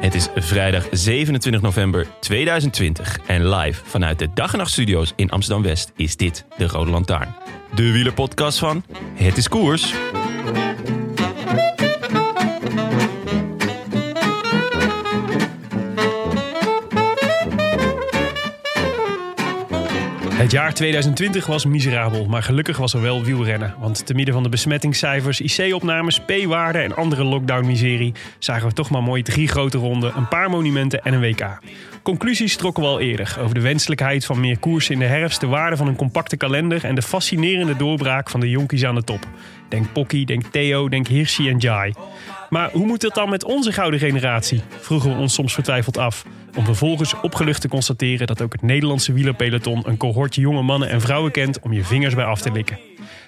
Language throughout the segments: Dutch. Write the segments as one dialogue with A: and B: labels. A: Het is vrijdag 27 november 2020 en live vanuit de Dag en Nacht Studio's in Amsterdam-West is dit de Rode Lantaarn. De wielerpodcast van Het is Koers.
B: Het jaar 2020 was miserabel, maar gelukkig was er wel wielrennen. Want te midden van de besmettingscijfers, IC-opnames, P-waarden en andere lockdown-miserie... zagen we toch maar mooi drie grote ronden, een paar monumenten en een WK. Conclusies trokken we al eerder over de wenselijkheid van meer koers in de herfst... de waarde van een compacte kalender en de fascinerende doorbraak van de jonkies aan de top. Denk Pocky, denk Theo, denk Hirschi en Jai. Maar hoe moet het dan met onze gouden generatie? Vroegen we ons soms vertwijfeld af. Om vervolgens opgelucht te constateren dat ook het Nederlandse wielerpeloton een cohortje jonge mannen en vrouwen kent om je vingers bij af te likken.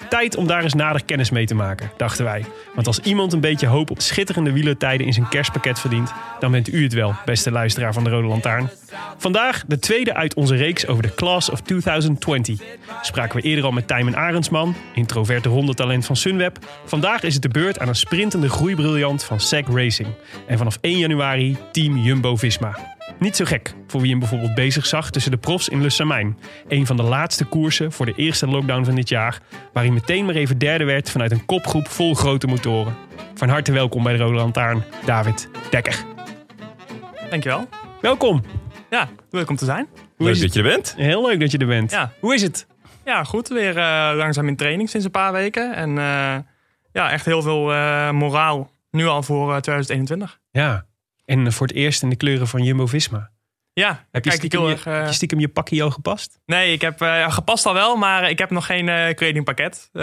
B: Tijd om daar eens nader kennis mee te maken, dachten wij. Want als iemand een beetje hoop op schitterende wielertijden in zijn kerstpakket verdient, dan bent u het wel, beste luisteraar van de Rode Lantaarn. Vandaag de tweede uit onze reeks over de Class of 2020. Spraken we eerder al met Tijmen Arendsman, introverte hondentalent van Sunweb. Vandaag is het de beurt aan een sprintende groeibriljant van SEC Racing. En vanaf 1 januari Team Jumbo-Visma. Niet zo gek voor wie hem bijvoorbeeld bezig zag tussen de profs in Lussamijn. Een van de laatste koersen voor de eerste lockdown van dit jaar, waar hij meteen maar even derde werd vanuit een kopgroep vol grote motoren. Van harte welkom bij de Rode Lantaarn, David Dekker.
C: Dankjewel.
B: Welkom.
C: Ja, leuk om te zijn.
B: Hoe
A: Leuk
B: is het?
A: dat je er bent.
B: Heel leuk dat je er bent.
C: Ja,
B: Hoe is het?
C: ja goed. Weer eh, langzaam in training sinds een paar weken. En eh, ja, echt heel veel eh, moraal nu al voor eh, 2021.
B: Ja. En eh, voor het eerst in de kleuren van Jumbo-Visma.
C: Ja,
B: Heb je,
C: kijk ik
B: stiekem
C: heel
B: je,
C: erg... eh,
B: heb je stiekem je pakkie al gepast?
C: nee, ik heb eh, ja, gepast al wel, maar ik heb nog geen eh kledingpakket. Eh,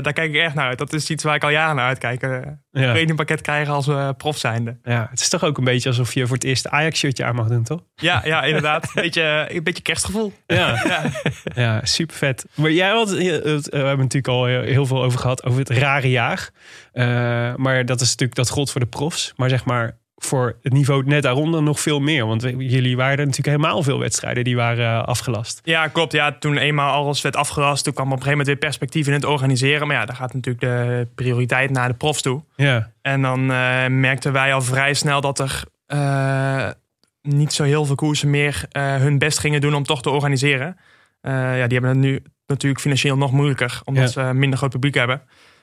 C: daar kijk ik echt naar uit. Dat is iets waar ik al jaren naar uitkijk. eh
B: Ja.
C: Kledingpakket krijgen als eh, prof zijnde.
B: ja. Het is toch ook een beetje alsof je voor het eerst een Ajax-shirtje aan mag doen, toch?
C: Ja, ja inderdaad. beetje, eh, een beetje kerstgevoel.
B: Ja,
C: Ja.
B: ja super vet. Maar jij had, eh, het- eh, we hebben natuurlijk al heel heel veel over gehad, over het rare jaar. Eh, maar dat is natuurlijk, dat gold voor de profs. Maar zeg maar, voor het niveau net daaronder nog veel meer. Want we- jullie waren er natuurlijk helemaal veel wedstrijden die waren eh, afgelast.
C: Ja, klopt. Ja, toen eenmaal alles werd afgerast, toen kwam op een gegeven moment weer perspectief in het organiseren. Maar ja, daar gaat natuurlijk de prioriteit naar de profs toe.
B: Ja,
C: En dan eh, merkten wij al vrij snel dat er eh, niet zo heel veel koersen meer eh, hun best gingen doen om toch te organiseren. Eh, ja, die hebben het nu natuurlijk financieel nog moeilijker, omdat
B: Ja.
C: ze een minder groot publiek hebben.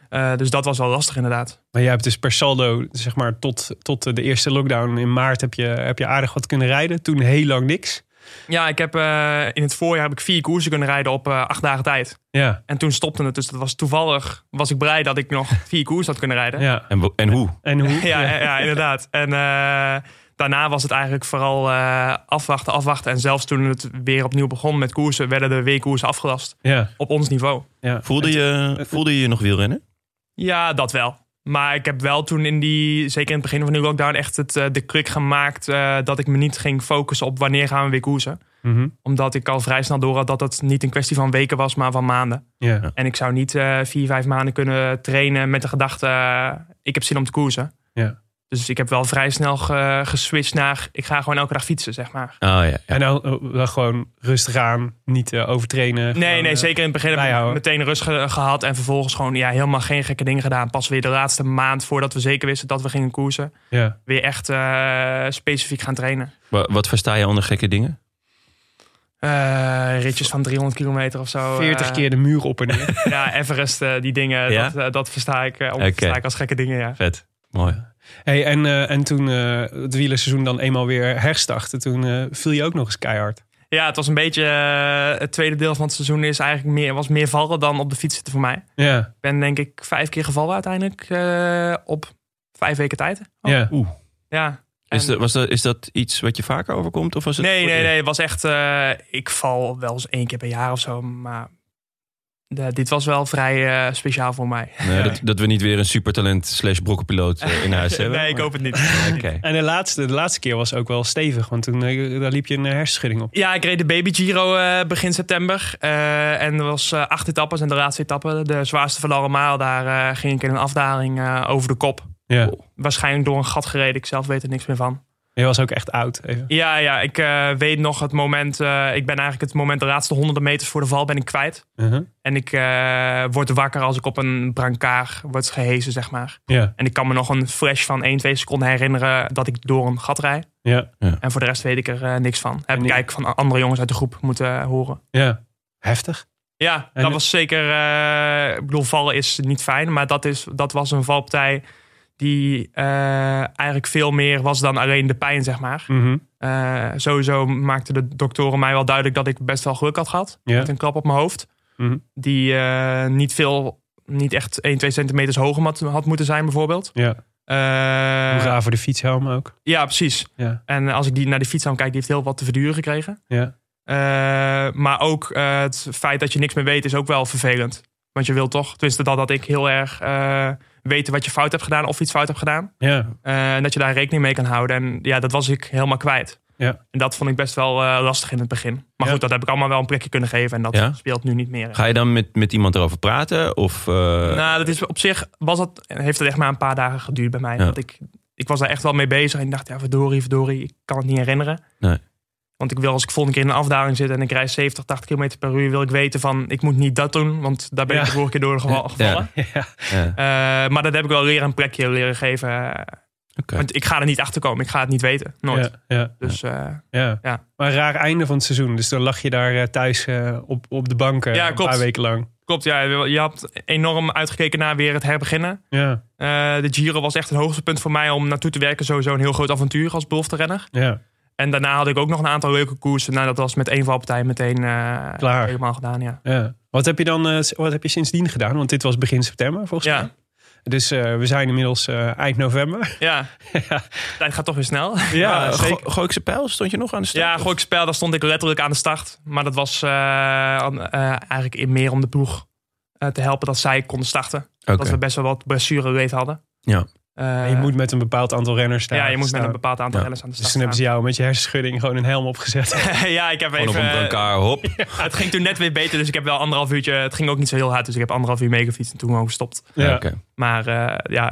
C: Eh, dus dat was wel lastig inderdaad.
B: maar jij hebt dus per saldo, zeg maar, tot, tot de eerste lockdown in maart heb je, heb je aardig wat kunnen rijden. Toen heel lang niks.
C: Ja, ik heb eh, in het voorjaar heb ik vier koersen kunnen rijden op eh, acht dagen tijd.
B: Ja,
C: En toen stopte het, dus dat was toevallig was ik blij dat ik nog vier koersen had kunnen rijden.
B: ja.
A: En, wo- en hoe?
B: En hoe?
C: ja, ja, ja, inderdaad. En eh, daarna was het eigenlijk vooral eh, afwachten, afwachten. En zelfs toen het weer opnieuw begon met koersen, werden de weekkoersen afgelast.
B: ja,
C: Op ons niveau.
B: ja.
A: Voelde je, voelde je je nog wielrennen?
C: Ja, dat wel. Maar ik heb wel toen in die, zeker in het begin van die lockdown, echt het, eh, de kruk gemaakt eh, dat ik me niet ging focussen op wanneer gaan we weer koersen.
B: Mhm.
C: Omdat ik al vrij snel door had dat het niet een kwestie van weken was, maar van maanden.
B: ja.
C: En ik zou niet eh, vier, vijf maanden kunnen trainen met de gedachte, eh, ik heb zin om te koersen.
B: Ja.
C: Dus ik heb wel vrij snel ge- geswitcht naar, ik ga gewoon elke dag fietsen, zeg maar.
A: Oh ja. ja.
B: En dan eh, wel gewoon rustig aan, niet eh, overtrainen.
C: Nee,
B: Gewoon,
C: nee,
B: eh,
C: zeker in het begin heb ik
B: bijhouden.
C: meteen rust ge- gehad. En vervolgens gewoon ja, helemaal geen gekke dingen gedaan. Pas weer de laatste maand voordat we zeker wisten dat we gingen koersen.
B: Ja.
C: Weer echt eh, specifiek gaan trainen.
A: Wa- Wat versta je onder gekke dingen?
C: Eh, ritjes van 300 kilometer of zo.
B: 40
C: eh,
B: keer de muur op en neer.
C: Ja, Everest, eh, die dingen.
A: Ja?
C: Dat, eh, dat versta, ik, eh,
A: Oké.
C: versta ik als gekke dingen, ja.
A: Vet. Mooi.
B: Hey, en, eh, en toen eh, het wielerseizoen dan eenmaal weer herstartte, toen eh, viel je ook nog eens keihard.
C: Ja, het was een beetje. eh, het tweede deel van het seizoen is eigenlijk meer, was meer vallen dan op de fiets zitten voor mij.
B: Ja,
C: Ik ben denk ik vijf keer gevallen uiteindelijk eh, op vijf weken tijd. Oh,
B: ja.
A: Oeh.
C: Ja.
A: Is,
C: En-
A: dat, was dat, is dat iets wat je vaker overkomt? Of was het
C: Nee,
A: voor het
C: nee,
A: eerst?
C: nee. Het was echt. eh, ik val wel eens één keer per jaar of zo. Maar de- dit was wel vrij eh, speciaal voor mij.
A: Nou, dat, dat we niet weer een supertalent slash brokkenpiloot eh, in huis hebben.
C: nee, ik hoop het niet.
A: Oké.
B: En de laatste, de laatste keer was ook wel stevig, want toen eh, daar liep je een hersenschudding op.
C: Ja, ik reed de Baby Giro eh, begin september. Eh, en er was eh, acht etappes en de laatste etappe, de zwaarste van allemaal, daar eh, ging ik in een afdaling eh, over de kop.
B: Ja.
C: Waarschijnlijk door een gat gereden, ik zelf weet er niks meer van.
B: Oh. Je was ook echt oud. Even.
C: Ja, ja, ik eh, weet nog het moment, eh, ik ben eigenlijk het moment, de laatste honderden meters voor de val ben ik kwijt.
B: Mhm.
C: En ik eh, word wakker als ik op een brancard word gehezen, zeg maar.
B: Ja,
C: En ik kan me nog een flash van 1, 2 seconden herinneren dat ik door een gat rijd.
B: ja,
C: En voor de rest weet ik er eh, niks van. Heb
B: En
C: ik
B: je-
C: eigenlijk van andere jongens uit de groep moeten eh, horen.
B: ja. Heftig.
C: Ja,
B: En-
C: dat was zeker. eh, ik bedoel, vallen is niet fijn, maar dat, is, dat was een valpartij die eh, eigenlijk veel meer was dan alleen de pijn, zeg maar.
B: Mhm.
C: Eh, sowieso maakten de doktoren mij wel duidelijk dat ik best wel geluk had gehad.
B: Ja.
C: Met een klap op mijn hoofd.
B: Mhm.
C: Die eh, niet veel, niet echt 1, 2 centimeters hoger had, had moeten zijn, bijvoorbeeld.
B: Ja.
C: Eh,
B: Hoera voor de fietshelm ook.
C: ja, precies.
B: Ja.
C: En als ik die, naar die fiets aan kijk, die heeft heel wat te verduren gekregen.
B: Ja.
C: Eh, maar ook eh, het feit dat je niks meer weet is ook wel vervelend. Want je wil toch, tenminste dat had ik heel erg eh, weten wat je fout hebt gedaan of iets fout hebt gedaan.
B: Ja.
C: Eh, en dat je daar rekening mee kan houden. En ja, dat was ik helemaal kwijt.
B: Ja.
C: En dat vond ik best wel eh, lastig in het begin. Maar
B: Ja.
C: goed, dat heb ik allemaal wel een prikje kunnen geven. En dat
A: Ja?
C: speelt nu niet meer.
A: Ga je dan met, met iemand erover praten? Of, eh,
C: Nou, dat is op zich was dat, heeft het echt maar een paar dagen geduurd bij mij.
A: Ja.
C: Want ik, ik was daar echt wel mee bezig. En ik dacht, ja, verdorie, verdorie, ik kan het niet herinneren.
A: Nee.
C: Want ik wil als ik volgende keer in een afdaling zit en ik rijd 70, 80 km per uur, wil ik weten van ik moet niet dat doen. Want daar ben
B: Ja.
C: ik de vorige keer door geval- gevallen.
B: Ja.
A: ja,
C: Eh, maar dat heb ik wel leren een plekje leren geven.
A: oké.
C: Want ik ga er niet achter komen. Ik ga het niet weten. Nooit.
B: Ja. Ja.
C: Dus eh,
B: Ja.
C: Ja.
B: Maar een raar einde van het seizoen. Dus dan lag je daar eh, thuis eh, op, op de bank eh,
C: Ja,
B: een
C: klopt.
B: paar weken lang.
C: klopt, ja, je had enorm uitgekeken naar weer het herbeginnen.
B: Ja.
C: Eh, de Giro was echt het hoogste punt voor mij om naartoe te werken. Sowieso een heel groot avontuur als belofte renner.
B: Ja.
C: En daarna had ik ook nog een aantal leuke koersen. Nou, dat was met één valpartij meteen eh,
B: Klaar.
C: helemaal gedaan, ja.
B: ja. Wat heb je dan eh, s- wat heb je sindsdien gedaan? Want dit was begin september volgens
C: Ja.
B: mij. Dus eh, we zijn inmiddels eh, eind november.
C: Ja,
B: ja.
C: tijd gaat toch weer snel.
B: Ja,
A: Ah,
B: zeker.
A: Go- Gooikse pijl, stond je nog aan de start?
C: Ja,
A: Of-
C: gooi ik spel, daar stond ik letterlijk aan de start. Maar dat was eh, an- eh, eigenlijk in meer om de ploeg eh, te helpen dat zij konden starten.
A: Oké.
C: Dat we best wel wat blessureleed hadden.
A: Ja.
C: Eh,
B: je moet met een bepaald aantal renners staan.
C: ja, je moet met
B: staan.
C: een bepaald aantal
A: Ja.
C: renners aan de
B: Dus
C: start
B: toen hebben ze jou met je hersenschudding gewoon een helm opgezet.
C: staan. ja, ik heb
A: Gewoon op een
C: even... eh,
A: brancard, hop.
C: het ging toen net weer beter, dus ik heb wel anderhalf uurtje... Het ging ook niet zo heel hard, dus ik heb anderhalf uur meegefietst en toen gewoon gestopt.
B: Ja.
A: Oké.
C: Maar eh, ja,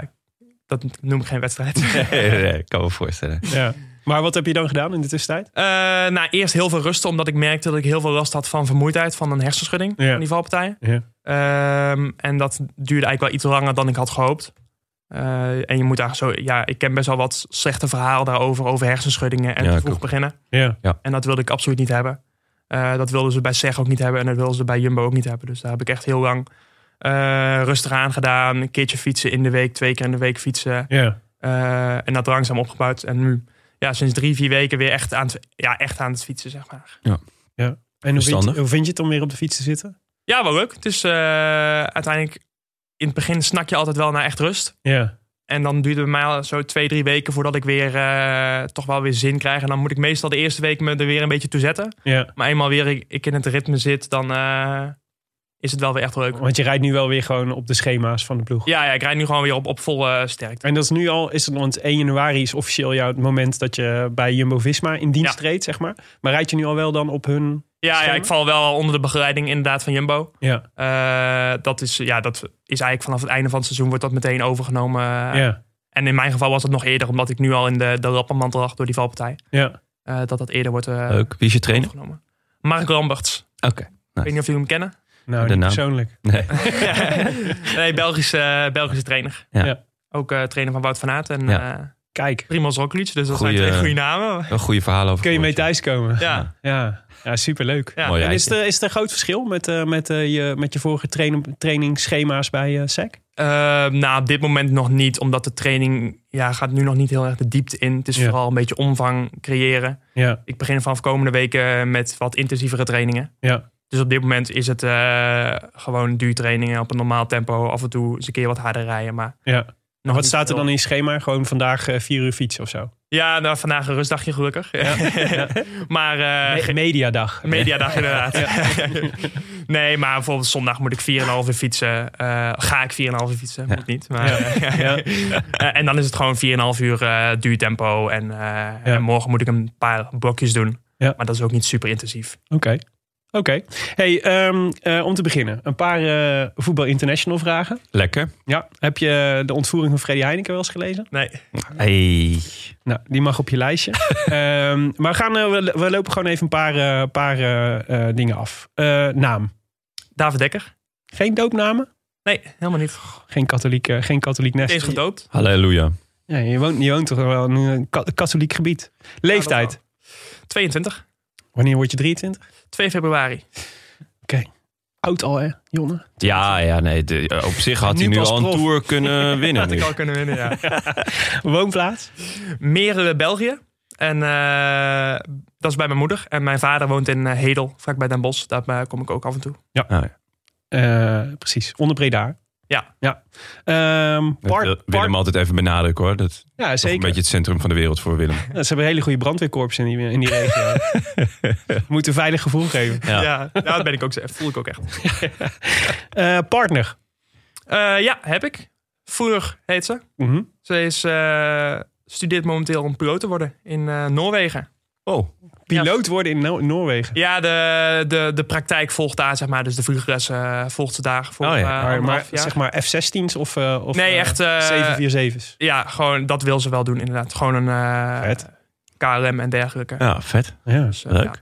C: dat noem ik geen wedstrijd. Eh,
A: Nee, nee, nee, kan me voorstellen.
B: Ja. Maar wat heb je dan gedaan in de tussentijd?
C: Eh, nou, eerst heel veel rusten, omdat ik merkte dat ik heel veel last had van vermoeidheid, van een hersenschudding
B: Ja.
C: van die valpartij.
B: Ja.
C: Ehm, en dat duurde eigenlijk wel iets langer dan ik had gehoopt. Eh, en je moet daar zo, ja, ik ken best wel wat slechte verhalen daarover, over hersenschuddingen en
A: Ja,
C: te vroeg
A: klopt.
C: beginnen.
B: Ja.
C: En dat wilde ik absoluut niet hebben. Eh, dat wilden ze bij SEG ook niet hebben en dat wilden ze bij Jumbo ook niet hebben. Dus daar heb ik echt heel lang eh, rustig aan gedaan. Een keertje fietsen in de week, twee keer in de week fietsen.
B: Ja.
C: Eh, en dat langzaam opgebouwd. En nu, ja, sinds drie, vier weken weer echt aan het, ja, echt aan het fietsen, zeg maar.
B: En hoe vind, je,
A: Verstandig.
B: hoe vind je het om weer op de fiets te zitten?
C: Ja, wel leuk. Het is eh, uiteindelijk... In het begin snak je altijd wel naar echt rust.
B: Ja.
C: En dan duurt het bij mij al zo twee, drie weken voordat ik weer eh, toch wel weer zin krijg. En dan moet ik meestal de eerste week me er weer een beetje toe zetten.
B: ja.
C: Maar eenmaal weer ik, ik in het ritme zit, dan eh, is het wel weer echt leuk.
B: Want je rijdt nu wel weer gewoon op de schema's van de ploeg.
C: Ja, ja, ik rijd nu gewoon weer op, op volle sterkte.
B: En dat is nu al, is het, want 1 januari is officieel jouw het moment dat je bij Jumbo-Visma in dienst
C: Ja.
B: treedt, zeg maar. Maar rijd je nu al wel dan op hun...
C: Ja, ja,
B: Stemmen?
C: ik val wel onder de begeleiding inderdaad van Jumbo.
B: Ja,
C: Eh, dat, is, ja, dat is eigenlijk vanaf het einde van het seizoen wordt dat meteen overgenomen.
B: ja,
C: En in mijn geval was het nog eerder, omdat ik nu al in de, de lappenmand lag door die valpartij.
B: ja.
C: eh, dat dat eerder wordt eh,
A: Leuk. Wie is je trainer?
C: overgenomen. Mark Lamberts. Ik
A: Oké.
C: weet niet of jullie hem kennen.
B: Nou,
A: De
B: niet
A: naam.
B: persoonlijk.
A: Nee.
C: nee, Belgische, Belgische trainer.
A: Ja.
B: Ja.
C: Ook eh, trainer van Wout van Aert. En
A: Ja.
C: eh,
B: Kijk,
C: Primoz Roglic, dus dat
A: Goeie-
C: zijn twee goede namen.
A: Een goede verhaal over.
B: kun je mee
A: gehoord,
B: thuiskomen.
C: Ja,
B: Ja, ja superleuk.
C: ja.
A: Mooi.
B: En is er, is er groot verschil met, eh, met, eh, je, met je vorige trainen- trainingsschema's bij eh SEC?
C: Eh, nou, op dit moment nog niet, omdat de training ja, gaat nu nog niet heel erg de diepte in. Het is
B: Ja.
C: vooral een beetje omvang creëren.
B: Ja,
C: Ik begin vanaf komende weken eh, met wat intensievere trainingen.
B: ja.
C: Dus op dit moment is het eh, gewoon duurtrainingen op een normaal tempo. Af en toe eens een keer wat harder rijden. Maar
B: ja.
C: nog
B: Wat
C: niet
B: staat er
C: veel.
B: dan in je schema? Gewoon vandaag eh, vier uur fietsen of zo?
C: Ja, nou, vandaag een rustdagje gelukkig. maar eh,
B: Me- mediadag.
C: Mediadag inderdaad. nee, maar bijvoorbeeld zondag moet ik 4,5 uur fietsen. Eh, ga ik 4,5 uur fietsen? Moet niet. Maar,
B: Ja.
C: Eh, en dan is het gewoon 4,5 uur eh, duurtempo. En, eh, en morgen moet ik een paar blokjes doen.
B: Ja.
C: Maar dat is ook niet super intensief.
B: Oké. Oké. Hey, ehm, eh, om te beginnen, een paar eh, voetbal international vragen.
A: ja. Lekker.
B: Ja. Heb je de ontvoering van Freddy Heineken wel eens gelezen?
C: Nee.
A: Hey.
B: Nou, die mag op je lijstje. Ehm, maar we, gaan, eh, we, we lopen gewoon even een paar, eh, paar eh, eh, dingen af. Eh, naam.
C: David Dekker?
B: Geen doopnamen?
C: Nee, helemaal niet.
B: Geen katholiek, eh, geen katholiek nest.
C: Niet eens gedoopt.
A: Halleluja.
B: Ja, je, woont, je woont toch wel in een ka- katholiek gebied. Leeftijd.
C: 22.
B: Wanneer word je 23?
C: 2 februari.
B: Oud al, hè, Jonne?
A: Ja, ja, nee. de- eh, op zich had
B: Nu
A: hij nu
B: pas
A: al een
B: prof.
A: tour kunnen winnen.
C: Had ik
A: nu.
C: al kunnen winnen, ja.
B: Woonplaats?
C: Meerle, België. En eh, dat is bij mijn moeder. En mijn vader woont in eh, Hedel, vlakbij Den Bosch. Daar eh, kom ik ook af en toe.
A: Ah, ja.
B: Eh, precies, onder Breda.
C: Ja.
B: ja. Ehm,
A: Dat
B: park-
A: wil-
B: park-
A: Willem altijd even benadrukken hoor. Dat is toch
B: ja,
A: een
B: zeker.
A: beetje het centrum van de wereld voor Willem.
B: Ja, Ze hebben hele goede brandweerkorps in die, in die regio. Moet een veilig gevoel geven.
A: Ja.
C: Ja, nou, dat ben ik ook, ze- voel ik ook echt.
B: Eh, partner.
C: Eh, ja, heb ik. Voer heet ze.
B: Mhm.
C: Ze is, eh, studeert momenteel om piloot te worden in eh, Noorwegen.
A: Oh,
B: Piloot worden in No- Noorwegen.
C: Ja, de, de, de praktijk volgt daar, zeg maar. Dus de vliegres eh, volgt ze daar voor
A: Oh ja,
C: eh,
A: maar-
B: maar maar
C: anderhalf jaar.
B: zeg maar F-16's of, eh, of
C: Nee,
B: eh,
C: echt, eh,
B: 747's.
C: Ja, gewoon, dat wil ze wel doen inderdaad. Gewoon een eh,
B: Vet.
C: KLM en dergelijke.
A: ja, vet.
B: Ja,
C: Dus, eh,
A: leuk.
C: ja.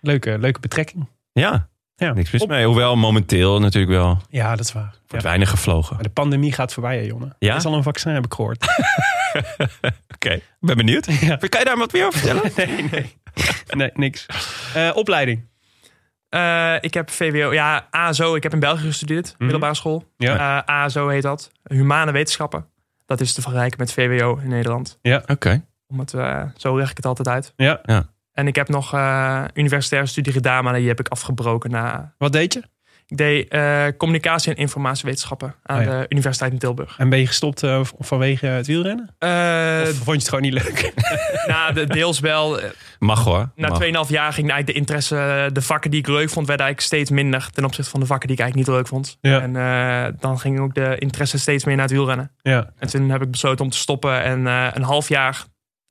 B: leuke, leuke betrekking.
A: Ja,
B: Ja.
A: niks mis mee. Hoewel momenteel natuurlijk wel wordt
B: Ja, dat is waar. Ja.
A: weinig gevlogen.
B: Maar de pandemie gaat voorbij, hè, Jonne.
A: Ja?
B: Er is al een vaccin, heb ik gehoord.
A: Oké, ben benieuwd.
B: Ja.
A: Kan je daar wat meer over vertellen?
B: nee, nee. Nee, niks. Eh, opleiding.
C: Eh, ik heb VWO, ja, ASO. Ik heb in België gestudeerd, middelbare school.
B: Mhm. Ja.
C: Eh, ASO heet dat. Humane wetenschappen. Dat is te vergelijken met VWO in Nederland.
A: Oké.
C: Omdat, eh, zo leg ik het altijd uit.
B: Ja.
C: En ik heb nog eh universitaire studie gedaan, maar die heb ik afgebroken na.
B: Wat deed je?
C: Ik deed eh, communicatie en informatiewetenschappen aan
B: Oh ja.
C: de Universiteit in Tilburg.
B: En ben je gestopt eh, v- vanwege het wielrennen?
C: Eh,
B: Of vond je het gewoon niet leuk?
C: na de, deels wel. Eh,
A: Mag hoor.
C: Na
A: Mag.
C: 2,5 jaar ging eigenlijk de interesse, eh, de vakken die ik leuk vond, werden eigenlijk steeds minder ten opzichte van de vakken die ik eigenlijk niet leuk vond.
B: Ja.
C: En eh, dan ging ook de interesse steeds meer naar het wielrennen.
B: ja.
C: En toen heb ik besloten om te stoppen en eh, een half jaar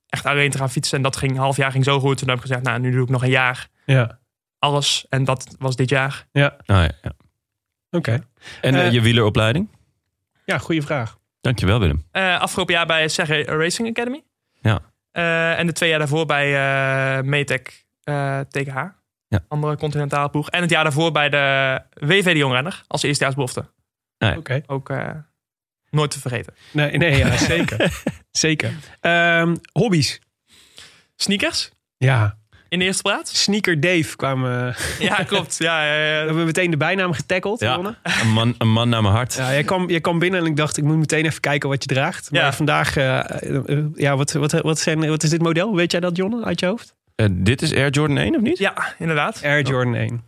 C: echt alleen te gaan fietsen. En dat ging, een half jaar ging zo goed. Toen heb ik gezegd, nou nu doe ik nog een jaar
B: Ja.
C: alles. En dat was dit jaar.
A: Ah, ja, ja.
B: Oké.
A: En eh,
B: Eh,
A: je wieleropleiding?
B: Ja, goede vraag.
A: Dankjewel Willem.
C: Eh, afgelopen jaar bij Serre Racing Academy.
A: Ja.
C: Eh, en de twee jaar daarvoor bij eh Metec eh, TKH.
A: Ja.
C: Andere continentale ploeg. En het jaar daarvoor bij de WV de Jongrenner als eerstejaarsbelofte.
B: Oké.
C: Ook eh, nooit te vergeten.
B: Nee, nee ja, zeker. zeker. Ehm, hobby's.
C: Sneakers
B: Ja.
C: in de eerste plaats.
B: Sneaker Dave kwam. eh, we
C: Ja, klopt. Ja, ja, ja.
B: hebben meteen de bijnaam getackeld.
A: Ja.
B: Jonne.
A: Een man, een man naar mijn hart.
B: ja jij, kwam, jij kwam binnen en ik dacht, ik moet meteen even kijken wat je draagt.
C: Ja.
B: Maar vandaag, eh, eh, eh, ja, wat, wat, wat, zijn, wat is dit model? Weet jij dat, Jonne, uit je hoofd?
A: Eh, dit is Air Jordan 1 of niet?
C: Ja, inderdaad.
B: Air Jordan 1.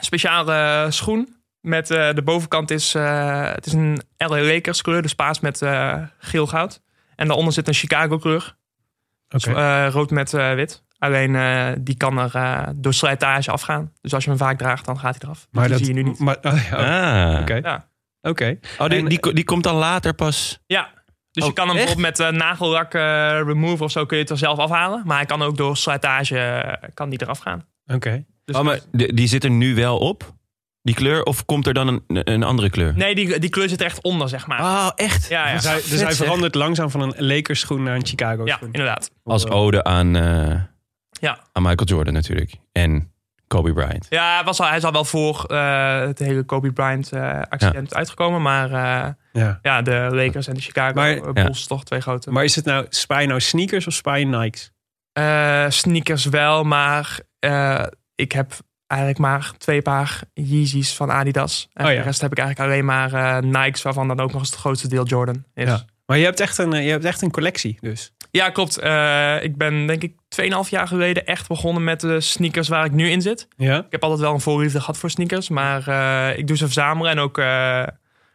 C: speciale eh, schoen. Met eh, de bovenkant is, eh, het is een LA Lakers kleur, dus paas met eh, geel-goud. En daaronder zit een Chicago kleur,
B: Oké.
C: dus, eh, rood met eh, wit. Alleen eh, die kan er eh, door slijtage afgaan. Dus als je hem vaak draagt, dan gaat hij eraf. Maar dat zie je nu niet.
B: Maar, oh, ja, Oké.
A: Ah.
B: Oké.
C: Ja.
A: Oh, die,
B: En-
A: die, ko- die komt dan later pas.
C: Ja, dus
A: Oh,
C: je kan hem
A: echt?
C: bijvoorbeeld met eh, nagellak eh remove of zo kun je het er zelf afhalen. Maar hij kan ook door slijtage eh, kan die eraf gaan.
B: Oké.
C: Dus
A: Oh, maar die, die zit er nu wel op? Die kleur? Of komt er dan een, een andere kleur?
C: Nee, die, die kleur zit er echt onder, zeg maar.
A: Oh, echt?
C: ja, ja.
B: Dus hij, dus
A: Vet,
B: hij
A: zeg.
B: verandert langzaam van een Lakers schoen naar een Chicago
C: ja,
B: schoen.
C: inderdaad.
A: Als ode aan, eh,
C: Ja.
A: aan Michael Jordan natuurlijk. En Kobe Bryant.
C: Ja, hij was al, hij is al wel voor eh, het hele Kobe Bryant eh, accident uitgekomen. Maar eh,
B: Ja.
C: Ja, de Lakers en de Chicago
B: Maar-
C: eh, Bulls, toch twee grote.
B: Maar is het nou, spaar je nou sneakers of spaar je Nikes?
C: Eh, sneakers wel, maar eh, ik heb eigenlijk maar twee paar Yeezys van Adidas. En
B: Oh ja.
C: de rest heb ik eigenlijk alleen maar eh, Nikes, waarvan dan ook nog eens het grootste deel Jordan is.
B: Ja.
C: Ja,
B: Maar je hebt echt een, eh, je hebt echt een collectie dus.
C: klopt. Eh, ik ben denk ik 2,5 jaar geleden echt begonnen met de sneakers waar ik nu in zit.
B: Ja?
C: Ik heb altijd wel een voorliefde gehad voor sneakers, maar eh, ik doe ze verzamelen en ook eh,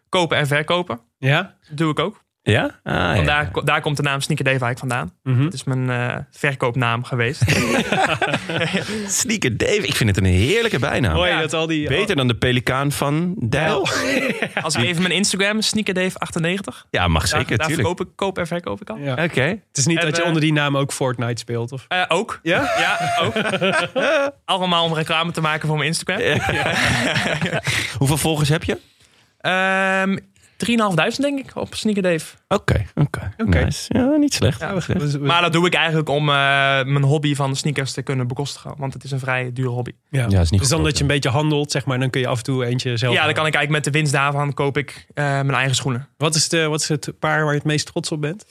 C: kopen en verkopen.
B: Ja?
C: Dat doe ik ook.
A: Ja? Ah, ja.
C: Want daar, daar komt de naam Sneaker Dave eigenlijk vandaan.
B: Mhm.
C: Het is mijn eh, verkoopnaam geweest.
A: Sneaker Dave. Ik vind het een heerlijke bijnaam.
B: Mooi
C: Ja.
B: dat al die...
A: Beter dan de pelikaan van Dijl.
C: Als ik even mijn Instagram, SneakerDave98.
A: Ja, mag zeker,
C: Daar,
A: tuurlijk.
C: daar verkoop ik, koop en verkoop ik al.
B: Ja.
A: Oké.
B: Het is niet
C: En,
B: dat je
C: eh,
B: onder die naam ook Fortnite speelt of...
C: Eh, ook.
B: Ja?
C: Ja, ook. Allemaal om reclame te maken voor mijn Instagram.
A: Hoeveel volgers heb je?
C: Ehm 3.500 denk ik op Sneaker Dave.
A: Oké, oké.
B: Oké.
A: Nice. Ja, niet slecht.
C: Ja,
A: Niet slecht.
B: Dus-
C: Maar dat doe ik eigenlijk om eh, mijn hobby van sneakers te kunnen bekostigen. Want het is een vrij dure hobby.
B: ja.
A: Ja, is niet
B: dus dan
A: goedkoop,
B: dat je een beetje handelt, zeg maar, dan kun je af en toe eentje zelf...
C: Ja, dan kan ik eigenlijk met de winst daarvan koop ik eh, mijn eigen schoenen.
B: Wat is, de, wat is het paar waar je het meest trots op bent?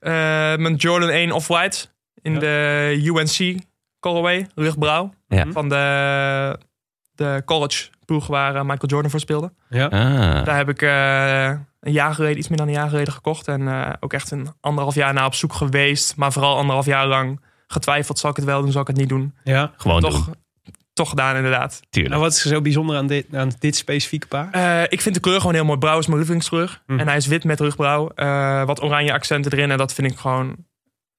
C: Eh, mijn Jordan 1 Off-White in
B: Ja.
C: de UNC colorway, luchtblauw.
A: Ja.
C: Van de, de college ploeg waar eh, Michael Jordan voor speelde.
B: Ja.
A: Ah,
C: Daar heb ik eh, een jaar geleden, iets meer dan een jaar geleden gekocht. En eh, ook echt een anderhalf jaar na op zoek geweest. Maar vooral anderhalf jaar lang getwijfeld. Zal ik het wel doen, zal ik het niet doen?
B: Ja.
A: gewoon
C: Toch,
A: doen,
C: toch gedaan inderdaad.
B: Nou,
A: tuurlijk.
B: wat is er zo bijzonder aan dit, aan dit specifieke paar?
C: Eh, ik vind de kleur gewoon heel mooi. Blauw is mijn lievelingskleur.
B: Hm.
C: En hij is wit met rugbrouw. Eh, wat oranje accenten erin. En dat vind ik gewoon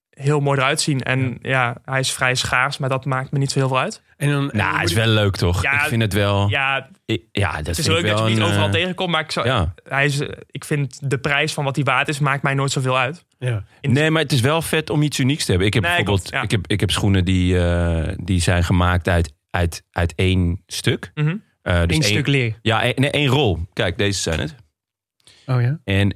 C: heel mooi eruit zien. En ja. hij is vrij schaars. Maar dat maakt me niet zo heel veel uit.
B: En dan,
A: Nou, het is wel leuk, toch?
C: eh, Ja,
A: ik vind het wel... Ja,
C: Ja,
A: ja dat
C: het is
A: Oh. vind
C: leuk
A: ik
C: dat
A: wel
C: je hem niet
A: een,
C: overal
A: eh,
C: tegenkomt. Maar ik, zou,
A: Ja.
C: hij is, eh, ik vind de prijs van wat hij waard is, maakt mij nooit zoveel uit.
B: Ja.
A: Nee, maar het is wel vet om iets unieks te hebben. Ik heb
C: Nee,
A: bijvoorbeeld
C: klopt, ja.
A: ik heb, ik heb schoenen die, eh, die zijn gemaakt uit, uit, uit één stuk.
C: Mhm.
A: Eh, dus
B: Eén
A: één-
B: stuk leer.
A: Ja, één, nee, één rol. Kijk, deze zijn het.
B: Oh ja.
A: En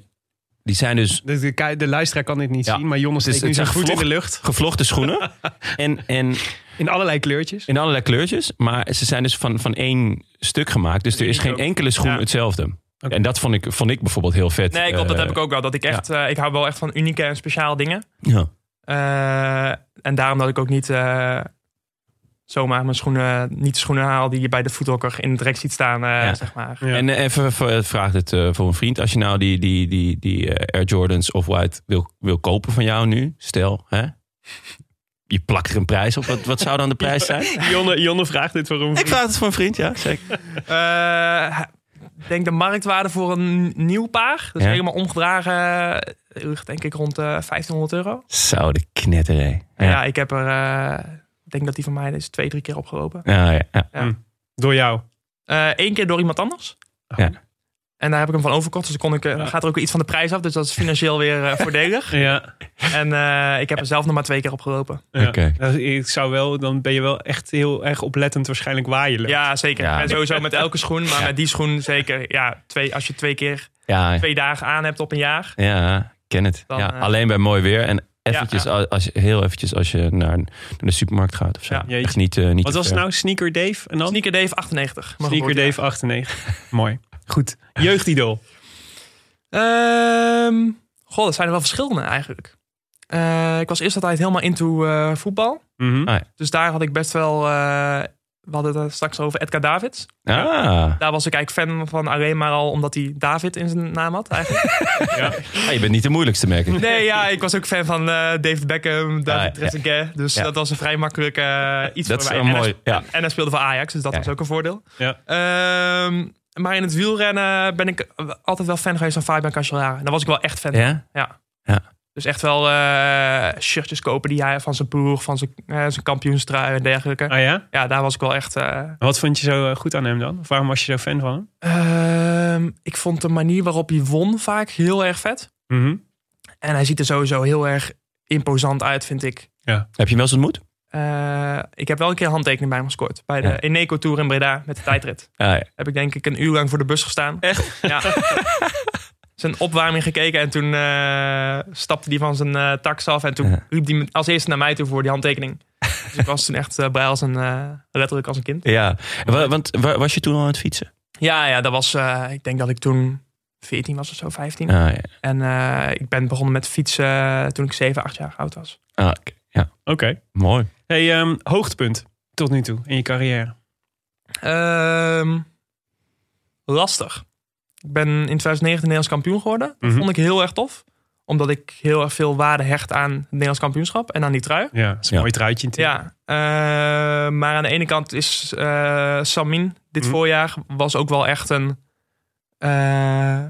A: die zijn dus
B: De, de, ki- de luisteraar kan dit niet
A: Ja.
B: zien, maar Jonne
A: Het is-
B: steekt nu
A: het
B: zijn
A: zijn
B: voet in de
A: gevlochten-
B: lucht.
A: gevlochten schoenen. en, en
B: In allerlei kleurtjes.
A: in allerlei kleurtjes. Maar ze zijn dus van, van één stuk gemaakt. Dus er is geen enkele schoen
C: Ja.
A: hetzelfde. En dat vond ik, vond ik bijvoorbeeld heel vet.
C: Nee, klopt. Dat
A: Eh,
C: heb ik ook wel. Dat ik echt, eh, ik hou wel echt van unieke en speciaal dingen.
A: Ja.
C: Eh, en daarom dat ik ook niet eh, zomaar mijn schoenen, niet de schoenen haal die je bij de voethokker in het rek ziet staan, eh,
A: Ja.
C: zeg maar.
B: Ja.
A: En eh, even, even vraag dit eh, voor een vriend. Als je nou die, die, die, die eh, Air Jordans of White wil, wil kopen van jou nu, stel, hè? Je plakt er een prijs op. Wat, wat zou dan de prijs zijn?
B: Jonne, Jonne vraagt dit waarom.
A: Ik vraag het voor een vriend, ja, zeker.
C: Eh, ik denk de marktwaarde voor een nieuw paar, dat is
A: Ja.
C: helemaal omgedragen, eh, ligt denk ik rond eh 1500 euro.
A: Zo, de knetter, hè.
C: Ja,
A: Ja,
C: ik heb er, eh, ik denk dat die van mij is twee, drie keer opgelopen.
A: ja, ja, ja.
B: Door jou.
C: Eén keer door iemand anders.
A: Ja.
C: En daar heb ik hem van overkort, dus dan kon ik, eh, dan gaat er ook weer iets van de prijs af. Dus dat is financieel weer eh, voordelig.
B: Ja.
C: En eh, ik heb er zelf nog maar twee keer opgelopen.
B: ja.
A: Oké.
B: Dat- Ik zou wel, dan ben je wel echt heel erg oplettend waarschijnlijk waar je loopt.
C: Ja, zeker.
A: Ja.
C: En sowieso met elke schoen. Maar met die schoen zeker. Ja, twee, als je twee keer
A: ja,
C: twee dagen aan hebt op een jaar.
A: ja, ik ken het.
C: Dan,
A: ja,
C: eh,
A: alleen bij mooi weer. En eventjes,
C: ja.
A: als- Als je, heel eventjes als je naar, naar de supermarkt gaat of zo.
C: Ja.
B: Jeetje.
A: Echt niet, eh, niet te
B: Wat was het
A: ver.
B: nou? Sneaker Dave en dan?
C: Sneaker Dave 98. mijn
B: Sneaker
C: geboortejaar.
B: Dave 98. Mooi. Goed. Jeugdidool.
C: Ehm, goh, dat zijn er wel verschillende eigenlijk. Eh, ik was eerst altijd helemaal into eh, voetbal.
B: Mhm.
A: Ah.
C: Dus daar had ik best wel... eh, we hadden het straks over Edgar Davids.
A: Ah,
C: Daar was ik eigenlijk fan van alleen maar al omdat hij David in zijn naam had. Eigenlijk.
A: Ah, je bent niet de moeilijkste, merk ik.
C: Nee, ja, ik was ook fan van eh, David Beckham, David
A: Ah, ja.
C: Trezeguet. Dus
A: Ja.
C: dat was een vrij makkelijk eh, iets
A: Dat is
C: voor
A: wel
C: mij. En hij
A: mooi. Ja.
C: En hij speelde voor Ajax, dus dat
A: Ja.
C: was ook een voordeel.
B: Ja.
C: Ehm, maar in het wielrennen ben ik eh, altijd wel fan geweest van Fabian Cancellara. En Daar was ik wel echt fan van.
A: Ja?
C: Dus echt wel eh, shirtjes kopen die hij van zijn ploeg, van zijn, eh, zijn kampioenstrui en dergelijke.
B: Ah ja?
C: Ja, daar was ik wel echt... eh,
B: Wat vond je zo eh, goed aan hem dan? Of waarom was je zo fan van hem?
C: ehm, ik vond de manier waarop hij won vaak heel erg vet.
B: Mhm.
C: En hij ziet er sowieso heel erg imposant uit, vind ik.
A: Heb je hem wel eens ontmoet?
C: Eh, ik heb wel een keer een handtekening bij hem gescoord. Bij de
A: Ja.
C: Eneco Tour in Breda met de tijdrit.
A: Ah, ja.
C: Heb ik denk ik een uur lang voor de bus gestaan. Echt? Ja. zijn opwarming gekeken en toen eh, stapte hij van zijn eh, tax af. En toen
A: Ja.
C: riep hij me als eerste naar mij toe voor die handtekening. Dus ik was toen echt eh, blij als een, eh, letterlijk als een kind.
A: Ja, wa- want wa- was je toen al aan het fietsen?
C: Ja, ja, dat was, eh, ik denk dat ik toen 14 was of zo, 15.
A: Ah, ja.
C: En eh, ik ben begonnen met fietsen toen ik 7, 8 jaar oud was.
A: Ah, oké. ja.
B: Oké.
A: Mooi.
B: Hey, ehm, hoogtepunt tot nu toe in je carrière.
C: Ehm, lastig. Ik ben in 2019 Nederlands kampioen geworden. Dat
B: Mhm.
C: vond ik heel erg tof. Omdat ik heel erg veel waarde hecht aan het Nederlands kampioenschap en aan die trui.
B: Ja, dat is een
A: Ja.
B: mooi truitje. natuurlijk.
C: Ja, eh, maar aan de ene kant is eh Samin dit
B: Mhm.
C: voorjaar was ook wel echt een... eh,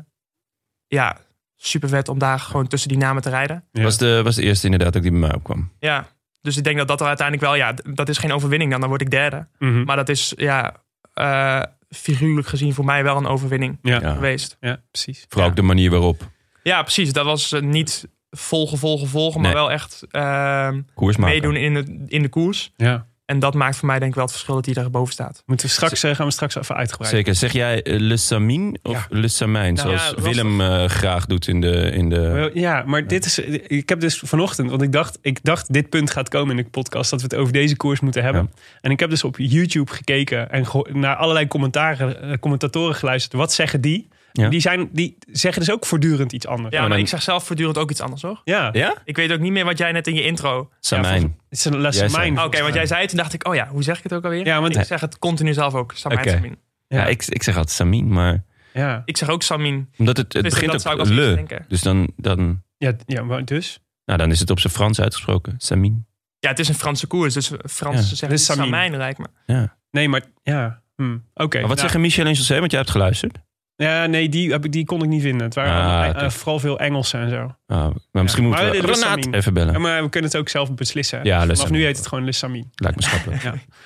C: ja, super vet om daar gewoon tussen die namen te rijden.
B: Ja.
A: Was, de, was de eerste inderdaad ook die bij mij opkwam.
C: Ja, dus ik denk dat dat er uiteindelijk wel, ja, d- dat is geen overwinning dan, dan word ik derde.
B: Mhm.
C: Maar dat is, ja, eh, figuurlijk gezien voor mij wel een overwinning
B: ja.
A: Ja.
C: geweest.
B: Ja, precies.
A: Vooral ook de manier waarop.
C: Ja, precies. Dat was eh, niet vol gevolgen volgen, maar
A: Nee.
C: wel echt ehm,
A: Koers maken.
C: meedoen in de, in de koers.
B: Ja.
C: En dat maakt voor mij denk ik wel het verschil dat hij daar boven staat.
B: Moeten we straks, eh, gaan we straks even uitgebreid.
A: Zeker. Zeg jij eh, Le Samin of Le Samijn?
B: Nou,
A: zoals
C: ja, lastig.
A: Willem eh, graag doet in de... In de...
B: Wel, Ja, maar dit is. Ik heb dus vanochtend, want ik dacht, ik dacht, dit punt gaat komen in de podcast dat we het over deze koers moeten hebben. En ik heb dus op YouTube gekeken en geho- naar allerlei commentaren, eh, commentatoren geluisterd. Wat zeggen die?
A: Ja.
B: Die, zijn, die zeggen dus ook voortdurend iets anders.
C: Ja, maar
A: dan-
C: ik zeg zelf voortdurend ook iets anders, hoor.
B: Ja,
A: Ja?
C: Ik weet ook niet meer wat jij net in je intro... Ah,
A: Samijn.
B: volgens- het is een les
A: Jij
B: van
A: zei-
B: mijn.
C: Oké, want jij zei het en dacht ik, oh ja, hoe zeg ik het ook alweer?
B: Ja, want
C: Ik zeg het continu zelf ook, Samijn
A: Oké.
C: Samin.
A: ja,
B: Ja.
A: ik, ik zeg altijd Samin, maar...
B: ja.
C: Ik zeg ook Samin.
A: Omdat het, het
C: Dus
A: begint
C: dat zou
A: ook
C: ik als eerste
A: Le.
C: denken.
A: Dus dan, dan,
B: Ja, ja, maar dus.
A: nou, dan is het op zijn Frans uitgesproken. Samin.
C: Ja, het is een Franse koers, dus Frans
A: Ja.
C: zeggen
B: Dus
C: dus
B: Samin.
C: Samijn lijkt me.
B: Nee, maar ja. hm, Oké.
A: Maar wat
B: Nou,
A: zeggen Michel en José? Want jij hebt geluisterd.
B: Ja, nee, die, heb ik- die kon ik niet vinden. Het waren
A: Ah,
B: allemaal-
A: oké.
B: eh, vooral veel Engelsen en zo.
A: Ah, maar misschien moeten
B: Ja. Maar
A: we
B: dit is
A: Renaat
B: Samin.
A: even bellen.
B: Ja, maar we kunnen het ook zelf beslissen. hè.
A: Ja,
B: Dus
A: Les
B: vanaf
A: Amis.
B: nu heet het gewoon Lissamine.
A: Lijkt me schappelijk.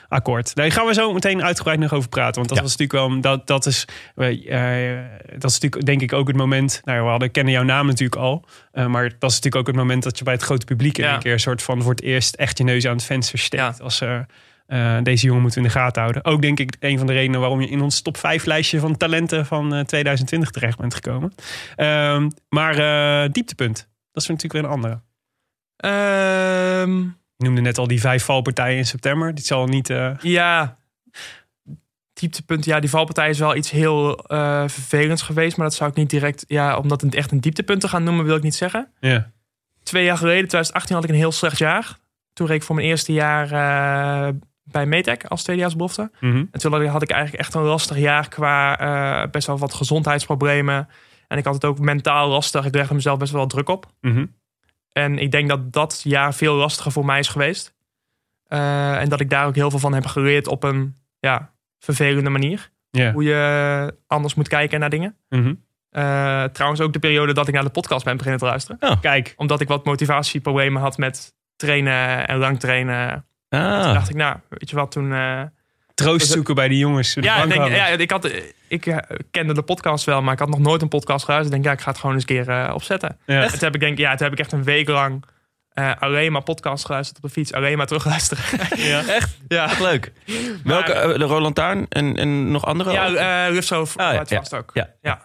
B: Akkoord. Daar gaan we zo meteen uitgebreid nog over praten. Want dat
A: Ja.
B: was natuurlijk wel. Dat, dat, is, eh, eh, dat is natuurlijk denk ik ook het moment. Nou, we hadden, kennen jouw naam natuurlijk al. eh, maar dat is natuurlijk ook het moment dat je bij het grote publiek in
C: Ja.
B: een keer een soort van voor het eerst echt je neus aan het venster steekt.
C: Ja.
B: Als eh, eh, deze jongen moeten we in de gaten houden. Ook denk ik een van de redenen waarom je in ons top 5 lijstje van talenten van eh, 2020 terecht bent gekomen. Ehm, maar eh, dieptepunt. Dat is natuurlijk weer een andere.
C: Ehm,
B: Je noemde net al die vijf valpartijen in september. Dit zal niet. eh,
C: ja, dieptepunt. Ja, die valpartij is wel iets heel eh, vervelends geweest. Maar dat zou ik niet direct... Ja, om dat een- echt een dieptepunt te gaan noemen, wil ik niet zeggen.
B: ja.
C: Twee jaar geleden, 2018, had ik een heel slecht jaar. Toen reed ik voor mijn eerste jaar eh, bij Metec als tweedejaarsbelofte.
B: Mhm.
C: En toen had ik- had ik eigenlijk echt een lastig jaar qua eh, best wel wat gezondheidsproblemen. En ik had het ook mentaal lastig. Ik legde mezelf best wel wat druk op.
B: Mhm.
C: En ik denk dat dat jaar veel lastiger voor mij is geweest. Eh, en dat ik daar ook heel veel van heb geleerd op een ja, vervelende manier.
B: Ja.
C: Hoe je anders moet kijken naar dingen.
B: Mhm.
C: Eh, trouwens ook de periode dat ik naar de podcast ben beginnen te luisteren.
B: Kijk.
C: Omdat ik wat motivatieproblemen had met trainen en lang trainen. Toen
A: Ah,
C: dacht ik, nou, weet je wat, toen... eh,
B: troost zoeken bij die jongens. de
C: ja, ik denk,
B: bankhouders.
C: ja, ik, had, ik eh, kende de podcast wel, maar ik had nog nooit een podcast geluisterd. Ik denk, ja, ik ga het gewoon eens een keer eh, opzetten.
B: Ja.
C: En toen heb ik denk, ja, toen heb ik echt een week lang eh, alleen maar podcast geluisterd op de fiets, alleen maar terugluisteren.
A: echt?
C: ja,
A: Echt leuk. Welke? eh, de Roland Taarn en, en nog andere?
C: ja
A: Ook?
C: eh Rufso v-
A: Ah, ja,
C: het vast ook.
A: ja.
C: ja.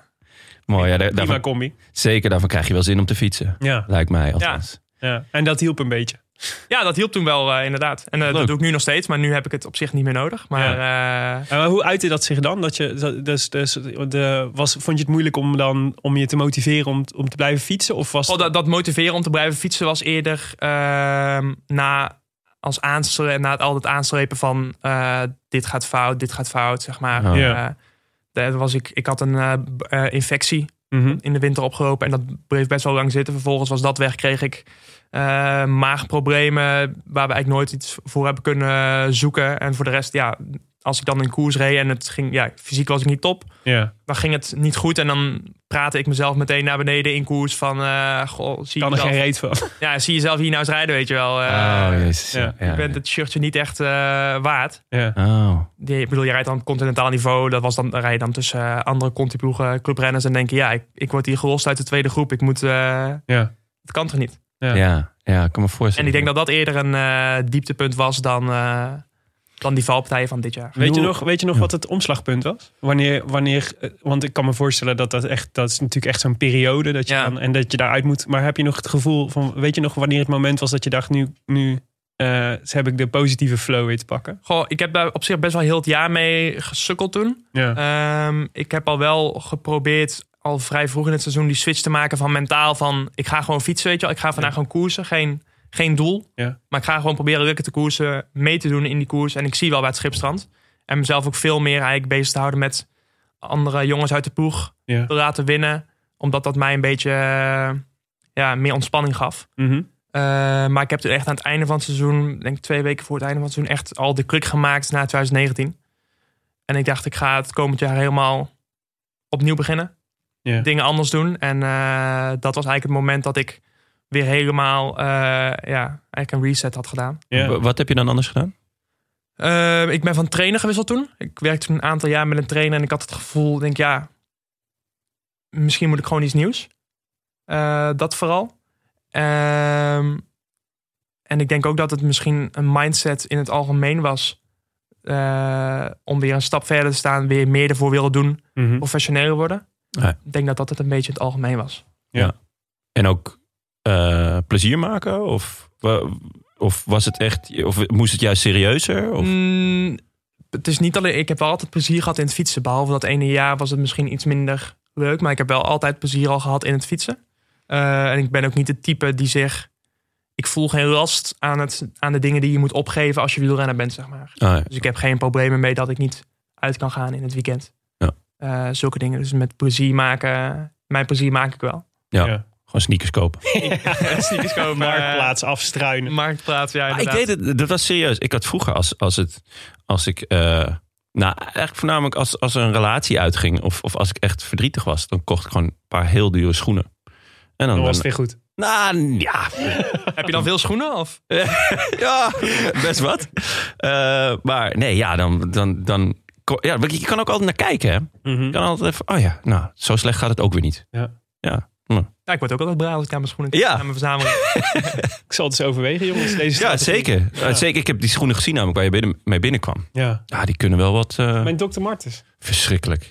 A: Mooi, ja, daar-
B: Prima
A: daarvan,
B: combi.
A: zeker daarvan krijg je wel zin om te fietsen.
B: Ja.
A: Lijkt mij althans.
B: ja. En dat hielp een beetje.
C: Ja, dat hielp toen wel eh, inderdaad. En eh,
A: Leuk.
C: dat doe ik nu nog steeds, maar nu heb ik het op zich niet meer nodig. Maar eh,
B: En maar hoe uitte dat zich dan? Dat je, dat- dus, dus, de, was, vond je het moeilijk om, dan, om je te motiveren om, om te blijven fietsen? Of was
C: oh, dat, dat motiveren om te blijven fietsen was eerder ehm, na als aanstre na het altijd aanstrepen van eh, dit gaat fout, dit gaat fout, zeg maar.
A: Ja.
B: Ja.
C: Eh, daar was ik, ik had een eh, b- eh, infectie
B: Mhm.
C: in de winter opgelopen. En dat bleef best wel lang zitten. Vervolgens was dat weg, kreeg ik eh, maagproblemen... waar we eigenlijk nooit iets voor hebben kunnen zoeken. En voor de rest, ja, als ik dan in koers reed... en het ging, ja, fysiek was ik niet top...
B: Ja.
C: dan ging het niet goed. En dan praatte ik mezelf meteen naar beneden in koers van... eh, goh, zie,
B: Kan er geen
C: jezelf,
B: reet van.
C: ja, zie jezelf hier nou eens rijden, weet je wel. Eh,
A: oh, jezus. Ja,
B: ja.
A: ja,
C: je bent het shirtje niet echt eh, waard.
B: Ja.
A: Oh,
C: Die- Ik bedoel, je rijdt dan op continentaal niveau. Dat was dan, dan rij je dan tussen eh, andere conti-ploegen, clubrenners... en denk je, ja, ik, ik word hier gelost uit de tweede groep. Ik moet... eh,
B: Ja.
C: het kan toch niet?
B: Ja.
A: ja. ja, ik kan me
C: En
A: voorstellen.
C: ik denk dat dat eerder een eh, dieptepunt was dan, eh, dan die valpartijen van dit jaar.
B: Weet je
A: Hoe-
B: nog, weet je nog
A: Ja.
B: wat het omslagpunt was? Wanneer, wanneer, eh, want ik kan me voorstellen dat dat echt, dat is natuurlijk echt zo'n periode dat je
C: Ja.
B: dan, en dat je daaruit moet. Maar heb je nog het gevoel van, weet je nog wanneer het moment was dat je dacht, nu, nu eh, heb ik de positieve flow weer te pakken?
C: Goh, ik heb daar op zich best wel heel het jaar mee gesukkeld toen.
B: Ja.
C: Ehm, ik heb al wel geprobeerd al vrij vroeg in het seizoen die switch te maken van mentaal van ik ga gewoon fietsen, weet je wel. Ik ga vandaag gewoon koersen, geen, geen doel.
B: Ja.
C: Maar ik ga gewoon proberen lukken te koersen, mee te doen in die koers. En ik zie wel waar het schip strandt. En mezelf ook veel meer eigenlijk bezig te houden met andere jongens uit de ploeg
B: Ja.
C: te laten winnen. Omdat dat mij een beetje eh, ja, meer ontspanning gaf.
B: Mhm.
C: Eh, maar ik heb toen echt aan het einde van het seizoen, denk ik twee weken voor het einde van het seizoen, echt al de klik gemaakt na 2019. En ik dacht, ik ga het komend jaar helemaal opnieuw beginnen.
B: Ja.
C: Dingen anders doen. En eh, dat was eigenlijk het moment dat ik weer helemaal eh, ja, eigenlijk een reset had gedaan.
B: Ja.
A: W- Wat heb je dan anders gedaan?
C: Eh, ik ben van trainer gewisseld toen. Ik werkte toen een aantal jaar met een trainer en ik had het gevoel, denk ja, misschien moet ik gewoon iets nieuws. Eh, dat vooral. Ehm, en ik denk ook dat het misschien een mindset in het algemeen was eh, om weer een stap verder te staan, weer meer ervoor willen doen,
B: Mhm.
C: professioneler worden.
A: Ja.
C: Ik denk dat dat het een beetje in het algemeen was.
A: En ook eh, plezier maken? Of, wa- of was het echt, of moest het juist serieuzer? Of,
C: Mm, het is niet alleen. Ik heb wel altijd plezier gehad in het fietsen. Behalve dat ene jaar was het misschien iets minder leuk. Maar ik heb wel altijd plezier al gehad in het fietsen. Eh, en ik ben ook niet het type die zegt. Ik voel geen last aan, het, aan de dingen die je moet opgeven als je wielrenner bent, zeg maar.
A: Ah, ja.
C: Dus ik heb geen problemen mee dat ik niet uit kan gaan in het weekend.
A: Ja.
C: Eh, zulke dingen. Dus met plezier maken. Mijn plezier maak ik wel.
A: Gewoon sneakers kopen.
C: Sneakers
A: eh,
C: kopen,
B: Marktplaats afstruinen.
C: Marktplaats, ja.
A: Maar Ah, ik
C: Inderdaad.
A: deed het, dat was serieus. Ik had vroeger als, als het, als ik, eh, nou eigenlijk voornamelijk als, als er een relatie uitging of, of als ik echt verdrietig was, dan kocht ik gewoon een paar heel dure schoenen. En dan,
B: Dan was het
A: dan-
B: weer goed.
A: nou ja,
C: Heb je dan veel schoenen? Of?
A: ja, best wat. Eh, maar nee, ja, dan, dan, dan ko- ja, want je kan ook altijd naar kijken, hè.
B: Mhm.
A: Je kan altijd even, oh ja, nou, zo slecht gaat het ook weer niet.
C: Ja, ik word ook altijd braaf als ik naar mijn
A: Ja.
C: schoenen kijk. Naar mijn verzameling.
B: Ik zal het eens overwegen, jongens. Deze
A: Ja,
B: strategie.
A: zeker. Eh, zeker, ik heb die schoenen gezien namelijk waar je binnen, mee binnenkwam.
B: Ja.
A: Ja, die kunnen wel wat eh,
B: Mijn dokter Martens.
A: verschrikkelijk.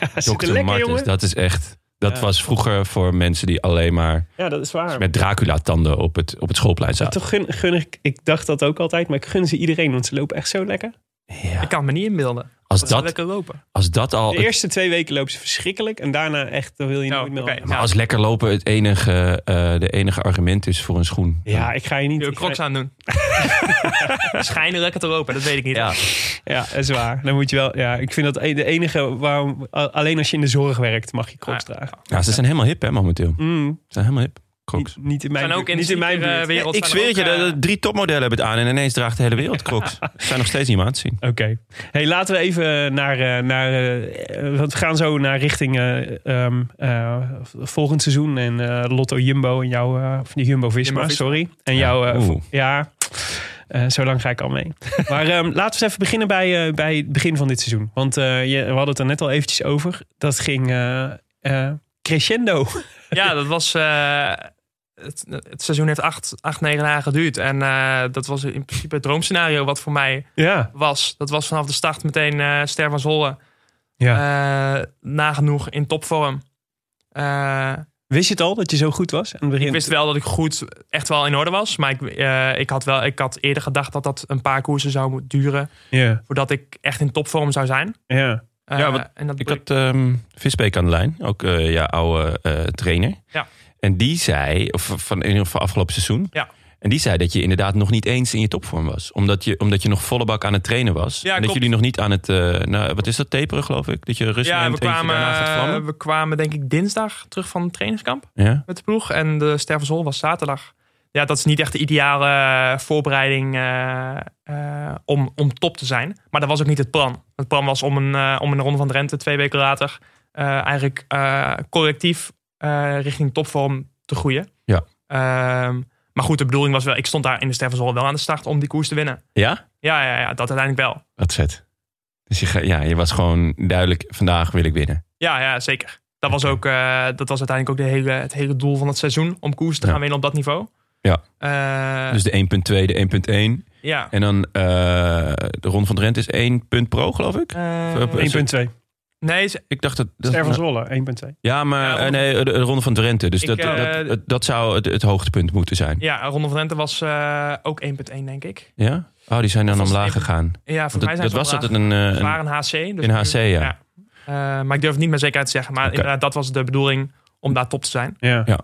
B: Ja, zit er
A: Dr.
B: lekker,
A: Martens,
B: jongen.
A: dat is echt. Dat
B: Ja.
A: was vroeger voor mensen die alleen maar
B: Ja, dat is waar.
A: met Dracula-tanden op het, op het schoolplein
B: Maar
A: zaten.
B: toch gun, gun ik, ik dacht dat ook altijd, maar ik gun ze iedereen, want ze lopen echt zo lekker.
A: Ja.
C: Ik kan me niet inbeelden.
A: Als,
C: Dat is
A: dat,
C: lekker lopen.
A: als dat al.
B: De
A: het-
B: eerste twee weken lopen ze verschrikkelijk en daarna echt, dan wil je
C: Oh,
B: nooit meer.
C: oké.
B: anders.
A: maar als lekker lopen het enige, eh, de enige argument is voor een schoen.
B: Ja, ik ga je niet.
C: Je
B: ik ga-
C: crocs aan doen. Schijnen lekker te lopen, dat weet ik niet.
A: Ja.
B: Ja, dat is waar. Dan moet je wel. Ja, ik vind dat e- de enige waarom. a- Alleen als je in de zorg werkt, mag je crocs
C: Ah,
B: dragen.
A: Ja, ze zijn helemaal hip, hè, momenteel. Ze
B: Mm,
A: zijn helemaal hip. Crocs.
B: niet, niet in mijn.
C: Zijn ook
B: buurt-
C: in,
B: niet in mijn
C: sneaker,
B: buurt.
C: eh, wereld.
A: ik
C: zijn
A: zweer
C: ook,
A: het je,
C: eh,
A: de, de drie topmodellen hebben het aan en ineens draagt de hele wereld Crocs. Ze zijn nog steeds niet meer aan te zien.
B: Oké. Hey, laten we even naar. eh, naar eh, eh, want we gaan zo naar richting eh, ehm, eh, volgend seizoen. En eh, Lotto Jumbo en jouw. eh, of niet Jumbo Visma,
C: Jumbo-Visma.
B: sorry. En
A: Ja,
B: jouw. eh,
A: oeh.
B: vo- ja, eh, zo lang ga ik al mee. maar ehm, laten we eens even beginnen bij, eh, bij het begin van dit seizoen. Want eh, je, we hadden het er net al eventjes over. Dat ging eh, eh, crescendo.
C: Ja, dat was. eh, het, het seizoen heeft acht, acht, negen dagen geduurd. En eh, dat was in principe het droomscenario wat voor mij
B: Ja.
C: was. Dat was vanaf de start meteen eh Ster van Zwolle.
B: ja.
C: eh, nagenoeg in topvorm. Eh,
B: Wist je het al dat je zo goed was aan het begin?
C: ik wist wel dat ik goed echt wel in orde was. Maar ik, eh, ik, had wel, ik had eerder gedacht dat dat een paar koersen zou moeten duren.
B: Ja,
C: Voordat ik echt in topvorm zou zijn.
B: ja.
C: Eh,
A: Ja, want
C: en dat
A: Ik had ehm Visbeek aan de lijn, ook eh jouw oude eh, trainer.
C: Ja.
A: En die zei, of van in ieder geval afgelopen seizoen.
C: Ja.
A: En die zei dat je inderdaad nog niet eens in je topvorm was. Omdat je, omdat je nog volle bak aan het trainen was. en dat
C: klopt.
A: jullie nog niet aan het, eh, nou, wat is dat, taperen geloof ik? Dat je rustig
C: Ja, we
A: neemt en dat je daarna gaat
C: kwamen, eh,
A: vlammen.
C: we kwamen denk ik dinsdag terug van het trainingskamp
A: Ja?
C: met de ploeg. En de Ster van Zol was zaterdag. Ja, dat is niet echt de ideale eh, voorbereiding eh, eh, om, om top te zijn. Maar dat was ook niet het plan. Het plan was om een, eh, om een ronde van Drenthe twee weken later... eh, eigenlijk eh, collectief eh, richting topvorm te groeien.
A: Ja.
C: Ehm, maar goed, de bedoeling was wel... Ik stond daar in de Ster van Zol wel aan de start om die koers te winnen.
A: ja?
C: Ja, ja, ja dat uiteindelijk wel.
A: Wat zet. Dus je, ga- ja, je was gewoon duidelijk, vandaag wil ik winnen.
C: Ja, ja zeker. Dat was, ook, eh, dat was uiteindelijk ook de hele, het hele doel van het seizoen. Om koers te
A: Ja.
C: gaan winnen op dat niveau.
A: Ja.
C: Eh,
A: Dus de 1.2, de 1.1.
C: ja.
A: En dan eh, de Ron van Drenthe is 1 punt pro geloof ik.
C: Eh,
A: Op-
B: 1.2.
C: nee, ze-
A: Ik dacht dat... dat
B: Ster van Zwolle, 1.2.
A: Ja, maar
C: Ja,
A: eh, nee, de, de Ronde van Drenthe. Dus
C: Ik,
A: dat,
C: eh,
A: dat, dat, dat zou het, het hoogtepunt moeten zijn.
C: ja, Ronde van Rente was eh, ook 1.1, denk ik.
A: Ja? Oh, die zijn dan
C: Of was het
A: omlaag
C: even-
A: gegaan.
C: Ja,
A: Want
C: voor mij
A: dat dat
C: zijn ze
A: was
C: omlaag.
A: altijd een... eh,
C: Ze
A: een-
C: waren HC. Dus
A: in HC, ja.
C: Eh, maar ik durf het niet met zekerheid te zeggen. Maar
A: Oké.
C: inderdaad, dat was de bedoeling om daar top te zijn.
B: Ja.
A: Ja.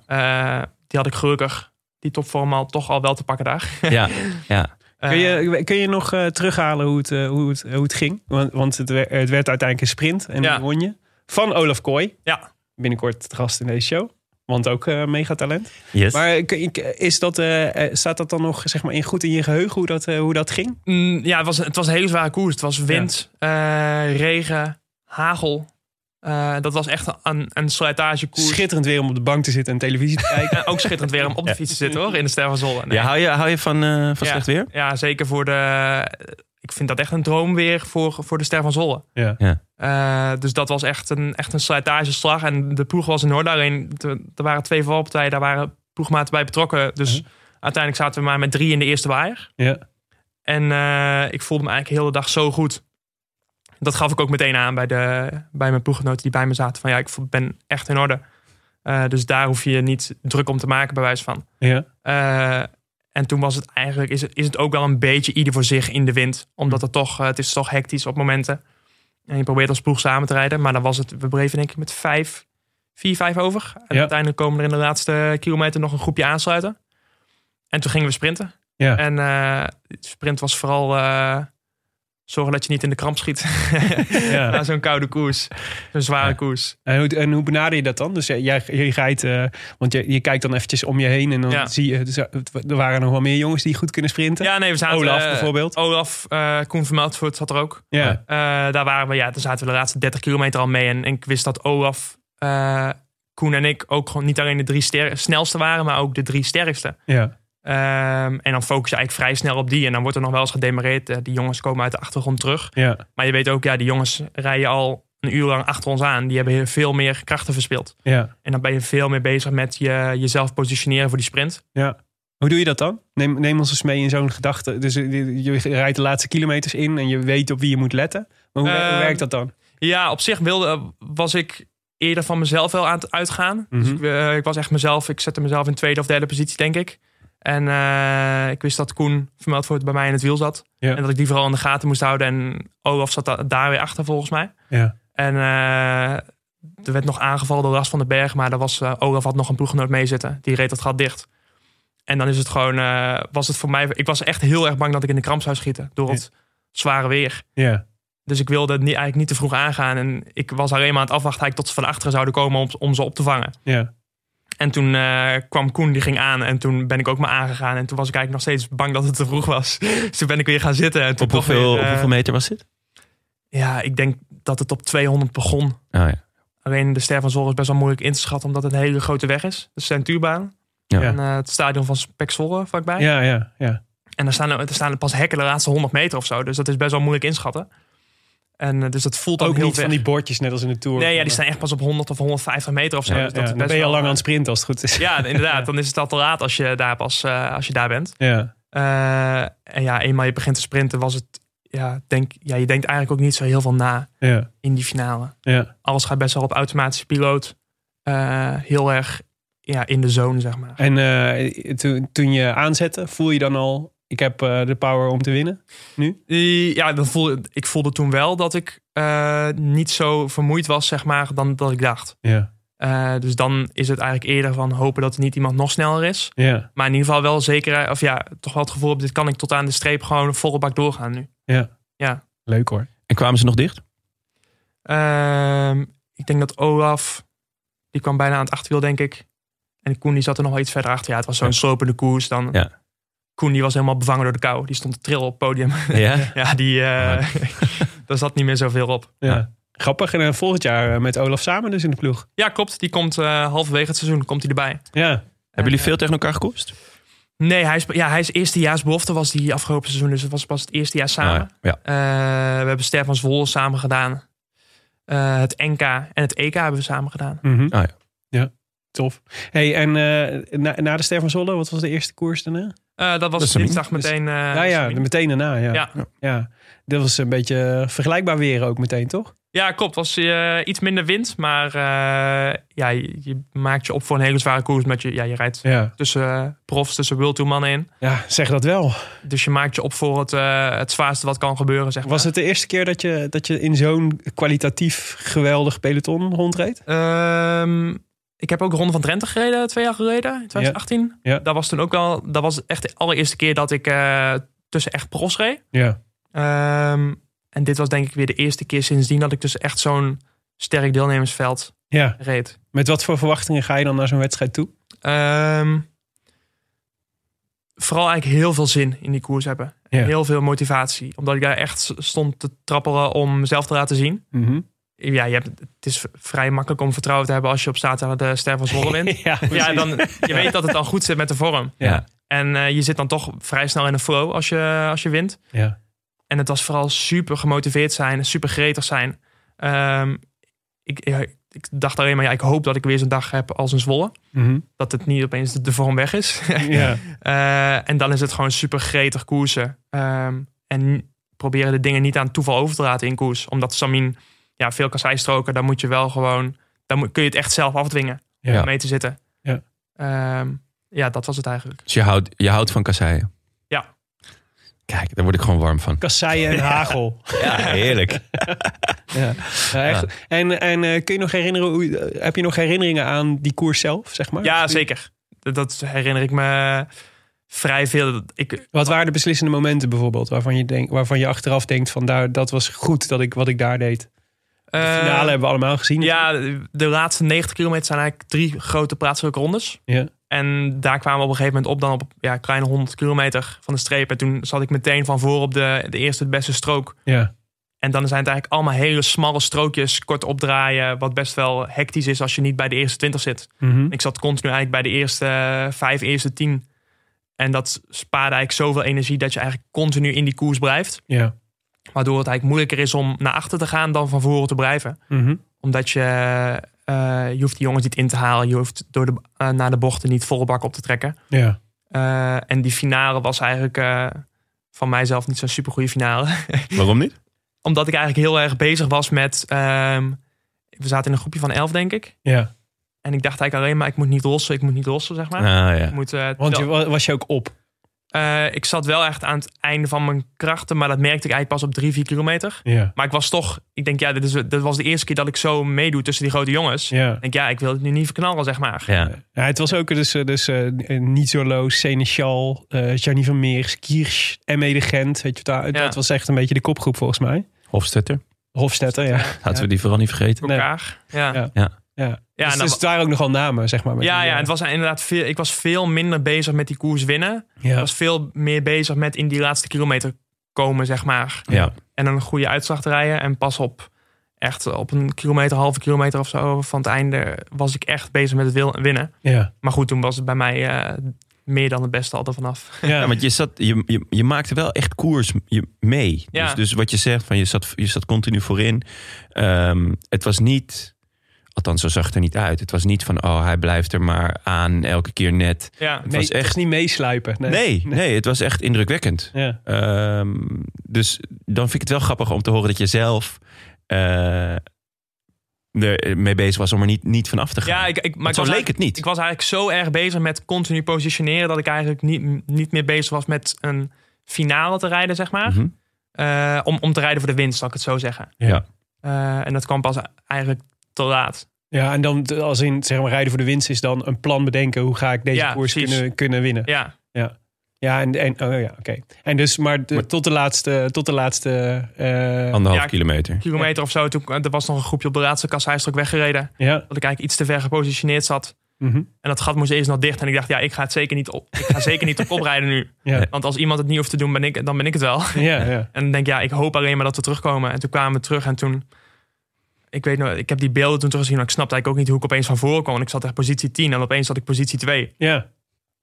C: Eh, die had ik gelukkig, die topvorm al toch al wel te pakken daar.
A: Ja, ja.
C: Eh,
B: Kun, je, kun je nog eh, terughalen hoe het, eh, hoe het, hoe het ging? Want, want het, wer- het werd uiteindelijk een sprint en
C: Ja.
B: die won je. Van Olaf Kooi.
C: Ja.
B: Binnenkort het gast in deze show. Want ook eh megatalent.
A: Yes.
B: Maar eh, kun je- is dat, eh, eh, staat dat dan nog zeg maar, in goed in je geheugen hoe dat, eh, hoe dat ging?
C: Mm, ja, het was, het was een hele zware koers. Het was wind, eh, regen, hagel. Eh, dat was echt een, een slijtagekoers.
B: Schitterend weer om op de bank te zitten en televisie te kijken.
C: En ook schitterend weer om op de fiets te zitten hoor, in de Ster van Zwolle. Nee.
A: ja, hou je, hou je van, eh, van
C: Ja.
A: slecht weer?
C: Ja, zeker voor de. Ik vind dat echt een droom weer voor, voor de Ster van Zwolle.
B: Ja.
A: Ja.
C: Eh, dus dat was echt een, echt een slijtageslag. En de ploeg was in orde. Alleen te- er waren twee valpartijen, daar waren ploegmaten bij betrokken. Dus uiteindelijk zaten we maar met drie in de eerste waaier.
B: Ja.
C: En eh, ik voelde me eigenlijk heel de hele dag zo goed. Dat gaf ik ook meteen aan bij, de, bij mijn ploeggenoten die bij me zaten. Van ja, ik vo- ben echt in orde. Eh, dus daar hoef je je niet druk om te maken, bij wijze van.
B: Ja.
C: Eh, en toen was het eigenlijk, is het, is het ook wel een beetje ieder voor zich in de wind.
B: Hmm.
C: Omdat het toch, eh, het is toch hectisch op momenten. En je probeert als ploeg samen te rijden. Maar dan was het, we breven denk ik met vijf, vier, vijf over. En
B: Ja.
C: uiteindelijk komen er in de laatste kilometer nog een groepje aansluiten. En toen gingen we sprinten.
B: Ja.
C: En eh, de sprint was vooral eh, zorgen dat je niet in de kramp schiet. Na zo'n koude koers. Zo'n zware
A: Ja.
C: koers.
B: En hoe, en hoe benader je dat dan? Dus jij- jij, jij rijdt, eh, want je, je kijkt dan eventjes om je heen en dan
C: Ja.
B: zie je, dus, eh, het- er waren nog wel meer jongens die goed kunnen sprinten.
C: Ja, nee, we zaten...
B: Olaf
C: eh,
B: bijvoorbeeld.
C: Olaf, eh Koen van Meltvoort zat er ook.
B: Ja.
C: Eh, daar waren we, ja, toen zaten we de laatste 30 kilometer al mee. En, en ik wist dat Olaf, eh, Koen en ik ook gewoon niet alleen de drie ster- snelste waren, maar ook de drie sterkste.
B: ja.
C: Ehm, en dan focus je eigenlijk vrij snel op die. En dan wordt er nog wel eens gedemareerd. Eh, die jongens komen uit de achtergrond terug.
B: ja.
C: Maar je weet ook, ja, die jongens rijden al een uur lang achter ons aan. Die hebben heel veel meer krachten verspild.
B: Ja,
C: En dan ben je veel meer bezig met je, jezelf positioneren voor die sprint.
B: ja. Hoe doe je dat dan? Neem, neem ons eens mee in zo'n gedachte. Dus eh, je, je rijdt de laatste kilometers in en je weet op wie je moet letten. Maar hoe, wer- hoe
C: Ehm,
B: werkt dat dan?
C: Ja, op zich wilde, was ik eerder van mezelf wel aan het uitgaan.
B: Mhm.
C: Dus ik, eh, ik was echt mezelf. Ik zette mezelf in tweede of derde positie, denk ik. En eh, ik wist dat Koen vermeld wordt bij mij in het wiel zat.
B: Ja.
C: En dat ik die vooral in de gaten moest houden. En Olaf zat da- daar weer achter, volgens mij.
B: Ja.
C: En eh, er werd nog aangevallen door Ras van den Berg. Maar daar was, eh, Olaf had nog een ploeggenoot mee zitten. Die reed dat gat dicht. En dan is het gewoon, eh, was het voor mij... Ik was echt heel erg bang dat ik in de kramp zou schieten. Door het zware weer.
B: Ja,
C: Dus ik wilde het niet, eigenlijk niet te vroeg aangaan. En ik was alleen maar aan het afwachten eigenlijk tot ze van achteren zouden komen om, om ze op te vangen.
B: ja,
C: En toen eh, kwam Koen, die ging aan. En toen ben ik ook maar aangegaan. En toen was ik eigenlijk nog steeds bang dat het te vroeg was. dus toen ben ik weer gaan zitten. En toen
A: Op
C: toch
A: hoeveel,
C: weer,
A: op
C: eh,
A: hoeveel meter was dit?
C: Ja, ik denk dat het op 200 begon.
A: Oh, ja.
C: Alleen de Ster van Zwolle is best wel moeilijk in te schatten... omdat het een hele grote weg is. De centuurbaan.
A: Ja.
C: En eh, het stadion van Pek Zwolle vlakbij.
B: ja, ja, ja.
C: En daar staan, er staan er pas hekken de laatste 100 meter of zo. Dus dat is best wel moeilijk inschatten. En eh, dus dat voelt ook,
B: Ook
C: heel
B: niet
C: ver.
B: van die bordjes net als in de Tour.
C: Nee, ja,
B: Van,
C: die staan echt pas op 100 of 150 meter of zo.
B: eh, Ja,
C: Dus dat
B: ja,
C: is
B: dan
C: best
B: ben je al
C: wel,
B: lang aan
C: eh,
B: het sprinten als het goed is.
C: Ja, inderdaad. Dan is het al te laat als je daar, pas, eh, als je daar bent.
B: Ja,
C: Eh, en ja, eenmaal je begint te sprinten was het... Ja, denk, ja, je denkt eigenlijk ook niet zo heel veel na
B: ja,
C: in die finale.
B: ja.
C: Alles gaat best wel op automatische piloot. Eh, heel erg ja, in de zone, zeg maar.
B: En eh, toen, toen je aanzette, voel je dan al, ik heb eh, de power om te winnen?
C: Eh, Ja, dan voel, ik voelde toen wel dat ik eh, niet zo vermoeid was, zeg maar, dan dat ik dacht.
B: Ja,
C: Eh, dus dan is het eigenlijk eerder van hopen dat er niet iemand nog sneller is.
B: ja,
C: Maar in ieder geval wel zeker, eh, of ja, toch wel het gevoel op dit kan ik tot aan de streep gewoon volle bak doorgaan nu.
B: leuk hoor.
A: En kwamen ze nog dicht?
C: Ehm, ik denk dat Olaf, die kwam bijna aan het achterwiel, denk ik. En Koen die zat er nog wel iets verder achter. Ja, het was zo'n
A: Ja.
C: slopende koers dan.
A: Ja.
C: Koen die was helemaal bevangen door de kou. Die stond te trillen op het podium.
A: Ja.
C: ja, die, eh, daar zat niet meer zoveel op.
B: Ja.
A: Ja.
B: Grappig. En eh, volgend jaar eh, met Olaf samen dus in de ploeg.
C: Ja, klopt. Die komt eh, halverwege het seizoen komt hij erbij.
B: Ja,
A: Hebben jullie veel tegen elkaar gekoest?
C: Nee, hij is, ja, hij is eerstejaarsbelofte was die afgelopen seizoen. Dus het was pas het eerste jaar samen.
A: Ah, ja.
C: Eh, we hebben Ster van Zwolle samen gedaan. Eh, het NK en het EK hebben we samen gedaan.
B: Mhm.
A: Ah, ja.
B: Ja, tof. Hey, en eh, na, na de Ster van Zolle, wat was de eerste koers daarna?
C: Eh, dat was
A: is hem.
C: dinsdag meteen. eh,
B: nou ja,
C: Sabine.
B: meteen daarna. Ja. Ja.
C: Ja.
B: Dat was een beetje vergelijkbaar weer ook meteen, toch?
C: Ja, klopt. Was eh, iets minder wind, maar eh, ja, je, je maakt je op voor een hele zware koers. Omdat je, ja, je rijdt
B: Ja.
C: tussen eh, profs, tussen World Tour mannen in.
B: ja, zeg dat wel.
C: Dus je maakt je op voor het, eh, het zwaarste wat kan gebeuren, zeg maar.
B: Was het de eerste keer dat je, dat je in zo'n kwalitatief geweldig peloton rondreed?
C: Ehm, ik heb ook Ronde van Drenthe gereden, twee jaar geleden, in 2018.
B: Ja.
C: Dat was toen ook wel, dat was echt de allereerste keer dat ik eh, tussen echt pros reed.
B: Ja.
C: Ehm, en dit was denk ik weer de eerste keer sindsdien dat ik dus echt zo'n sterk deelnemersveld
B: ja.
C: reed.
B: Met wat voor verwachtingen ga je dan naar zo'n wedstrijd toe?
C: Ehm, vooral eigenlijk heel veel zin in die koers hebben.
B: Ja.
C: Heel veel motivatie. Omdat ik daar echt stond te trappelen om mezelf te laten zien. Ja, je hebt, het is v- vrij makkelijk om vertrouwen te hebben als je op zaterdag de Ster van Zwolle wint.
B: Ja,
C: ja, dan, je weet dat het dan goed zit met de vorm.
B: Ja.
C: En eh, je zit dan toch vrij snel in een flow als je, als je wint.
B: Ja.
C: En het was vooral super gemotiveerd zijn, super gretig zijn. Ehm, ik, ja, ik dacht alleen maar, ja, ik hoop dat ik weer zo'n dag heb als een Zwolle. Dat het niet opeens de, de vorm weg is.
B: Mhm. ja.
C: Eh, en dan is het gewoon super gretig koersen. Ehm, en n- proberen de dingen niet aan toeval over te laten in koers. Omdat Samin ja, veel kasseistroken, daar moet je wel gewoon... Dan moet, kun je het echt zelf afdwingen
B: Ja.
C: om mee te zitten.
B: Ja.
C: Ehm, ja, dat was het eigenlijk.
A: Dus je houdt, je houdt van kasseien?
C: Ja.
A: Kijk, daar word ik gewoon warm van.
B: Kasseien en hagel.
A: Ja, heerlijk.
B: Ja. Ja, echt. En, en eh, kun je nog herinneren, hoe, je- heb je nog herinneringen aan die koers zelf, zeg maar?
C: Ja, zeker. Dat- Dat herinner ik me vrij veel. Dat Ik,
B: Wat waren de beslissende momenten bijvoorbeeld, waarvan je, denk, waarvan je achteraf denkt van daar, dat was goed dat ik, wat ik daar deed? De
C: eh,
B: finale hebben we allemaal gezien.
C: Ja, de laatste 90 kilometer zijn eigenlijk drie grote plaatselijke rondes.
B: Ja.
C: En daar kwamen we op een gegeven moment op dan op ja, kleine 100 kilometer van de streep. En toen zat ik meteen van voor op de, de eerste het beste strook.
B: Ja.
C: En dan zijn het eigenlijk allemaal hele smalle strookjes, kort opdraaien. Wat best wel hectisch is als je niet bij de eerste 20 zit.
B: Mhm.
C: Ik zat continu eigenlijk bij de eerste eh, vijf, eerste tien. En dat spaarde eigenlijk zoveel energie dat je eigenlijk continu in die koers blijft.
B: ja.
C: Waardoor het eigenlijk moeilijker is om naar achter te gaan dan van voren te blijven.
B: Mhm.
C: Omdat je, eh, je hoeft die jongens niet in te halen. Je hoeft door de, eh, naar de bochten niet volle bak op te trekken.
B: ja.
C: Eh, en die finale was eigenlijk eh, van mijzelf niet zo'n supergoeie finale.
A: Waarom niet?
C: Omdat ik eigenlijk heel erg bezig was met... ehm, we zaten in een groepje van elf, denk ik.
B: Ja.
C: En ik dacht eigenlijk alleen maar, ik moet niet lossen, ik moet niet lossen, zeg maar.
A: Ah,
C: Ik
A: ja.
C: moet, eh,
B: Want
C: wel-
B: je, wa- was je ook op?
C: eh, ik zat wel echt aan het einde van mijn krachten, maar dat merkte ik eigenlijk pas op drie, vier kilometer.
B: Ja.
C: Maar ik was toch, ik denk, ja, dit, is, dit was de eerste keer dat ik zo meedoe tussen die grote jongens.
B: Ja.
C: Ik denk, ja, ik wil het nu niet verknallen, zeg maar.
A: ja.
B: Ja, het was ook dus, eh, dus eh, Nizzolo, Seneschal, eh Gianni van Meers, Kirsch, M.E. de Gent. Weet je, daar, Dat was echt een beetje de kopgroep volgens mij.
A: Hofstetter.
B: Hofstetter, ja. Dus,
A: Laten we die vooral niet vergeten.
B: Nee.
C: Elkaar. Ja,
B: Ja.
C: ja.
B: ja.
C: en
B: dus,
C: dan-
B: dus daar ook nogal namen, zeg maar. met
C: nou, ja,
B: die,
C: ja,
B: eh,
C: het was inderdaad veel, ik was veel minder bezig met die koers winnen. Ik
B: ja.
C: was veel meer bezig met in die laatste kilometer komen, zeg maar.
A: Ja.
C: En een goede uitslag te rijden. En pas op, echt op een kilometer, halve kilometer of zo van het einde was ik echt bezig met het wil- winnen.
B: Ja.
C: Maar goed, toen was het bij mij eh, meer dan het beste altijd vanaf.
B: Ja.
A: Ja, want je, zat, je, je, je maakte wel echt koers je- mee.
C: Ja.
A: Dus, dus wat je zegt, van je, zat, je zat continu voorin. Ehm, het was niet, althans zo zag het er niet uit. Het was niet van, oh hij blijft er maar aan elke keer net.
C: Ja,
B: nee,
A: was
B: het
A: echt-
B: niet meesluipen. Nee.
A: Nee, nee, het was echt indrukwekkend.
B: Ja.
A: Ehm, dus dan vind ik het wel grappig om te horen dat je zelf eh, er eh, mee bezig was om er niet, niet van af te gaan.
C: ja ik, ik, maar
A: maar
C: ik
A: zo
C: was,
A: leek
C: eigenlijk-
A: het niet.
C: ik was eigenlijk zo erg bezig met continu positioneren... dat ik eigenlijk niet, niet meer bezig was met een finale te rijden, zeg maar.
A: Mhm.
C: Eh, om, om te rijden voor de winst, zal ik het zo zeggen.
A: Ja.
C: Eh, en dat kwam pas eigenlijk te laat.
B: Ja, en dan t- als in zeg maar rijden voor de winst is dan een plan bedenken hoe ga ik deze
C: Ja,
B: koers
C: precies.
B: kunnen, kunnen winnen. Ja,
C: Ja,
B: ja. en, en oh ja, oké. En dus maar, de- tot de laatste, tot de laatste, eh,
A: Anderhalf
C: Ja, ik-
A: kilometer.
C: kilometer of zo. Toen, eh, er was nog een groepje op de laatste kasseistrook weggereden.
B: ja.
C: Dat ik eigenlijk iets te ver gepositioneerd zat.
B: Mhm.
C: En dat gat moest eerst nog dicht. En ik dacht, ja, ik ga het zeker niet op, ik ga zeker niet op oprijden nu.
B: Ja.
C: Want als iemand het niet hoeft te doen, ben ik, dan ben ik het wel.
B: ja, ja.
C: En dan denk ik, ja, ik hoop alleen maar dat we terugkomen. En toen kwamen we terug en toen... Ik weet nog, ik heb die beelden toen teruggezien. Maar ik snapte eigenlijk ook niet hoe ik opeens van voren kwam. Want ik zat echt positie 10 en opeens zat ik positie 2.
B: Ja,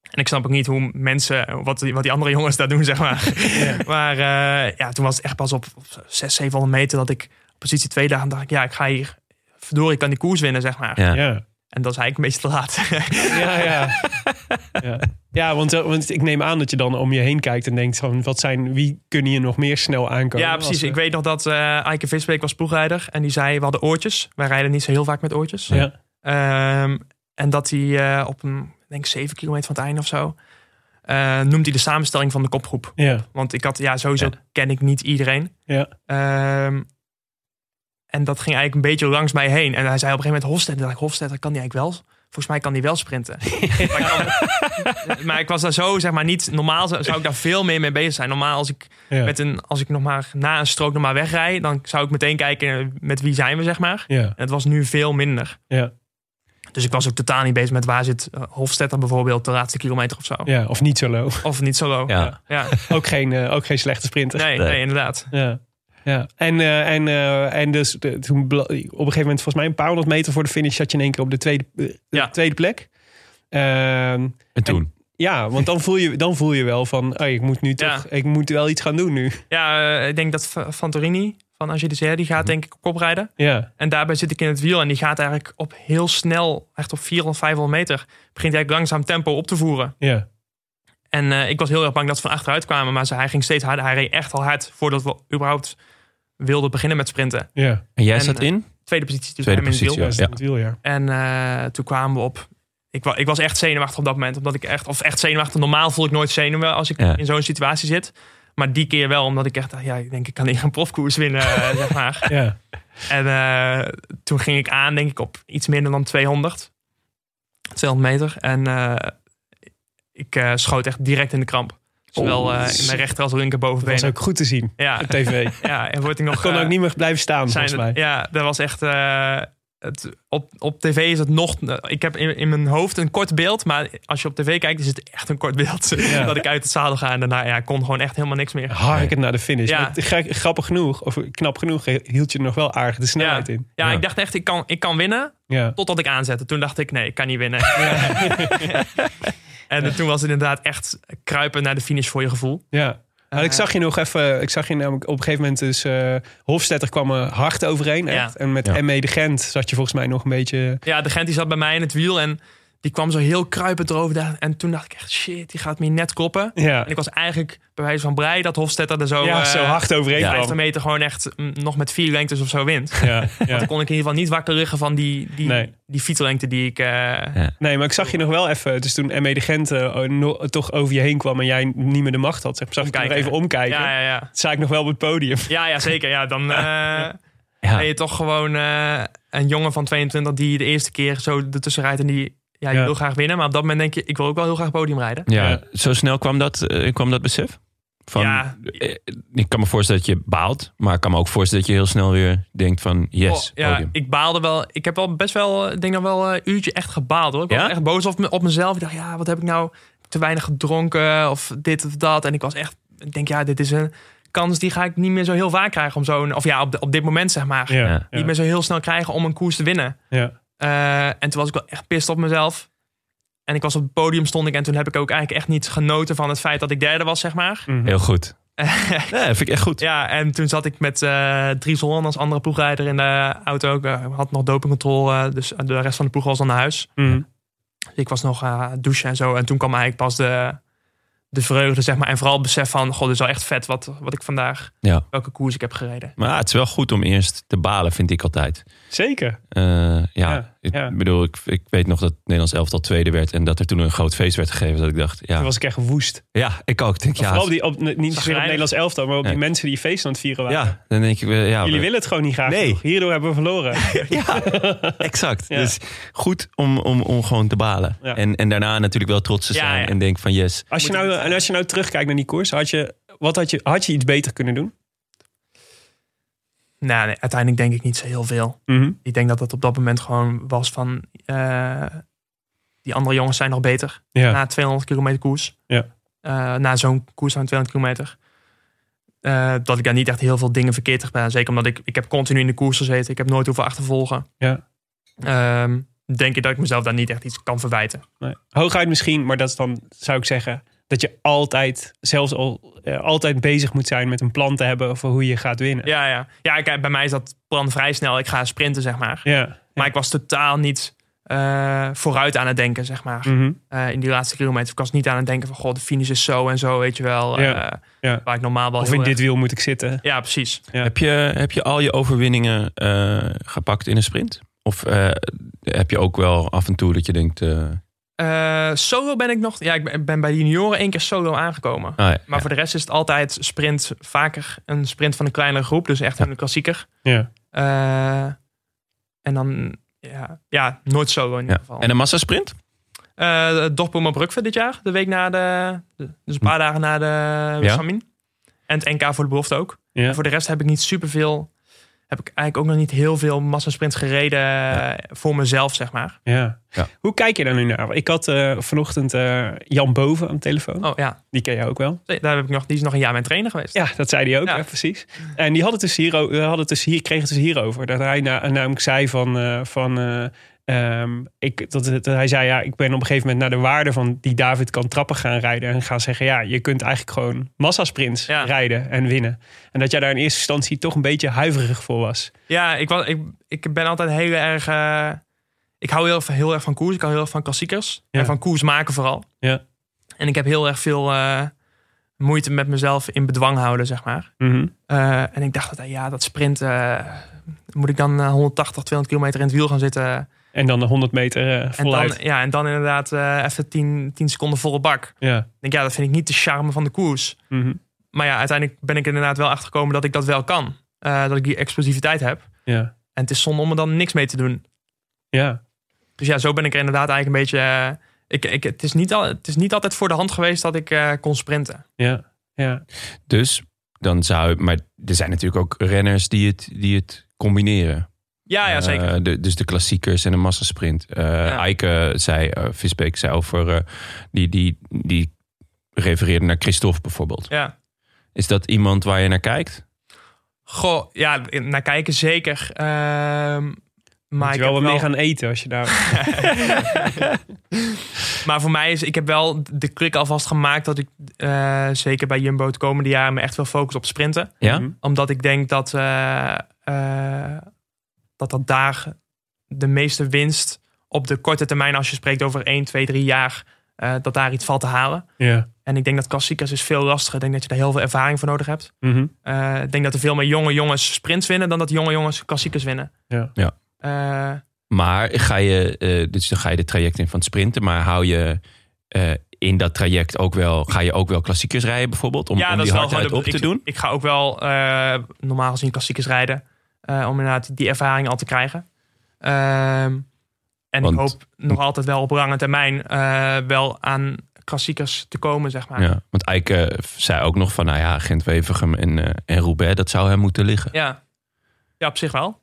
C: En ik snap ook niet hoe mensen, wat die, wat die andere jongens daar doen, zeg maar. Maar eh, ja, toen was het echt pas op, op 600, 700 meter dat ik op positie 2 dacht. En dacht ik, ja, ik ga hier... Verdorie, ik kan die koers winnen, zeg maar.
A: Ja.
B: ja.
C: En dat is eigenlijk meestal laat.
B: Ja, ja. ja. ja want, eh, want ik neem aan dat je dan om je heen kijkt en denkt van wat zijn, wie kunnen hier nog meer snel aankomen?
C: ja,
B: Als,
C: precies.
B: eh,
C: Ik weet nog dat eh Eike Visbeek was ploegrijder. En die zei, we hadden oortjes. Wij rijden niet zo heel vaak met oortjes.
B: Ja.
C: Ehm, en dat hij eh, op een, ik denk 7 kilometer van het einde of zo... eh noemt hij de samenstelling van de kopgroep.
B: Ja,
C: Want ik had, ja, sowieso
A: Ja.
C: ken ik niet iedereen.
B: ja.
C: Ehm, en dat ging eigenlijk een beetje langs mij heen. En hij zei op een gegeven moment Hofstede. En dacht ik, Hofstede, kan die eigenlijk wel? Volgens mij kan die wel sprinten. maar, ik kan- maar ik was daar zo, zeg maar, niet... Normaal zou zou ik daar veel meer mee bezig zijn. Normaal, als ik,
B: ja.
C: met een, als ik nog maar na een strook nog maar wegrij... dan zou ik meteen kijken eh, met wie zijn we, zeg maar.
B: ja,
C: En het was nu veel minder.
B: ja,
C: Dus ik was ook totaal niet bezig met waar zit eh, Hofstede dan bijvoorbeeld... de laatste kilometer of zo.
B: ja, of niet zo low.
C: Of niet solo.
A: Ja.
C: Ja.
B: Ook geen, eh, ook geen slechte sprinter.
C: Nee,
A: Nee.
C: nee, inderdaad.
B: Ja. Ja, en, eh, en, eh, en dus de- toen bla- op een gegeven moment, volgens mij een paar honderd meter voor de finish, zat je in één keer op de tweede, eh,
C: Ja.
B: tweede plek. Ehm,
A: En toen?
B: ja, want dan voel je, dan voel je wel van, oh, ik moet nu
C: Ja.
B: toch, ik moet wel iets gaan doen nu.
C: Ja, eh, ik denk dat Fa- Fantorini van Angers Dessert... die gaat denk ik op kop rijden.
B: Ja,
C: En daarbij zit ik in het wiel en die gaat eigenlijk op heel snel, echt op 400, 500 meter, begint hij eigenlijk langzaam tempo op te voeren.
B: ja,
C: En eh, ik was heel erg bang dat ze van achteruit kwamen, maar ze, hij ging steeds harder. Hij reed echt al hard voordat we überhaupt wilden beginnen met sprinten.
B: ja.
A: En jij
C: En,
A: zat
C: eh,
A: in?
C: Tweede positie dus
A: Tweede
C: bij hem in het
A: positie,
C: wiel.
B: Ja, is dat het wiel, ja.
C: En eh, toen kwamen we op. Ik, wa- ik was echt zenuwachtig op dat moment, omdat ik echt, of echt zenuwachtig. Normaal voel ik nooit zenuwen als ik
A: Ja.
C: in zo'n situatie zit. Maar die keer wel, omdat ik echt dacht, ja, ik denk ik kan hier een profkoers winnen, eh, zeg maar.
B: Ja,
C: En eh, toen ging ik aan, denk ik, op iets minder dan 200. 200 meter. En eh, ik eh, schoot echt direct in de kramp. Zowel eh, in mijn rechter als
B: Oh. dat was
C: linkerbovenbeen.
B: ook goed te zien
C: Ja,
B: op tv.
C: ja, en word ik nog...
B: Kon
C: eh,
B: ook niet meer blijven staan,
C: zijn
B: volgens mij.
C: het- Ja, dat was echt... eh, het, op, op tv is het nog... Ik heb in, in mijn hoofd een kort beeld. Maar als je op tv kijkt, is het echt een kort beeld.
B: Ja.
C: Dat ik uit het zadel ga en daarna ja, kon gewoon echt helemaal niks meer.
B: Harkend naar de finish.
C: Ja.
B: Maar het- gra- grappig genoeg, of knap genoeg, hield je er nog wel aardig de snelheid in.
C: Ja,
A: Ja.
C: ik dacht echt, ik kan, ik kan winnen.
B: Ja,
C: Totdat ik aanzette. Toen dacht ik, nee, ik kan niet winnen. en toen was het inderdaad echt kruipen naar de finish voor je gevoel.
B: ja. Maar
C: Eh,
B: ik zag je nog even, ik zag je namelijk op een gegeven moment dus, eh Hofstetter kwam er hard overheen. Echt.
C: Ja.
B: En met
A: Ja.
B: ME de Gent zat je volgens mij nog een beetje...
C: Ja, de Gent die zat bij mij in het wiel en die kwam zo heel kruipend erover. daar. En toen dacht ik echt, shit, die gaat me hier net kloppen.
B: Ja,
C: En ik was eigenlijk bij wijze van blij dat Hofstetter er zo,
B: ja
C: eh,
B: zo hard overheen ja.
C: 50
B: kwam.
C: meter gewoon echt mm, nog met vier lengtes of zo wint.
B: Ja, ja.
C: Dan kon ik in ieder geval niet wakker liggen van die, die,
B: Nee.
C: die fietslengte die ik... eh,
B: Nee, maar ik zag je nog wel even. Dus toen ME de Gent eh, oh, no- toch over je heen kwam en jij niet meer de macht had, zeg, maar, zag ik je nog
C: Omkijken.
B: even omkijken.
C: ja, ja, ja.
B: Dat zei ik nog wel op het podium.
C: Ja, ja, zeker. Ja, dan eh,
A: Ja.
C: ben je toch gewoon eh, een jongen van 22 die de eerste keer zo ertussen rijdt en die ja, die
B: Ja.
C: wil graag winnen. Maar op dat moment denk je, ik wil ook wel heel graag podium rijden.
A: Ja,
B: Ja.
A: Eh, zo snel kwam dat, eh, kwam dat besef? Van,
C: Ja.
A: eh, ik kan me voorstellen dat je baalt, maar ik kan me ook voorstellen dat je heel snel weer denkt van yes,
C: Oh, ja,
A: podium.
C: ik baalde wel. Ik heb wel best wel, eh, ik denk nog wel een uurtje echt gebaald hoor. Ik
A: Ja?
C: was echt boos op, me- op mezelf. Ik dacht, ja, wat heb ik nou te weinig gedronken of dit of dat. En ik was echt, ik denk, ja, dit is een kans die ga ik niet meer zo heel vaak krijgen om zo'n, of ja, op, de- op dit moment zeg maar,
B: Ja,
A: Ja.
B: ja,
C: niet meer zo heel snel krijgen om een koers te winnen.
B: ja.
C: Eh, en toen was ik wel echt pist op mezelf. En ik was op het podium, stond ik. En toen heb ik ook eigenlijk echt niet genoten van het feit dat ik derde was, zeg maar.
A: Heel goed. ja, vind ik echt goed.
C: Ja, en toen zat ik met eh Dries Holland als andere ploegrijder in de auto. Ik eh, had nog dopingcontrole, eh, dus de rest van de ploeg was dan naar huis.
B: Mhm.
C: Dus ik was nog eh, douchen en zo. En toen kwam eigenlijk pas de, de vreugde, zeg maar. En vooral het besef van, god, dit is wel echt vet wat, wat ik vandaag,
A: Ja.
C: welke koers ik heb gereden.
A: Maar ja, het is wel goed om eerst te balen, vind ik altijd.
B: Zeker.
A: Eh, ja,
B: Ja,
A: ik
B: ja.
A: bedoel, ik, ik weet nog dat het Nederlands elftal tweede werd en dat er toen een groot feest werd gegeven. Dat ik dacht, ja,
B: Toen was ik echt woest.
A: ja ik ook. Ik Denk, ja,
B: Vooral op die, op, niet zozeer op het
C: Zagrijnig.
B: Nederlands elftal, maar op die
A: Nee.
B: mensen die feest aan het vieren waren.
A: ja, dan denk ik, eh, ja,
B: Jullie
A: we-
B: willen het gewoon niet graag.
A: Nee.
B: genoeg. Hierdoor hebben we verloren.
A: Ja, exact.
B: Ja.
A: Dus goed om, om, om gewoon te balen.
B: Ja.
A: En, en daarna natuurlijk wel trots te
C: Ja,
A: zijn
C: ja.
A: en denk van yes.
B: Als je,
C: Moet
B: nou, en als je nou terugkijkt naar die koers, had je, wat had, je, had je iets beter kunnen doen?
C: Nou, nee, uiteindelijk denk ik niet zo heel veel.
B: Mhm.
C: Ik denk dat dat op dat moment gewoon was van... eh, die andere jongens zijn nog beter.
B: Ja.
C: Na 200 kilometer koers.
B: Ja.
C: Eh, na zo'n koers van 200 kilometer. Eh, dat ik daar niet echt heel veel dingen verkeerd heb gedaan. Zeker omdat ik, ik heb continu in de koers gezeten. Ik heb nooit hoeven achtervolgen.
B: Ja.
C: Ehm, denk ik dat ik mezelf daar niet echt iets kan verwijten.
B: Nee. Hooguit misschien, maar dat is dan, zou ik zeggen, dat je altijd, zelfs al, eh, altijd bezig moet zijn met een plan te hebben voor hoe je gaat winnen.
C: Ja, ja. ja kijk, bij mij is dat plan vrij snel. Ik ga sprinten, zeg maar.
B: ja.
C: Maar ik was totaal niet eh, eh, vooruit aan het denken, zeg maar.
B: Mhm.
C: Eh, in die laatste kilometer. Ik was niet aan het denken van, god, de finish is zo en zo, weet je wel.
B: Ja,
C: Eh,
B: ja.
C: Waar ik normaal wel
B: Of
C: heel
B: in
C: erg-
B: dit wiel moet ik zitten.
C: Ja, precies.
B: Ja.
A: Heb, je, heb je al je overwinningen eh, gepakt in een sprint? Of eh, heb je ook wel af en toe dat je denkt... eh, ah
C: Eh, solo ben ik nog... Ja, ik ben- ben bij de junioren één keer solo aangekomen.
A: ja,
C: Maar
A: ja.
C: voor de rest is het altijd sprint, vaker een sprint van een kleinere groep. Dus echt een klassieker.
B: Ja.
C: Eh, en dan, ja, ja, nooit solo in ieder
A: Ja.
C: geval.
A: En een massasprint?
C: Eh, Dortmund op Brugge dit jaar. De week na de... de- Dus een paar dagen na de
A: Ja.
C: Samin. En het NK voor de belofte ook.
B: Ja.
C: En Voor de rest heb ik niet superveel... Heb ik eigenlijk ook nog niet heel veel massasprints gereden eh, voor mezelf, zeg maar.
B: Ja.
A: Ja.
B: Hoe kijk je daar nu naar? Ik had eh, vanochtend eh, Jan Boven aan de telefoon.
C: Oh ja,
B: Die ken jij ook wel.
C: daar heb ik nog, die is nog een jaar mijn trainer geweest.
B: Ja, dat zei hij ook,
C: Ja.
B: hè, precies. En die had het dus hier, o- we hadden het dus hier, kreeg het dus hierover. Dat hij na- namelijk zei van... eh, van eh, ehm, ik, dat, dat hij zei, ja, ik ben op een gegeven moment naar de waarde van die David kan trappen gaan rijden. En gaan zeggen, ja, je kunt eigenlijk gewoon massasprints
C: Ja.
B: rijden en winnen. En dat jij daar in eerste instantie toch een beetje huiverig voor was.
C: Ja, ik, was, ik, ik ben altijd heel erg. eh, ik hou heel, heel erg van koers. Ik hou heel erg van klassiekers.
B: Ja.
C: En van koers maken vooral.
B: Ja.
C: En ik heb heel erg veel eh, moeite met mezelf in bedwang houden, zeg maar.
B: Mhm.
C: Eh, en ik dacht dat, ja, dat sprint. eh, moet ik dan eh, 180, 200 kilometer in het wiel gaan zitten?
B: En dan de 100 meter eh,
C: En dan,
B: voluit.
C: ja, en dan inderdaad eh, even 10, 10 seconden volle bak.
B: Ja.
C: Ik denk, ja, dat vind ik niet de charme van de koers.
B: Mhm.
C: Maar ja, uiteindelijk ben ik inderdaad wel achtergekomen dat ik dat wel kan. Eh, dat ik die explosiviteit heb.
B: ja.
C: En het is zonde om er dan niks mee te doen.
B: Ja.
C: Dus ja, zo ben ik er inderdaad eigenlijk een beetje. eh, ik, ik, het, is niet al, het is niet altijd voor de hand geweest dat ik eh, kon sprinten.
B: Ja. Ja.
A: Dus dan zou... Maar er zijn natuurlijk ook renners die het, die het combineren.
C: Ja, ja zeker.
A: Eh, de- dus de klassiekers en de massasprint. Eh Eike zei, eh Visbeek zei over, eh, die, die, die refereerde naar Christophe bijvoorbeeld.
C: ja.
A: Is dat iemand waar je naar kijkt?
C: Goh, ja, naar kijken zeker. Ehm, maar,
B: Moet
C: ik
B: je wel wat
C: heb
B: meer
C: wel-
B: gaan eten als je daar...
C: maar voor mij is, ik heb wel de klik alvast gemaakt dat ik eh, zeker bij Jumbo het komende jaar me echt wil focussen op sprinten.
A: Ja?
B: Mhm.
C: Omdat ik denk dat, eh, eh, dat dat daar de meeste winst op de korte termijn, als je spreekt over 1, 2, 3 jaar, eh, dat daar iets valt te halen.
B: Ja.
C: En ik denk dat klassiekers is veel lastiger. Ik denk dat je daar heel veel ervaring voor nodig hebt.
B: Mhm.
C: Eh, ik denk dat er veel meer jonge jongens sprints winnen dan dat jonge jongens klassiekers winnen.
B: Ja.
A: Ja.
C: Eh,
A: Maar ga je, eh, dus dan ga je de traject in van het sprinten, maar hou je eh, in dat traject ook wel, ga je ook wel klassiekers rijden bijvoorbeeld? Om,
C: ja,
A: om
C: dat
A: die
C: is wel
A: hardheid
C: gewoon de-
A: op te
C: ik,
A: doen?
C: Ik ga ook wel eh, normaal gezien klassiekers rijden. eh, om inderdaad die ervaring al te krijgen. Ehm, en
A: Want-
C: ik hoop nog altijd wel op lange termijn eh, wel aan klassiekers te komen, zeg maar.
A: Ja, want Eike eh, zei ook nog van, nou ja, Gent-Wevergem en, eh, en Roubaix, dat zou hem moeten liggen.
C: ja. Ja, op zich wel.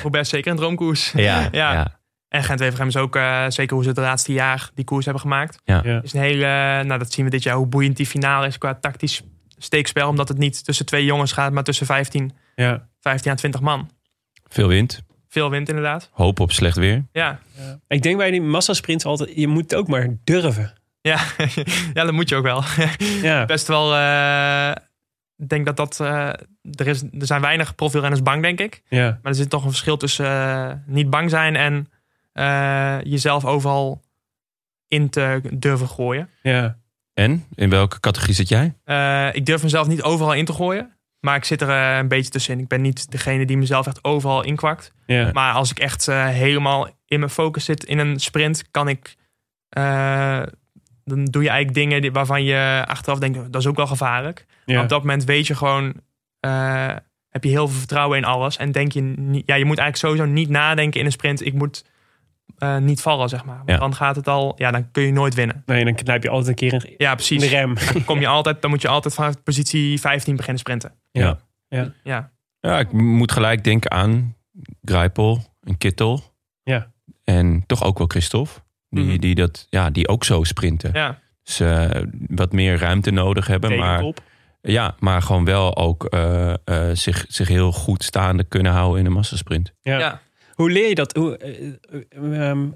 C: Probeer zeker een droomkoers.
A: Ja,
C: Ja.
A: ja.
C: En Gent-Wevergem is ook eh, zeker hoe ze het laatste jaar die koers hebben gemaakt.
A: Ja.
B: Ja.
C: Is een hele, nou dat zien we dit jaar hoe boeiend die finale is qua tactisch steekspel. Omdat het niet tussen twee jongens gaat, maar tussen 15,
B: Ja.
C: 15 à 20 man.
A: Veel wind,
C: Veel wint inderdaad.
A: hoop op slecht weer.
C: Ja,
B: Ik denk bij die massasprints altijd, je moet het ook maar durven.
C: ja. ja dat moet je ook wel.
B: Ja.
C: Best wel, eh, ik denk dat dat, eh, er, is, er zijn weinig profielrenners bang denk ik.
B: Ja.
C: Maar er zit toch een verschil tussen eh, niet bang zijn en eh, jezelf overal in te durven gooien.
B: Ja.
A: En, in welke categorie zit jij?
C: Eh, ik durf mezelf niet overal in te gooien. Maar ik zit er eh, een beetje tussenin. Ik ben niet degene die mezelf echt overal inkwakt.
B: Ja.
C: Maar als ik echt eh, helemaal in mijn focus zit in een sprint, kan ik. eh, dan doe je eigenlijk dingen die- waarvan je achteraf denkt: "Oh, dat is ook wel gevaarlijk. Maar
B: Ja.
C: op dat moment weet je gewoon. eh, heb je heel veel vertrouwen in alles. En denk je niet. Ja, je moet eigenlijk sowieso niet nadenken in een sprint. Ik moet eh, niet vallen, zeg maar. Want
A: Ja.
C: dan gaat het al. Ja, dan kun je nooit winnen.
B: Nee, dan knijp je altijd een keer een-
C: Ja,
B: in de
C: precies.
B: rem.
C: Dan, kom je altijd, dan moet je altijd vanaf positie 15 beginnen sprinten.
A: Ja.
C: Ja,
A: Ja, ik moet gelijk denken aan Grijpel en Kittel.
B: Ja.
A: En toch ook wel Christophe. Die,
C: Mhm.
A: die, dat, ja, die ook zo sprinten.
C: ja.
A: Dus eh, wat meer ruimte nodig hebben. Maar,
B: Tegenkop.
A: ja, maar gewoon wel ook eh, eh, zich, zich heel goed staande kunnen houden in een massasprint.
B: Ja.
C: ja.
B: Hoe leer je dat? Hoe, eh, eh, ehm,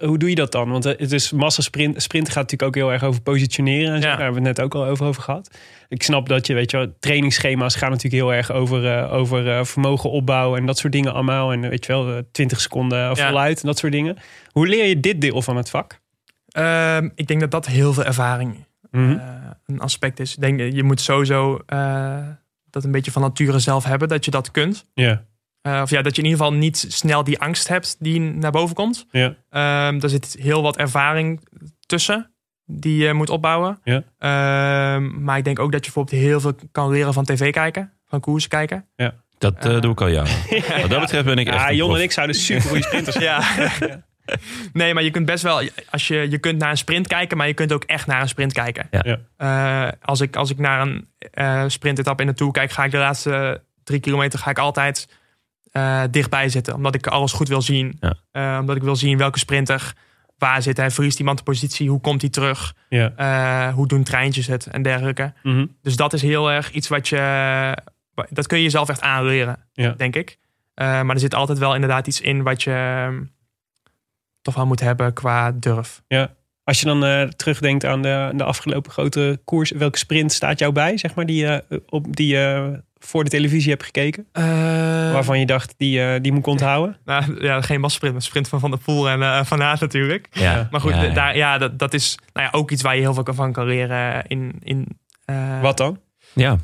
B: Hoe doe je dat dan? Want eh, het is massasprint. Sprint gaat natuurlijk ook heel erg over positioneren. En zo.
C: Ja.
B: Daar hebben we het net ook al over, over gehad. Ik snap dat je, weet je wel, trainingsschema's gaan natuurlijk heel erg over, eh, over eh, vermogen opbouwen en dat soort dingen allemaal. En weet je wel, eh, 20 seconden
C: Ja.
B: voluit en dat soort dingen. Hoe leer je dit deel van het vak?
C: Ehm, ik denk dat dat heel veel ervaring
B: Hm?
C: eh, een aspect is. Ik denk, eh, je moet sowieso eh, dat een beetje van nature zelf hebben, dat je dat kunt.
B: Ja,
C: Eh, of ja, dat je in ieder geval niet snel die angst hebt die naar boven komt.
B: ja.
C: Ehm, daar zit heel wat ervaring tussen die je moet opbouwen.
B: Ja.
C: Ehm, maar ik denk ook dat je bijvoorbeeld heel veel kan leren van tv kijken, van koersen kijken.
A: Dat eh, doe ik al jaren. Wat dat betreft ben ik echt
B: Ja,
A: een
B: Ah, Jon en
A: prof.
B: ik zouden super goede sprinters zijn.
C: Ja. nee, maar je kunt best wel, als je, je kunt naar een sprint kijken, maar je kunt ook echt naar een sprint kijken.
A: Ja.
B: Ja.
C: Eh, als, ik, als ik naar een eh sprintetappe in de Tour kijk, ga ik de laatste drie kilometer ga ik altijd eh, dichtbij zitten. Omdat ik alles goed wil zien.
A: Ja.
C: Eh, omdat ik wil zien welke sprinter waar zit. Hij verliest iemand de positie, hoe komt hij terug?
B: Ja.
C: Eh, hoe doen treintjes het en dergelijke.
B: Mhm.
C: Dus dat is heel erg iets wat je. Dat kun je jezelf echt aanleren,
B: Ja.
C: denk ik. Eh, maar er zit altijd wel inderdaad iets in wat je ehm, toch wel moet hebben qua durf.
B: Als je dan eh, terugdenkt aan de, aan de afgelopen grote koers, welke sprint staat jou bij, zeg maar, die je eh, op, die, je voor de televisie hebt gekeken? waarvan je dacht, die, eh, die moet ik onthouden?
C: Nou, ja, geen massasprint, maar sprint van Van der Poel en eh, Van Aert natuurlijk.
A: Ja.
C: Maar goed,
A: Ja,
C: d-
A: ja.
C: Daar, ja, dat, dat is nou ja, ook iets waar je heel veel kan- van kan leren in, in eh,
B: Wat dan?
A: Ja.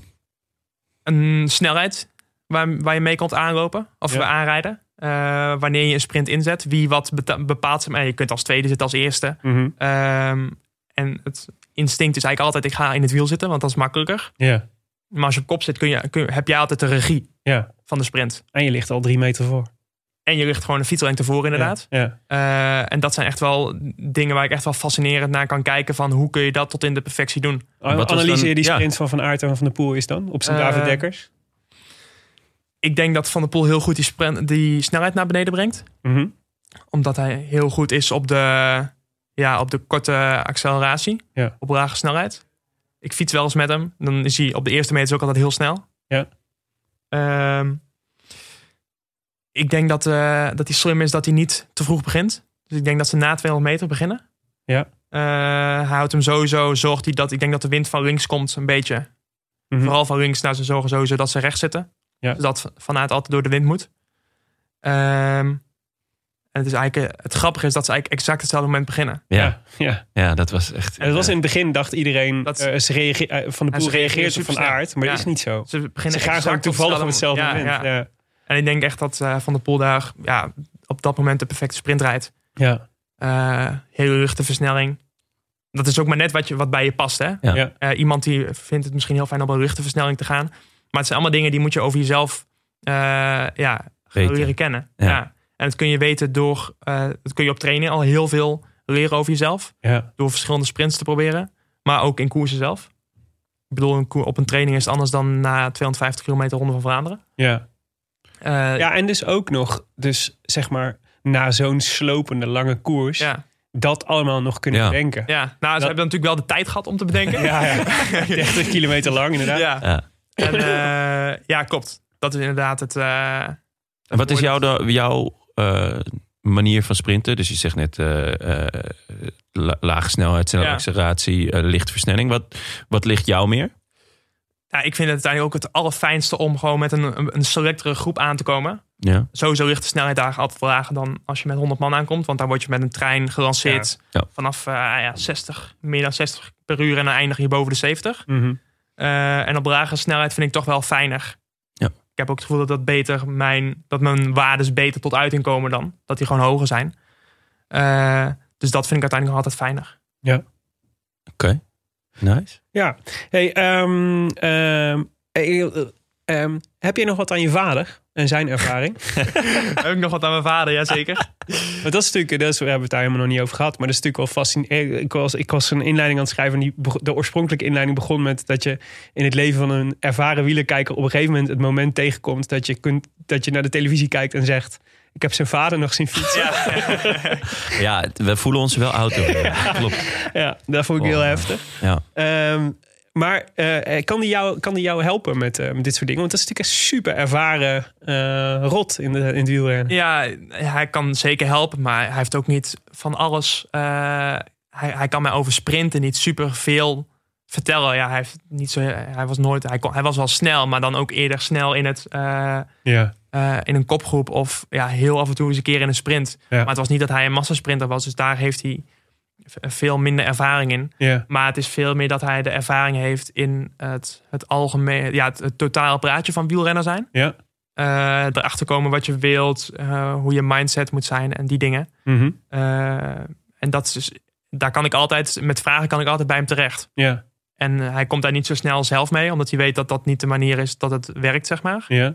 C: een snelheid waar, waar je mee kunt aanlopen of
B: Ja.
C: aanrijden. Eh, wanneer je een sprint inzet, wie wat beta- bepaalt. Maar je kunt als tweede zitten, als eerste.
B: Mhm.
C: Ehm, en het instinct is eigenlijk altijd: ik ga in het wiel zitten, want dat is makkelijker.
B: Ja.
C: Maar als je op kop zit, kun je, kun, heb jij altijd de regie
B: ja.
C: van de sprint.
B: En je ligt al drie meter voor.
C: En je ligt gewoon een fietslengte voor, inderdaad.
B: Ja. ja.
C: Eh, en dat zijn echt wel dingen waar ik echt wel fascinerend naar kan kijken: van hoe kun je dat tot in de perfectie doen?
A: Wat was
B: Analyseer
A: dan-
B: die
A: ja.
B: sprint van Van Aert en Van der Poel is dan, op zijn
C: Eh,
B: David Dekkers.
C: Ik denk dat Van der Poel heel goed die, sprint, die snelheid naar beneden brengt.
B: Mhm.
C: Omdat hij heel goed is op de, ja, op de korte acceleratie.
B: Ja.
C: Op lage snelheid. Ik fiets wel eens met hem. Dan is hij op de eerste meters ook altijd heel snel.
B: Ja.
C: Ehm, ik denk dat, eh, dat hij slim is dat hij niet te vroeg begint. Dus ik denk dat ze na 200 meter beginnen.
B: Ja.
C: Eh, hij houdt hem sowieso, zorgt hij dat... Ik denk dat de wind van links komt een beetje.
B: Mhm.
C: Vooral van links naar ze zorgen sowieso dat ze recht zitten.
B: Ja.
C: Dus dat vanuit altijd door de wind moet. Ehm, en het, is eigenlijk, eh, het grappige is dat ze eigenlijk exact hetzelfde moment beginnen.
A: Ja.
B: ja.
A: ja, dat was echt...
B: En het was
A: eh,
B: in het begin, dacht iedereen,
C: Dat-
B: eh, ze reage- eh, Van der
C: Ja,
B: Poel
C: ze reageren
B: reageert op Van
C: supersnel.
B: Aert, maar
C: Ja.
B: dat is niet zo.
C: Ze beginnen
B: Ze gaan
C: exact
B: gewoon
C: op
B: toevallig op hetzelfde
C: ja,
B: moment.
C: ja.
B: Ja.
C: En ik denk echt dat eh, Van der Poel daar ja, op dat moment de perfecte sprint rijdt.
B: Ja.
C: Eh, hele luchte versnelling. Dat is ook maar net wat, je, wat bij je past. Hè?
A: Ja.
B: Ja.
C: Eh, iemand die vindt het misschien heel fijn om op een luchte versnelling te gaan. Maar het zijn allemaal dingen die moet je over jezelf eh, ja,
A: weten.
C: leren kennen.
A: Ja.
C: Ja. En dat kun je weten door, eh, dat kun je op training al heel veel leren over jezelf.
B: Ja.
C: Door verschillende sprints te proberen, maar ook in koersen zelf. Ik bedoel, een koer- op een training is het anders dan na 250 kilometer Ronde van Vlaanderen.
B: ja.
C: Eh,
B: Ja, en dus ook nog, dus zeg maar, na zo'n slopende lange koers,
C: ja,
B: dat allemaal nog kunnen
A: Ja.
B: bedenken.
C: ja. Nou, ze hebben natuurlijk wel de tijd gehad om te bedenken.
B: Ja, ja. 30 kilometer lang inderdaad.
C: Ja.
A: Ja.
C: En, eh, ja, klopt. Dat is inderdaad het. eh,
A: En wat is jouw,
C: mooi
A: da- jouw eh, manier van sprinten? Dus je zegt net eh, eh, la- lage snelheid, snelle
C: Ja.
A: acceleratie, eh, lichte versnelling. Wat, wat ligt jou meer?
C: ja, ik vind het uiteindelijk ook het allerfijnste om gewoon met een, een- een selectere groep aan te komen.
A: Ja.
C: sowieso ligt de snelheid daar altijd lager dan als je met 100 man aankomt. Want dan word je met een trein gelanceerd
A: Ja. Ja.
C: vanaf eh, ja, 60, meer dan 60 per uur. En dan eindig je boven de 70.
B: Mhm.
C: Eh, en op lage snelheid vind ik toch wel fijner.
A: Ja.
C: Ik heb ook het gevoel dat, dat, beter mijn, dat mijn waardes beter tot uiting komen dan. Dat die gewoon hoger zijn. Eh, dus dat vind ik uiteindelijk nog altijd fijner.
A: Nice.
B: Ja. Hey, ehm, ehm, eh, eh, ehm, heb je nog wat aan je vader en zijn ervaring?
C: Heb ik nog wat aan mijn vader, jazeker.
B: Want dat is natuurlijk, dat is, we hebben het daar helemaal nog niet over gehad, maar dat is natuurlijk wel fascinerend. Ik was, ik was een inleiding aan het schrijven en die, beg- de oorspronkelijke inleiding begon met dat je in het leven van een ervaren wielerkijker op een gegeven moment het moment tegenkomt dat je, kunt, dat je naar de televisie kijkt en zegt, ik heb zijn vader nog zien fietsen.
A: Ja, het- we voelen ons wel oud. door. Klopt.
B: Ja, dat vond ik
A: Oh,
B: heel
A: ja.
B: heftig.
A: Ja.
B: Ehm, Maar eh, kan, die jou, kan die jou helpen met, eh, met dit soort dingen? Want dat is natuurlijk een super ervaren eh, rot in, de, in het wielrennen.
C: Ja, hij kan zeker helpen, maar hij heeft ook niet van alles. eh, hij, hij kan mij over sprinten niet super veel vertellen. Ja, hij, heeft niet zo, hij was nooit. Hij, kon, hij was wel snel, maar dan ook eerder snel in, het, eh,
B: Ja.
C: eh, in een kopgroep. Of ja, heel af en toe eens een keer in een sprint.
B: Ja.
C: Maar het was niet dat hij een massasprinter was. Dus daar heeft hij v- veel minder ervaring in.
B: ja.
C: Maar het is veel meer dat hij de ervaring heeft in het, het algemeen. Ja, het, het totaal praatje van wielrenner zijn
B: Ja.
C: eh erachter komen wat je wilt, eh, hoe je mindset moet zijn en die dingen.
B: Mhm.
C: Eh, en dat is dus, daar kan ik altijd, met vragen kan ik altijd bij hem terecht.
B: Ja.
C: En hij komt daar niet zo snel zelf mee, omdat hij weet dat dat niet de manier is dat het werkt, zeg maar.
B: Ja.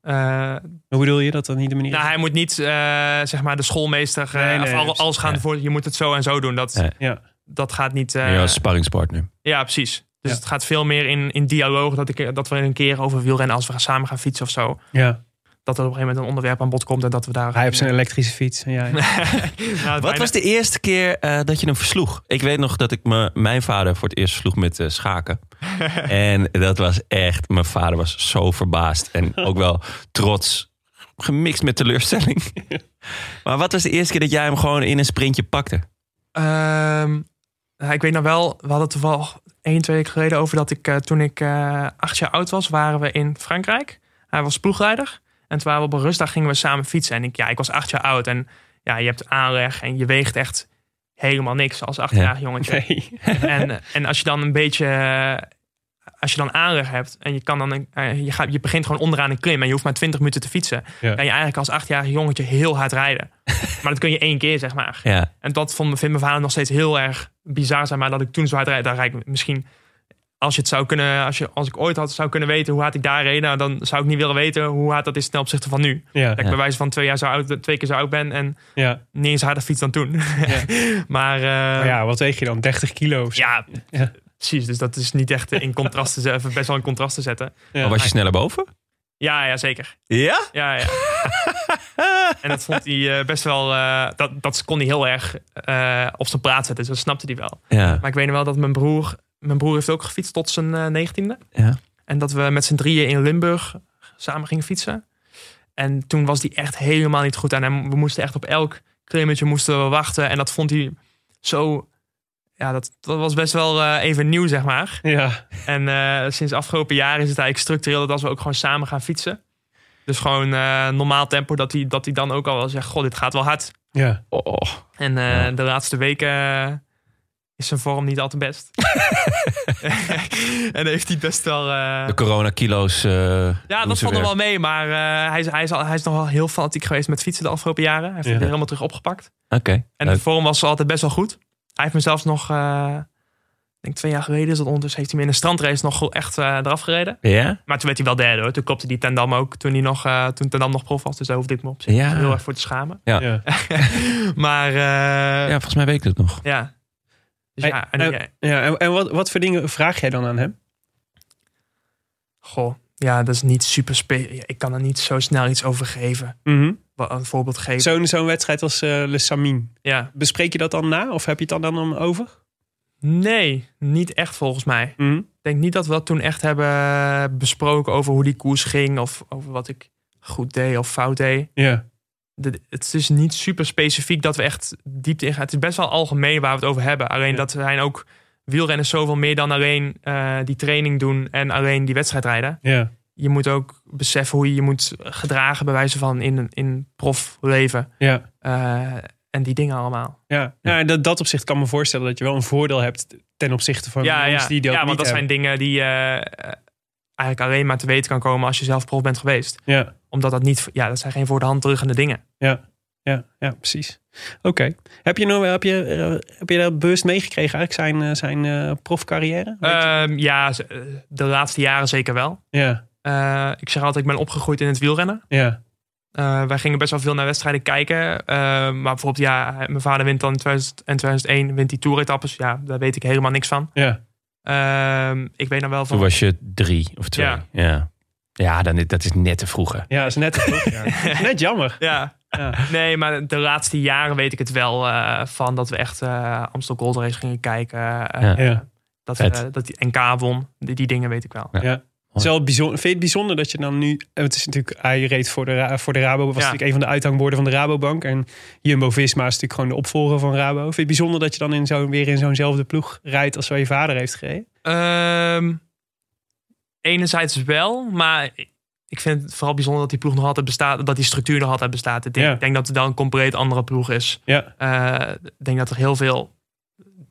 C: Eh,
B: Hoe bedoel je dat dan niet de manier?
C: nou, hij moet niet, eh, zeg maar, de schoolmeester eh,
B: Nee, nee,
C: of al-
B: precies.
C: alles gaan
A: Ja.
C: voor. Je moet het zo en zo doen. Dat,
A: Ja.
B: Ja.
C: dat gaat niet. eh,
A: Ja, als sparringspartner.
C: ja, precies. Dus
B: Ja.
C: het gaat veel meer in, in dialoog dat, ik, dat we een keer over wielrennen, als we gaan samen gaan fietsen of zo,
B: ja.
C: dat er op een gegeven moment een onderwerp aan bod komt en dat we daar.
B: Hij op zijn elektrische fiets. Ja, ja.
C: Nou,
A: Wat
C: bijna-
A: was de eerste keer eh, dat je hem versloeg? Ik weet nog dat ik me, mijn vader voor het eerst sloeg met eh, schaken. en dat was echt, mijn vader was zo verbaasd. En ook wel trots, gemixt met teleurstelling. maar wat was de eerste keer dat jij hem gewoon in een sprintje pakte?
C: Ehm, nou, ik weet nog wel, we hadden het er wel één, twee weken geleden over dat ik eh, toen ik eh, acht jaar oud was, waren we in Frankrijk. Hij was ploegleider. En toen waren we op een rustdag gingen we samen fietsen. En ik, ja, ik was acht jaar oud en ja, je hebt aanleg en je weegt echt helemaal niks als achtjarig jongetje.
B: Nee.
C: En, en als je dan een beetje, eh, als je dan aanleg hebt en je kan dan, een- eh, je, gaat, je begint gewoon onderaan een klim en je hoeft maar 20 minuten te fietsen.
B: Ja.
C: Kan je eigenlijk als achtjarig jongetje heel hard rijden. maar dat kun je één keer, zeg maar.
A: Ja,
C: En dat vond, vindt mijn vader nog steeds heel erg bizar zijn. Maar dat ik toen zo hard rijd, daar rijd ik misschien... Als, je het zou kunnen, als, je, als ik ooit had zou kunnen weten hoe hard ik daar reed... Nou, dan zou ik niet willen weten hoe hard dat is ten opzichte van nu. Dat
B: Ja.
C: ik bij wijze van twee, jaar zo oud, twee keer zo oud ben... en
B: Ja.
C: niet eens harder fiets dan toen. maar eh,
B: Maar
C: ja.
B: Oh ja, wat weeg je dan? 30 kilo? of zo? Ja.
C: precies. Dus dat is niet echt in contrast te zetten. Best wel in contrast te zetten.
B: Ja.
A: Maar was je sneller boven?
C: Ja, ja zeker.
A: Ja?
C: Ja, ja. en dat vond hij eh, best wel... eh, dat, dat kon hij heel erg eh, op zijn plaats zetten. Dus dat snapte hij wel.
A: Ja.
C: Maar ik weet nog wel dat mijn broer... Mijn broer heeft ook gefietst tot zijn eh, negentiende.
A: Ja.
C: En dat we met z'n drieën in Limburg samen gingen fietsen. En toen was die echt helemaal niet goed. En hij- we moesten echt op elk klimmetje moesten we wachten. En dat vond hij zo... Ja, dat, dat was best wel eh, even nieuw, zeg maar.
B: Ja.
C: En eh, sinds afgelopen jaar is het eigenlijk structureel... dat als we ook gewoon samen gaan fietsen. Dus gewoon eh, normaal tempo. Dat hij, dat hij dan ook al wel zegt... Goh, dit gaat wel hard.
B: Ja.
A: Oh.
C: En eh,
A: Ja.
C: de laatste weken eh, is zijn vorm niet al te best. en heeft hij best wel. eh,
A: De coronakilo's. eh,
C: ja,
A: doen
C: dat
A: ze
C: vond
A: weer.
C: er wel mee. Maar eh, hij, is, hij, is al, hij is nog wel heel fanatiek geweest met fietsen de afgelopen jaren. Hij heeft het
B: Ja.
C: weer helemaal terug opgepakt.
A: Oké.
C: En de
A: leuk.
C: vorm was altijd best wel goed. Hij heeft me zelfs nog. eh, ik denk twee jaar geleden is dat ondertussen. Heeft hij me in een strandrace nog goed echt eh, eraf gereden.
A: Ja?
C: Maar toen werd hij wel derde hoor. Toen klopte die Tendam ook. Toen, hij nog, eh, toen Tendam nog prof was. Dus daar hoefde ik me op zich
A: Ja.
C: heel erg voor te schamen.
A: Ja.
B: Ja.
C: Maar eh,
A: ja,
C: ja.
A: volgens mij weet ik dat nog.
C: Dus
B: Hey,
C: ja, en,
B: eh,
C: ja,
B: Ja, en, en wat, wat voor dingen vraag jij dan aan hem?
C: Goh, ja, dat is niet super spe- ja, Ik kan er niet zo snel iets over geven. Wa- Een voorbeeld geven.
B: Mhm. Zo'n zo'n wedstrijd als eh Le Samin.
C: Ja.
B: Bespreek je dat dan na? Of heb je het dan dan om over? Mhm.
C: Nee, niet echt volgens mij. Ik denk niet dat we dat toen echt hebben besproken over hoe die koers ging. Of over wat ik goed deed of fout deed.
B: Ja.
C: De- het is niet super specifiek dat we echt diepte in gaan. Het is best wel algemeen waar we het over hebben. Alleen
B: Ja.
C: dat zijn ook wielrenners zoveel meer dan alleen eh, die training doen en alleen die wedstrijd rijden.
B: Ja.
C: Je moet ook beseffen hoe je je moet gedragen bij wijze van in, in profleven.
B: Ja.
C: Eh, en die dingen allemaal.
B: Ja, ja. dat, dat opzicht kan me voorstellen dat je wel een voordeel hebt ten opzichte van
C: ja,
B: mensen
C: ja.
B: die dat
C: ja,
B: niet
C: want dat zijn
B: hebben.
C: dingen die eh, eh, eigenlijk alleen maar te weten kan komen als je zelf prof bent geweest.
B: Ja,
C: Omdat dat niet, ja, dat zijn geen voor de hand liggende dingen.
B: ja, ja, precies. Oké. Heb je nou heb je, eh, heb je dat bewust meegekregen eigenlijk zijn, eh, zijn eh, profcarrière? Weet je?
C: Ehm, ja, z- eh, de laatste jaren zeker wel.
B: ja,
C: Eh, ik zeg altijd, ik ben opgegroeid in het wielrennen.
B: ja,
C: Eh, wij gingen best wel veel naar wedstrijden kijken. Eh, maar bijvoorbeeld, ja, mijn vader wint dan in 2000 en 2001 wint die toeretappes. Ja, daar weet ik helemaal niks van.
B: ja.
C: Ehm, ik weet dan wel
A: Toen
C: van...
A: was je drie of twee. Ja,
C: Ja.
A: ja. dan, dat is net te vroeg. hè.
B: Ja, is net, ja. is net jammer.
C: Ja,
B: Ja.
C: Nee, maar de laatste jaren weet ik het wel eh, van dat we echt eh Amstel Gold Race gingen kijken. Eh,
A: Ja.
B: Ja.
C: Dat,
A: Vet.
C: eh, dat die NK won. Die, die dingen weet ik wel.
A: Ja.
B: Het is wel bijzonder, vind je het bijzonder dat je dan nu... eh, Het is natuurlijk, hij reed voor de, Ra- voor de Rabo. was natuurlijk een van de uithangborden van de Rabobank. En Jumbo-Visma is natuurlijk gewoon de opvolger van Rabo. Vind je het bijzonder dat je dan in zo, weer in zo'nzelfde ploeg rijdt... als waar je vader heeft gereden?
C: Ehm, enerzijds wel, maar ik vind het vooral bijzonder dat die ploeg nog altijd bestaat. Dat die structuur nog altijd bestaat. Ik denk,
B: Ja.
C: ik denk dat het wel een compleet andere ploeg is.
B: Ja,
C: Eh, ik denk dat er heel veel.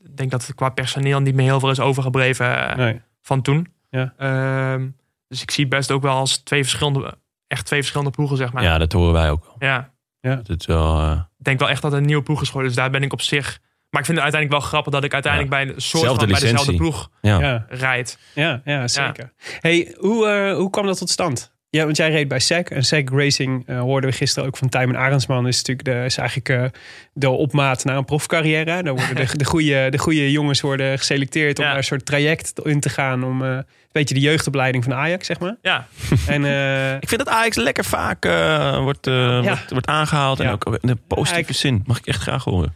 C: Ik denk dat er qua personeel niet meer heel veel is overgebleven eh,
B: nee.
C: van toen.
B: Ja.
C: Ehm, dus ik zie het best ook wel als twee verschillende, echt twee verschillende ploegen, zeg maar.
A: Ja, dat horen wij ook wel.
C: ja.
A: Dat het wel, eh,
C: Ik denk wel echt dat het een nieuwe ploeg is geworden. Dus daar ben ik op zich. Maar ik vind het uiteindelijk wel grappig dat ik uiteindelijk bij een soort
A: Zelfde
C: van bij dezelfde
A: licentie.
C: ploeg
A: ja.
B: ja.
C: rijd.
B: Ja, ja zeker. Hey, hoe, eh, hoe kwam dat tot stand? Ja, want jij reed bij SEC. En SEC Racing eh, hoorden we gisteren ook van Tijmen Arendsman. Is natuurlijk de, is eigenlijk eh, de opmaat naar een profcarrière. Dan worden de, de, goede, de goede jongens worden geselecteerd om
C: Ja.
B: daar een soort traject in te gaan. Om eh, een beetje de jeugdopleiding van Ajax, zeg maar.
C: Ja,
B: En eh,
A: Ik vind dat Ajax lekker vaak eh, wordt, eh, wordt, wordt aangehaald. En
B: Ja.
A: ook in een positieve
B: Ajax-
A: zin. Mag ik echt graag horen.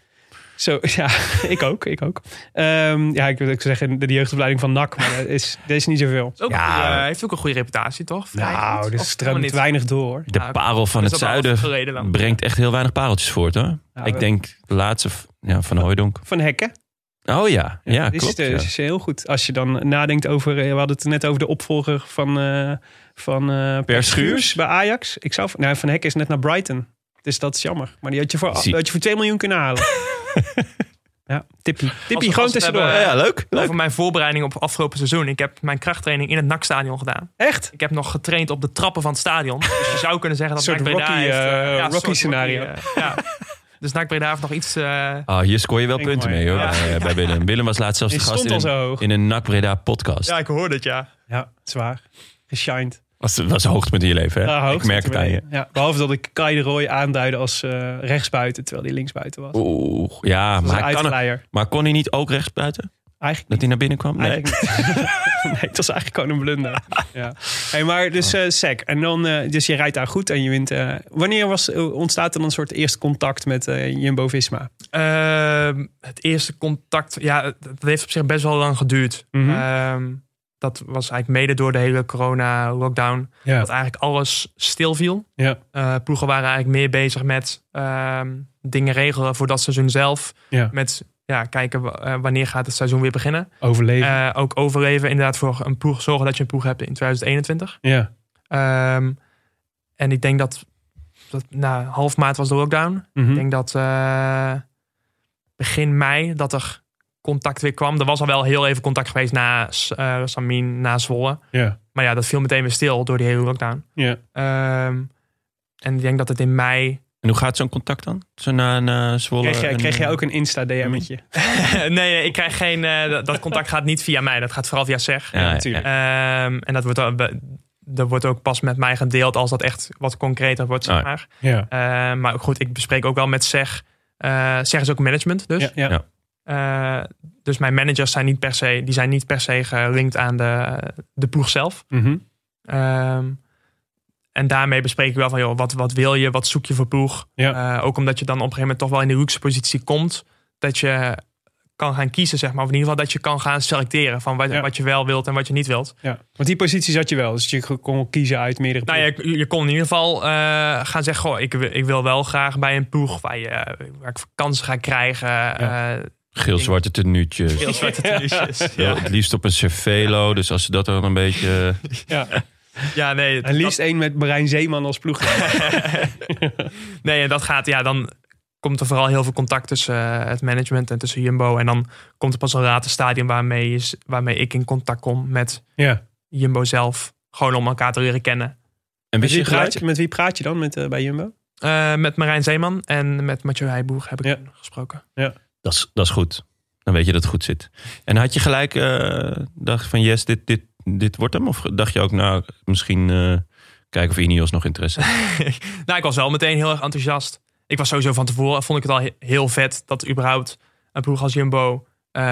B: zo, ja, ik ook, ik ook. Ehm, ja, ik wil ook zeggen de, de jeugdopleiding van NAC. Maar dat is, dat is niet zoveel.
C: is ook
A: Ja.
C: een goede- hij heeft ook een goede reputatie, toch? Vrij goed.
B: Nou,
C: Of
B: dat stroomt
C: niet?
B: weinig door.
A: De
C: Ja,
A: parel van
C: Is
A: het
C: dat wel
A: zuiden
C: afgereden dan?
A: brengt echt heel weinig pareltjes voort. Hoor.
B: Ja,
A: ik
B: we-
A: denk de laatste v- ja, van Hooijdonk.
B: Van Hekken.
A: Oh ja, eh, ja,
B: Dit
A: klopt.
B: is,
A: ja.
B: het is heel goed. Als je dan nadenkt over. eh, We hadden het net over de opvolger van. eh van eh, Per
A: Schuurs.
B: Schuurs bij Ajax. Ik zou, nou, van Hekken is net naar Brighton. Dus dat is jammer. Maar die had je voor,
A: Zie.
B: had je voor 2 miljoen kunnen halen. ja, tippie.
C: Als
B: Tippie,
C: we-
B: gewoon
C: als we het
B: tussendoor.
A: Ja, ja, leuk. leuk.
C: Over mijn voorbereiding op afgelopen seizoen. Ik heb mijn krachttraining in het NAC-stadion gedaan.
B: Echt?
C: Ik heb nog getraind op de trappen van het stadion. Dus je zou kunnen zeggen dat
B: Een soort
C: NAC Breda
B: Rocky,
C: heeft, eh, ja,
B: eh,
C: een
B: Rocky
C: soort
B: scenario.
C: eh, ja. Dus NAC Breda heeft nog iets... eh,
A: Ah, hier scoor je wel
B: Ik
A: punten
B: mooi.
A: mee hoor,
B: Ja.
A: bij, bij Willem. Willem was laatst zelfs
B: Die
A: de gast
B: stond
A: in
B: al zo
A: een,
B: hoog.
A: in een NAC Breda podcast.
C: Ja, ik hoor het, ja.
B: Ja, zwaar. Geshined.
A: Was, was een hoogtepunt in je leven, hè?
B: Ja,
A: ik
B: hoogte
A: merk het aan je.
B: Ja, behalve dat ik Kai de Roy aanduidde als eh, rechtsbuiten, terwijl hij linksbuiten was.
A: Oeh, ja,
B: Dat was
A: maar,
B: een
A: hij kan,
B: uitglijder.
A: maar kon hij niet ook rechts buiten?
B: Eigenlijk
A: Dat hij naar binnen kwam? Nee.
B: Eigenlijk niet. nee, het was eigenlijk gewoon een blunder. Ja. Hey, maar dus eh sec. En dan, eh, dus je rijdt daar goed en je wint. eh, wanneer was, eh, ontstaat er dan een soort eerste contact met eh, Jumbo-Visma?
C: Ehm, het eerste contact, ja, dat heeft op zich best wel lang geduurd.
B: Mhm.
C: Ehm, dat was eigenlijk mede door de hele corona-lockdown.
B: Ja.
C: Dat eigenlijk alles stilviel.
B: Ja.
C: Eh, ploegen waren eigenlijk meer bezig met ehm, dingen regelen voor dat seizoen zelf.
B: Ja.
C: Met ja, kijken wa- eh, wanneer gaat het seizoen weer beginnen.
B: Overleven.
C: Eh, ook overleven, inderdaad, voor een ploeg. Zorgen dat je een ploeg hebt in 2021.
B: ja.
C: Ehm, en ik denk dat, dat na half maart was de lockdown.
B: Mhm.
C: Ik denk dat eh, begin mei dat er contact weer kwam. Er was al wel heel even contact geweest na S- eh Samin, na Zwolle.
B: ja.
C: Maar ja, dat viel meteen weer stil door die hele lockdown.
B: Ja.
C: Ehm, en ik denk dat het in mei...
A: En hoe gaat zo'n contact dan? Zo naar naar Zwolle?
B: Kreeg, jij,
A: en-
B: kreeg jij ook een Insta-DM'tje?
C: nee, nee, ik krijg geen... eh, dat- dat contact gaat niet via mij. Dat gaat vooral via SEG.
A: Ja,
B: natuurlijk.
C: Ehm, en dat wordt, dan- be- dat wordt ook pas met mij gedeeld als dat echt wat concreter wordt. Zeg
A: Ah.
C: maar.
B: Ja.
C: Ehm, maar goed, ik bespreek ook wel met SEG. Eh SEG is ook management dus.
B: Ja, ja.
A: Ja.
C: Eh, dus mijn managers zijn niet per se, die zijn niet per se gelinkt aan de, de ploeg zelf.
B: Mhm.
C: Ehm, en daarmee bespreek ik wel van, joh, wat, wat wil je, wat zoek je voor ploeg?
B: Ja.
C: Eh, ook omdat je dan op een gegeven moment toch wel in de luxe positie komt. Dat je kan gaan kiezen, zeg maar. Of in ieder geval dat je kan gaan selecteren van wat,
B: Ja.
C: wat je wel wilt en wat je niet wilt.
B: ja. Want die positie zat je wel. Dus je kon kiezen uit meerdere
C: Nou, je, je kon in ieder geval eh, gaan zeggen, goh, ik, wil- ik wil wel graag bij een ploeg waar, je, waar ik kansen ga krijgen.
B: Ja.
C: eh,
A: Geel-zwarte tenuutjes.
C: heel zwarte tenuutjes.
A: Ja, Het liefst op een cervelo, dus als ze dat dan een beetje...
B: ja.
C: Ja, nee.
B: En
C: dat-
B: liefst één met Marijn Zeeman als ploeg.
C: Nee, en dat gaat, ja, dan komt er vooral heel veel contact tussen eh, het management en tussen Jumbo. En dan komt er pas een later stadium waarmee, is, waarmee ik in contact kom met
B: Ja.
C: Jumbo zelf. Gewoon om elkaar te leren kennen.
A: En
B: Met
A: wist
B: wie
A: je
B: praat
A: gelijk...
B: je, met wie praat je dan met, eh, bij Jumbo?
C: Eh, met Marijn Zeeman en met Mathieu Heijboer heb ik
B: Ja.
C: toen gesproken.
A: Dat is, dat is goed. Dan weet je dat het goed zit. En had je gelijk, eh, dacht van yes, dit, dit, dit wordt hem? Of dacht je ook, nou, misschien eh, kijken of Ineos nog interesse heeft?
C: Nou, ik was wel meteen heel erg enthousiast. Ik was sowieso van tevoren, vond ik het al he- heel vet dat überhaupt een ploeg als Jumbo eh,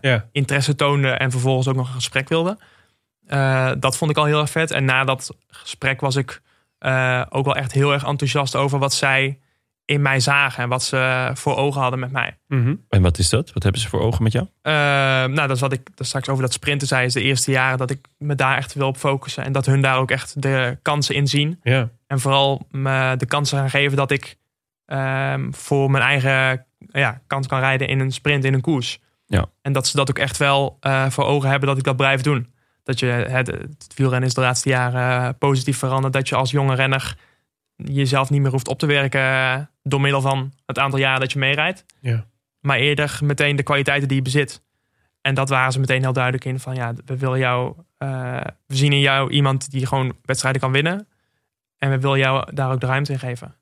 B: Ja.
C: interesse toonde en vervolgens ook nog een gesprek wilde. Eh, dat vond ik al heel erg vet. En na dat gesprek was ik eh, ook wel echt heel erg enthousiast over wat zij in mij zagen en wat ze voor ogen hadden met mij.
B: Mhm.
A: En wat is dat? Wat hebben ze voor ogen met jou?
C: Eh, nou, dat is wat ik dat straks over dat sprinten zei, is de eerste jaren dat ik me daar echt wil op focussen. En dat hun daar ook echt de kansen in zien.
B: Ja.
C: En vooral me de kansen gaan geven dat ik ehm, voor mijn eigen ja, kans kan rijden in een sprint, in een koers.
A: Ja.
C: En dat ze dat ook echt wel eh, voor ogen hebben dat ik dat blijf doen. Dat je het, het wielrennen is de laatste jaren eh, positief veranderd. Dat je als jonge renner jezelf niet meer hoeft op te werken eh, door middel van het aantal jaren dat je meerijdt.
B: Ja.
C: Maar eerder meteen de kwaliteiten die je bezit. En dat waren ze meteen heel duidelijk in van ja, we willen jou, eh, we zien in jou iemand die gewoon wedstrijden kan winnen. En we willen jou daar ook de ruimte in geven.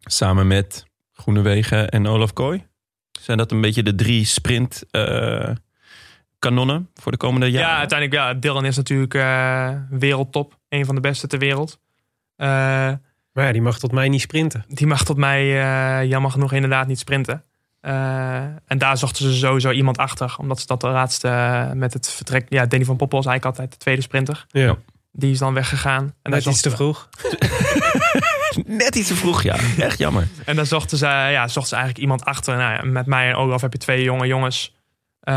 A: Samen met Groenewegen en Olaf Kooi? Zijn dat een beetje de drie sprint eh, kanonnen voor de komende
C: Ja,
A: jaren?
C: uiteindelijk, ja, Dylan is natuurlijk eh, wereldtop. Een van de beste ter wereld. Eh,
B: Maar ja, die mag tot mij niet sprinten.
C: die mag tot mij eh, jammer genoeg inderdaad niet sprinten. Eh, en daar zochten ze sowieso iemand achter. Omdat ze dat de laatste eh, met het vertrek... Ja, Danny van Poppel was eigenlijk altijd de tweede sprinter.
B: Ja.
C: Die is dan weggegaan. En daar
B: Net iets
C: zochten
B: te vroeg.
A: Net iets te vroeg, ja. Echt jammer.
C: En dan zochten ze, ja, zochten ze eigenlijk iemand achter. Nou ja, met mij en Olaf heb je twee jonge jongens eh,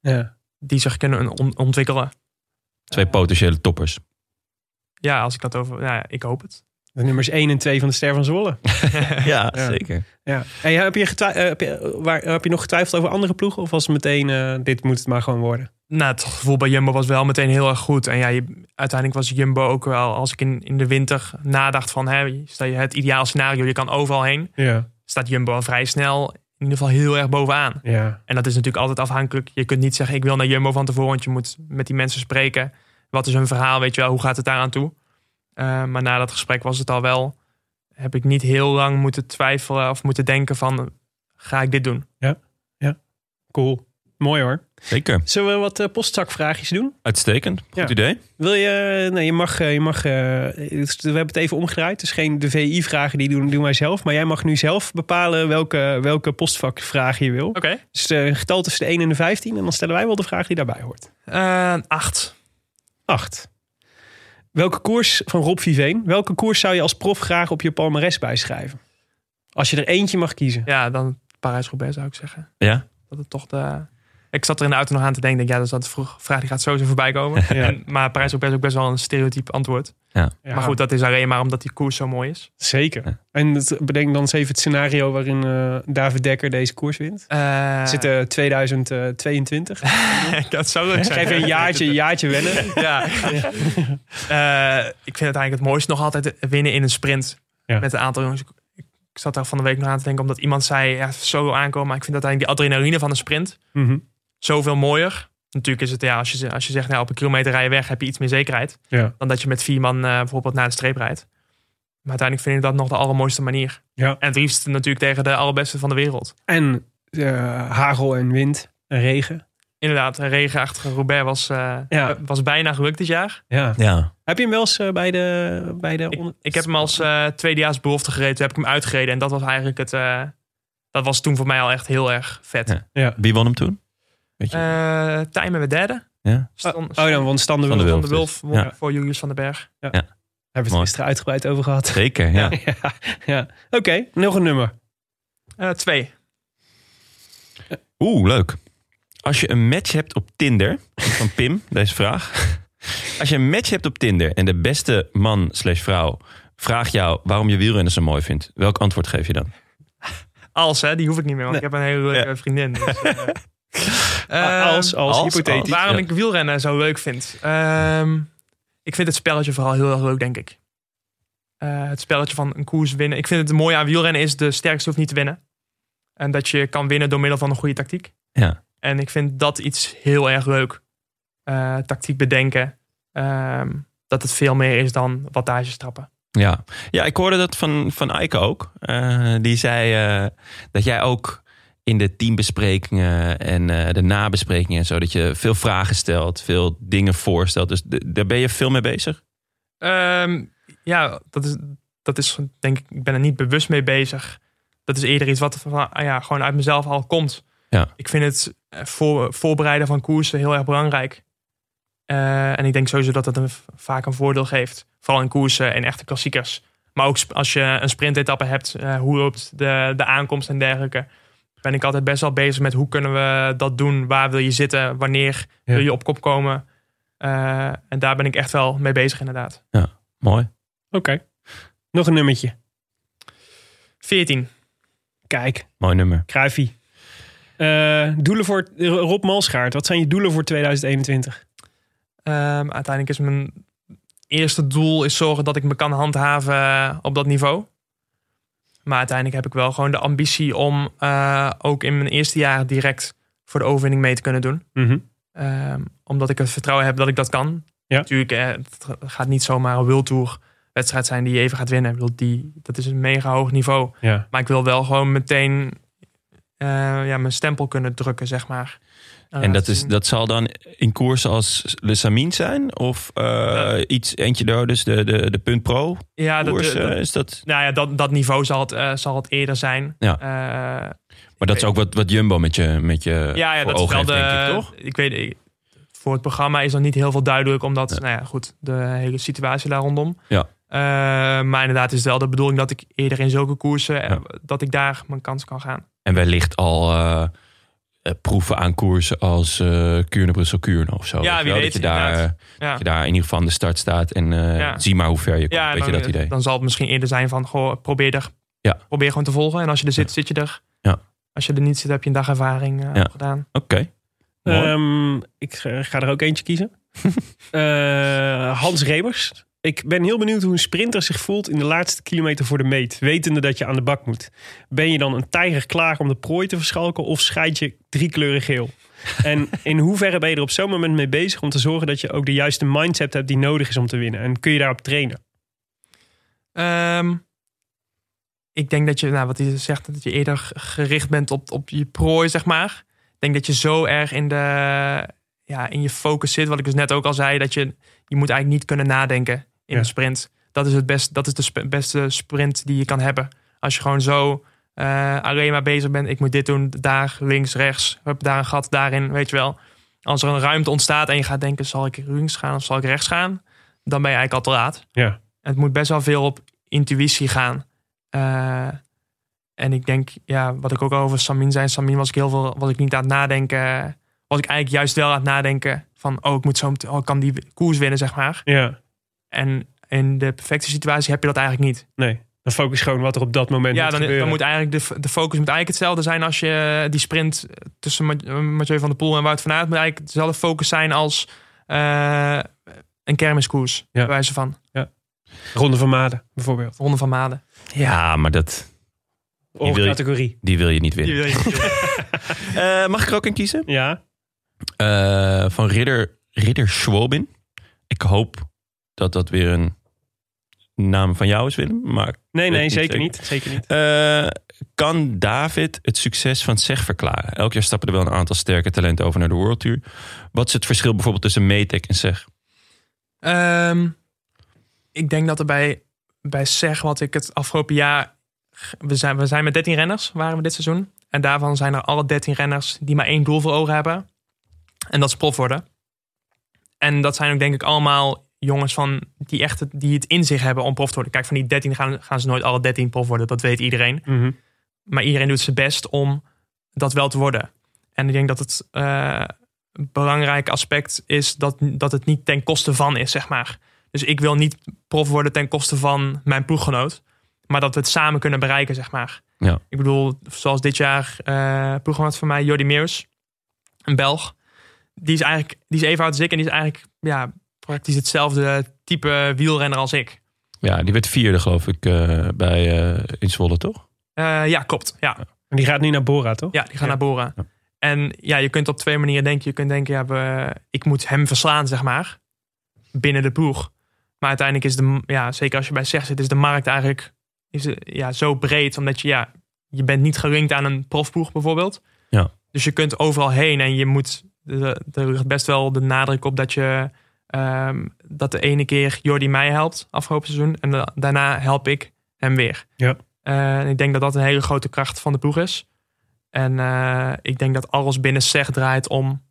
B: Ja.
C: die zich kunnen on- ontwikkelen.
A: Twee potentiële toppers.
C: Ja, als ik dat over. Ja, ik hoop het.
B: De nummers 1 en 2 van de Ster van Zwolle.
A: Ja,
B: Ja.
A: zeker.
B: Ja. Hey, heb, je getwi- eh, heb, je, waar, heb je nog getwijfeld over andere ploegen? Of was het meteen, eh, dit moet het maar gewoon worden?
C: Nou, het gevoel bij Jumbo was wel meteen heel erg goed. En ja, je- uiteindelijk was Jumbo ook wel, als ik in, in de winter nadacht van hè, stel je het ideaal scenario, je kan overal heen,
B: Ja.
C: staat Jumbo al vrij snel in ieder geval heel erg bovenaan.
B: Ja.
C: En dat is natuurlijk altijd afhankelijk. Je kunt niet zeggen, ik wil naar Jumbo van tevoren, want je moet met die mensen spreken. Wat is hun verhaal, weet je wel, hoe gaat het daaraan toe? Eh, maar na dat gesprek was het al wel, heb ik niet heel lang moeten twijfelen of moeten denken van, ga ik dit doen?
B: Cool. Mooi hoor.
A: Zeker.
B: Zullen we wat eh, postzakvraagjes doen?
A: Uitstekend. Goed
B: Ja.
A: idee.
B: Wil je, nee, je mag, eh, je mag eh, het is- we hebben het even omgedraaid. Dus geen de VI-vragen, die doen, doen wij zelf. Maar jij mag nu zelf bepalen welke, welke postvakvraag je wil.
C: Oké.
B: Dus eh, een getal tussen de 1 en de 15. En dan stellen wij wel de vraag die daarbij hoort.
C: Eh, acht.
B: 8. Welke koers van Rob Viveen, welke koers zou je als prof graag op je palmares bijschrijven? Als je er eentje mag kiezen.
C: Ja, dan Parijs-Roubaix zou ik zeggen.
A: Ja.
C: Dat het toch de... Ik zat er in de auto nog aan te denken. Ik Denk, ja, dus dat is dat vroeg. Vraag die gaat sowieso voorbij komen.
B: Ja.
C: En, maar Parijs-Roubaix is ook best wel een stereotype antwoord.
B: Ja,
C: Maar goed, dat is alleen maar omdat die koers zo mooi is.
B: Zeker.
A: Ja.
B: En het- bedenk dan eens even het scenario waarin eh, David Dekker deze koers wint.
C: Eh,
B: Het zit eh, 2022.
C: dat zou leuk zijn.
B: Schrijf een jaartje, jaartje wennen.
C: Ja. Eh, ik vind het eigenlijk het mooiste nog altijd winnen in een sprint.
B: Ja.
C: Met een aantal jongens. Ik- Ik zat daar van de week nog aan te denken. Omdat iemand zei, ja, zo wil aankomen. Maar ik vind uiteindelijk die adrenaline van een sprint.
B: Mhm.
C: zoveel mooier. Natuurlijk is het, ja, als je, als je zegt, nou, op een kilometer rij je weg, heb je iets meer zekerheid.
B: Ja.
C: Dan dat je met vier man eh, bijvoorbeeld naar de streep rijdt. Maar uiteindelijk vind ik dat nog de allermooiste manier.
B: Ja.
C: En het liefst natuurlijk tegen de allerbeste van de wereld.
B: En eh, hagel en wind en regen.
C: Inderdaad, een regenachtige Roubaix was, eh,
B: Ja.
C: was bijna gelukt dit jaar.
B: Ja.
A: Ja.
B: Heb je hem wel eens eh, bij de... Bij de
C: Ik, ik heb hem als eh tweedejaars belofte gereden. Toen heb ik hem uitgereden. En dat was eigenlijk het... eh, dat was toen voor mij al echt heel erg vet.
A: Ja. Wie won hem toen? Weet je?
C: Eh Tijmen werd derde.
A: Ja.
C: Stan-
B: Oh, dan want Stan de
A: Van
B: Wulf.
A: de
B: Daar
C: Van
A: Wilf dus.
C: de Wulf won
A: Ja.
C: voor Julius van den Berg.
B: hebben we
A: Mooi.
B: het gisteren uitgebreid over gehad.
A: Zeker, ja.
B: ja. ja. Oké, nog een nummer.
C: Eh, twee.
A: Oeh, leuk. Als je een match hebt op Tinder, van Pim, deze vraag. Als je een match hebt op Tinder en de beste man slash vrouw vraagt jou waarom je wielrennen zo mooi vindt, welk antwoord geef je dan?
C: Als, hè, die hoef ik niet meer, want ik heb een hele leuke vriendin. dus, eh.
B: Ah, als, als,
A: als-
B: hypothetisch.
A: als-
C: Waarom
A: Ja.
C: ik wielrennen zo leuk vind? Ehm, ik vind het spelletje vooral heel erg leuk, denk ik. Eh, het spelletje van een koers winnen. Ik vind het mooie aan wielrennen is de sterkste hoeft niet te winnen. En dat je kan winnen door middel van een goede tactiek.
A: Ja.
C: En ik vind dat iets heel erg leuk. Eh, tactiek bedenken. Ehm, dat het veel meer is dan wattages trappen.
A: Ja, ja ik hoorde dat van, van Eike ook. Eh, die zei eh, dat jij ook in de teambesprekingen en eh, de nabesprekingen en zo, dat je veel vragen stelt, veel dingen voorstelt. Dus d- daar ben je veel mee bezig.
C: Ehm, ja, dat is, dat is denk ik, ik ben er niet bewust mee bezig. Dat is eerder iets wat van, ah ja, gewoon uit mezelf al komt.
A: Ja.
C: Ik vind het eh, voor, voorbereiden van koersen heel erg belangrijk. Eh, en ik denk sowieso dat dat een, vaak een voordeel geeft. Vooral in koersen en echte klassiekers. Maar ook sp- als je een sprintetappe hebt, eh, hoe loopt de, de aankomst en dergelijke. Ben ik altijd best wel bezig met hoe kunnen we dat doen? Waar wil je zitten? Wanneer
B: Ja.
C: wil je op kop komen? Eh, en daar ben ik echt wel mee bezig inderdaad.
A: Mooi.
B: Nog een nummertje.
C: 14.
B: Kijk,
A: Mooi nummer.
B: Kruifie. Eh, doelen voor Rob Malschaart. Wat zijn je doelen voor 2021?
C: Ehm, uiteindelijk is mijn eerste doel is zorgen dat ik me kan handhaven eh, op dat niveau. Maar uiteindelijk heb ik wel gewoon de ambitie om eh, ook in mijn eerste jaar direct voor de overwinning mee te kunnen doen. Ehm, omdat ik het vertrouwen heb dat ik dat kan.
B: Ja.
C: Natuurlijk, eh, het gaat niet zomaar een World Tour wedstrijd zijn die je even gaat winnen. Ik bedoel, die, dat is een mega hoog niveau.
B: Ja.
C: Maar ik wil wel gewoon meteen eh, ja, mijn stempel kunnen drukken, zeg maar.
A: En dat, is,
C: Laten
A: dat zal dan in koersen als Le Samin zijn? Of eh, iets eentje door, dus de, de, de punt pro
C: zien- ja, dat,
A: koers?
C: dat-
A: eh, is dat...
C: nou ja, dat, dat niveau zal het, eh, zal het eerder zijn.
A: Ja.
C: Eh,
A: Maar dat is ook wat, wat Jumbo met je, met je
C: ja, ja
A: Eh, voor
C: dat is
A: ogen
C: wel
A: heeft,
C: de.
A: denk ik, toch?
C: ik weet, ik- voor het programma is nog niet heel veel duidelijk, omdat, nou ja, goed, de hele situatie daar rondom.
A: Ja.
C: Eh, maar inderdaad is het wel de bedoeling dat ik eerder in zulke koersen, eh,
A: Ja.
C: dat ik daar mijn kans kan gaan.
A: En wellicht al eh, eh, proeven aan koersen als eh Kuurne-Brussel-Kuurne of zo.
C: Ja,
A: je
C: wie
A: wel,
C: weet,
A: Dat je daar,
C: inderdaad.
A: eh,
C: Ja.
A: dat je daar in ieder geval aan de start staat en eh,
C: Ja.
A: zie maar hoe ver je komt.
C: Ja,
A: Weet je
C: dan,
A: dat idee?
C: dan zal het misschien eerder zijn van, goh, probeer er,
A: Ja.
C: probeer gewoon te volgen. En als je er zit, zit je er.
A: Ja.
C: Als je er niet zit, heb je een dag ervaring eh,
A: Ja.
C: opgedaan.
A: Oké. Mooi.
B: Ehm, ik ga ga er ook eentje kiezen. Eh, Hans Remers. Ik ben heel benieuwd hoe een sprinter zich voelt in de laatste kilometer voor de meet, wetende dat je aan de bak moet. Ben je dan een tijger klaar om de prooi te verschalken of scheid je drie kleuren geel? En in hoeverre ben je er op zo'n moment mee bezig om te zorgen dat je ook de juiste mindset hebt die nodig is om te winnen? En kun je daarop trainen?
C: Ehm, ik denk dat je, nou, wat hij zegt, dat je eerder g- gericht bent op, op je prooi, zeg maar. Ik denk dat je zo erg in, de, ja, in je focus zit, wat ik dus net ook al zei, dat je, je moet eigenlijk niet kunnen nadenken in
B: Ja.
C: een sprint. Dat is, het best, dat is de sp- beste sprint die je kan hebben. Als je gewoon zo eh, alleen maar bezig bent, ik moet dit doen, daar, links, rechts, hup, daar een gat, daarin, weet je wel. Als er een ruimte ontstaat en je gaat denken, zal ik links gaan of zal ik rechts gaan? Dan ben je eigenlijk al te laat. Het moet best wel veel op intuïtie gaan. Eh, en ik denk, ja, wat ik ook over Samin zei. Samin was ik heel veel, was ik niet aan het nadenken. Was ik eigenlijk juist wel aan het nadenken van, oh, ik moet zo, meteen- oh, ik kan die koers winnen, zeg maar.
B: Ja,
C: En in de perfecte situatie heb je dat eigenlijk niet.
B: nee. Dan focus gewoon wat er op dat moment
C: ja,
B: moet
C: dan,
B: gebeuren.
C: dan moet eigenlijk de, f- de focus moet eigenlijk hetzelfde zijn als je die sprint tussen Ma- eh, Mathieu van der Poel en Wout van Aert moet eigenlijk dezelfde focus zijn als eh, een kermiskoers, bij wijze van
B: Ronde van Maden bijvoorbeeld.
C: Ronde van Maden.
A: Ja, maar dat,
B: Of
A: wil je-
B: categorie.
A: die wil je niet winnen. Eh, mag ik er ook in kiezen?
B: Ja,
A: Eh, van Ridder, Ridder Schwabin. Ik hoop dat dat weer een naam van jou is, Willem. Maar
B: nee, nee,
A: Weet niet
B: zeker
A: zeker.
B: niet. Zeker niet.
A: Eh, kan David het succes van SEG verklaren? Elk jaar stappen er wel een aantal sterke talenten over naar de World Tour. Wat is het verschil bijvoorbeeld tussen Metec en SEG?
C: Ehm, ik denk dat er bij, bij SEG, wat ik het afgelopen jaar... We zijn, we zijn met 13 renners, waren we dit seizoen. En daarvan zijn er alle 13 renners die maar één doel voor ogen hebben. En dat is prof worden. En dat zijn ook denk ik allemaal jongens van die, echt het, die het in zich hebben om prof te worden. Kijk, van die 13 gaan, gaan ze nooit alle 13 prof worden. Dat weet iedereen.
B: Mhm.
C: Maar iedereen doet zijn best om dat wel te worden. En ik denk dat het eh, een belangrijk aspect is dat, dat het niet ten koste van is, zeg maar. Dus ik wil niet prof worden ten koste van mijn ploeggenoot. Maar dat we het samen kunnen bereiken, zeg maar.
A: Ja.
C: Ik bedoel, zoals dit jaar eh ploeggenoot van mij, Jordi Meers, een Belg. Die is eigenlijk die is even oud als ik en die is eigenlijk ja, praktisch hetzelfde type wielrenner als ik.
A: Ja, die werd vierde geloof ik eh, bij, eh, in Zwolle, toch?
C: Eh, ja, klopt. Ja.
B: En die gaat nu naar Bora, toch?
C: Ja, die gaan
B: Ja.
C: naar Bora.
A: Ja.
C: En ja, je kunt op twee manieren denken. Je kunt denken, ja, we, ik moet hem verslaan, zeg maar. Binnen de ploeg. Maar uiteindelijk is de, ja, zeker als je bij SEG zit, is de markt eigenlijk is, de- ja, zo breed. Omdat je, ja, je bent niet gelinkt aan een profploeg bijvoorbeeld.
A: Ja.
C: Dus je kunt overal heen en je moet, de- er ligt best wel de nadruk op dat je, ehm, dat de ene keer Jordi mij helpt afgelopen seizoen. En da- daarna help ik hem weer.
B: Ja.
C: Eh, en ik denk dat dat een hele grote kracht van de ploeg is. En eh, ik denk dat alles binnen SEG draait om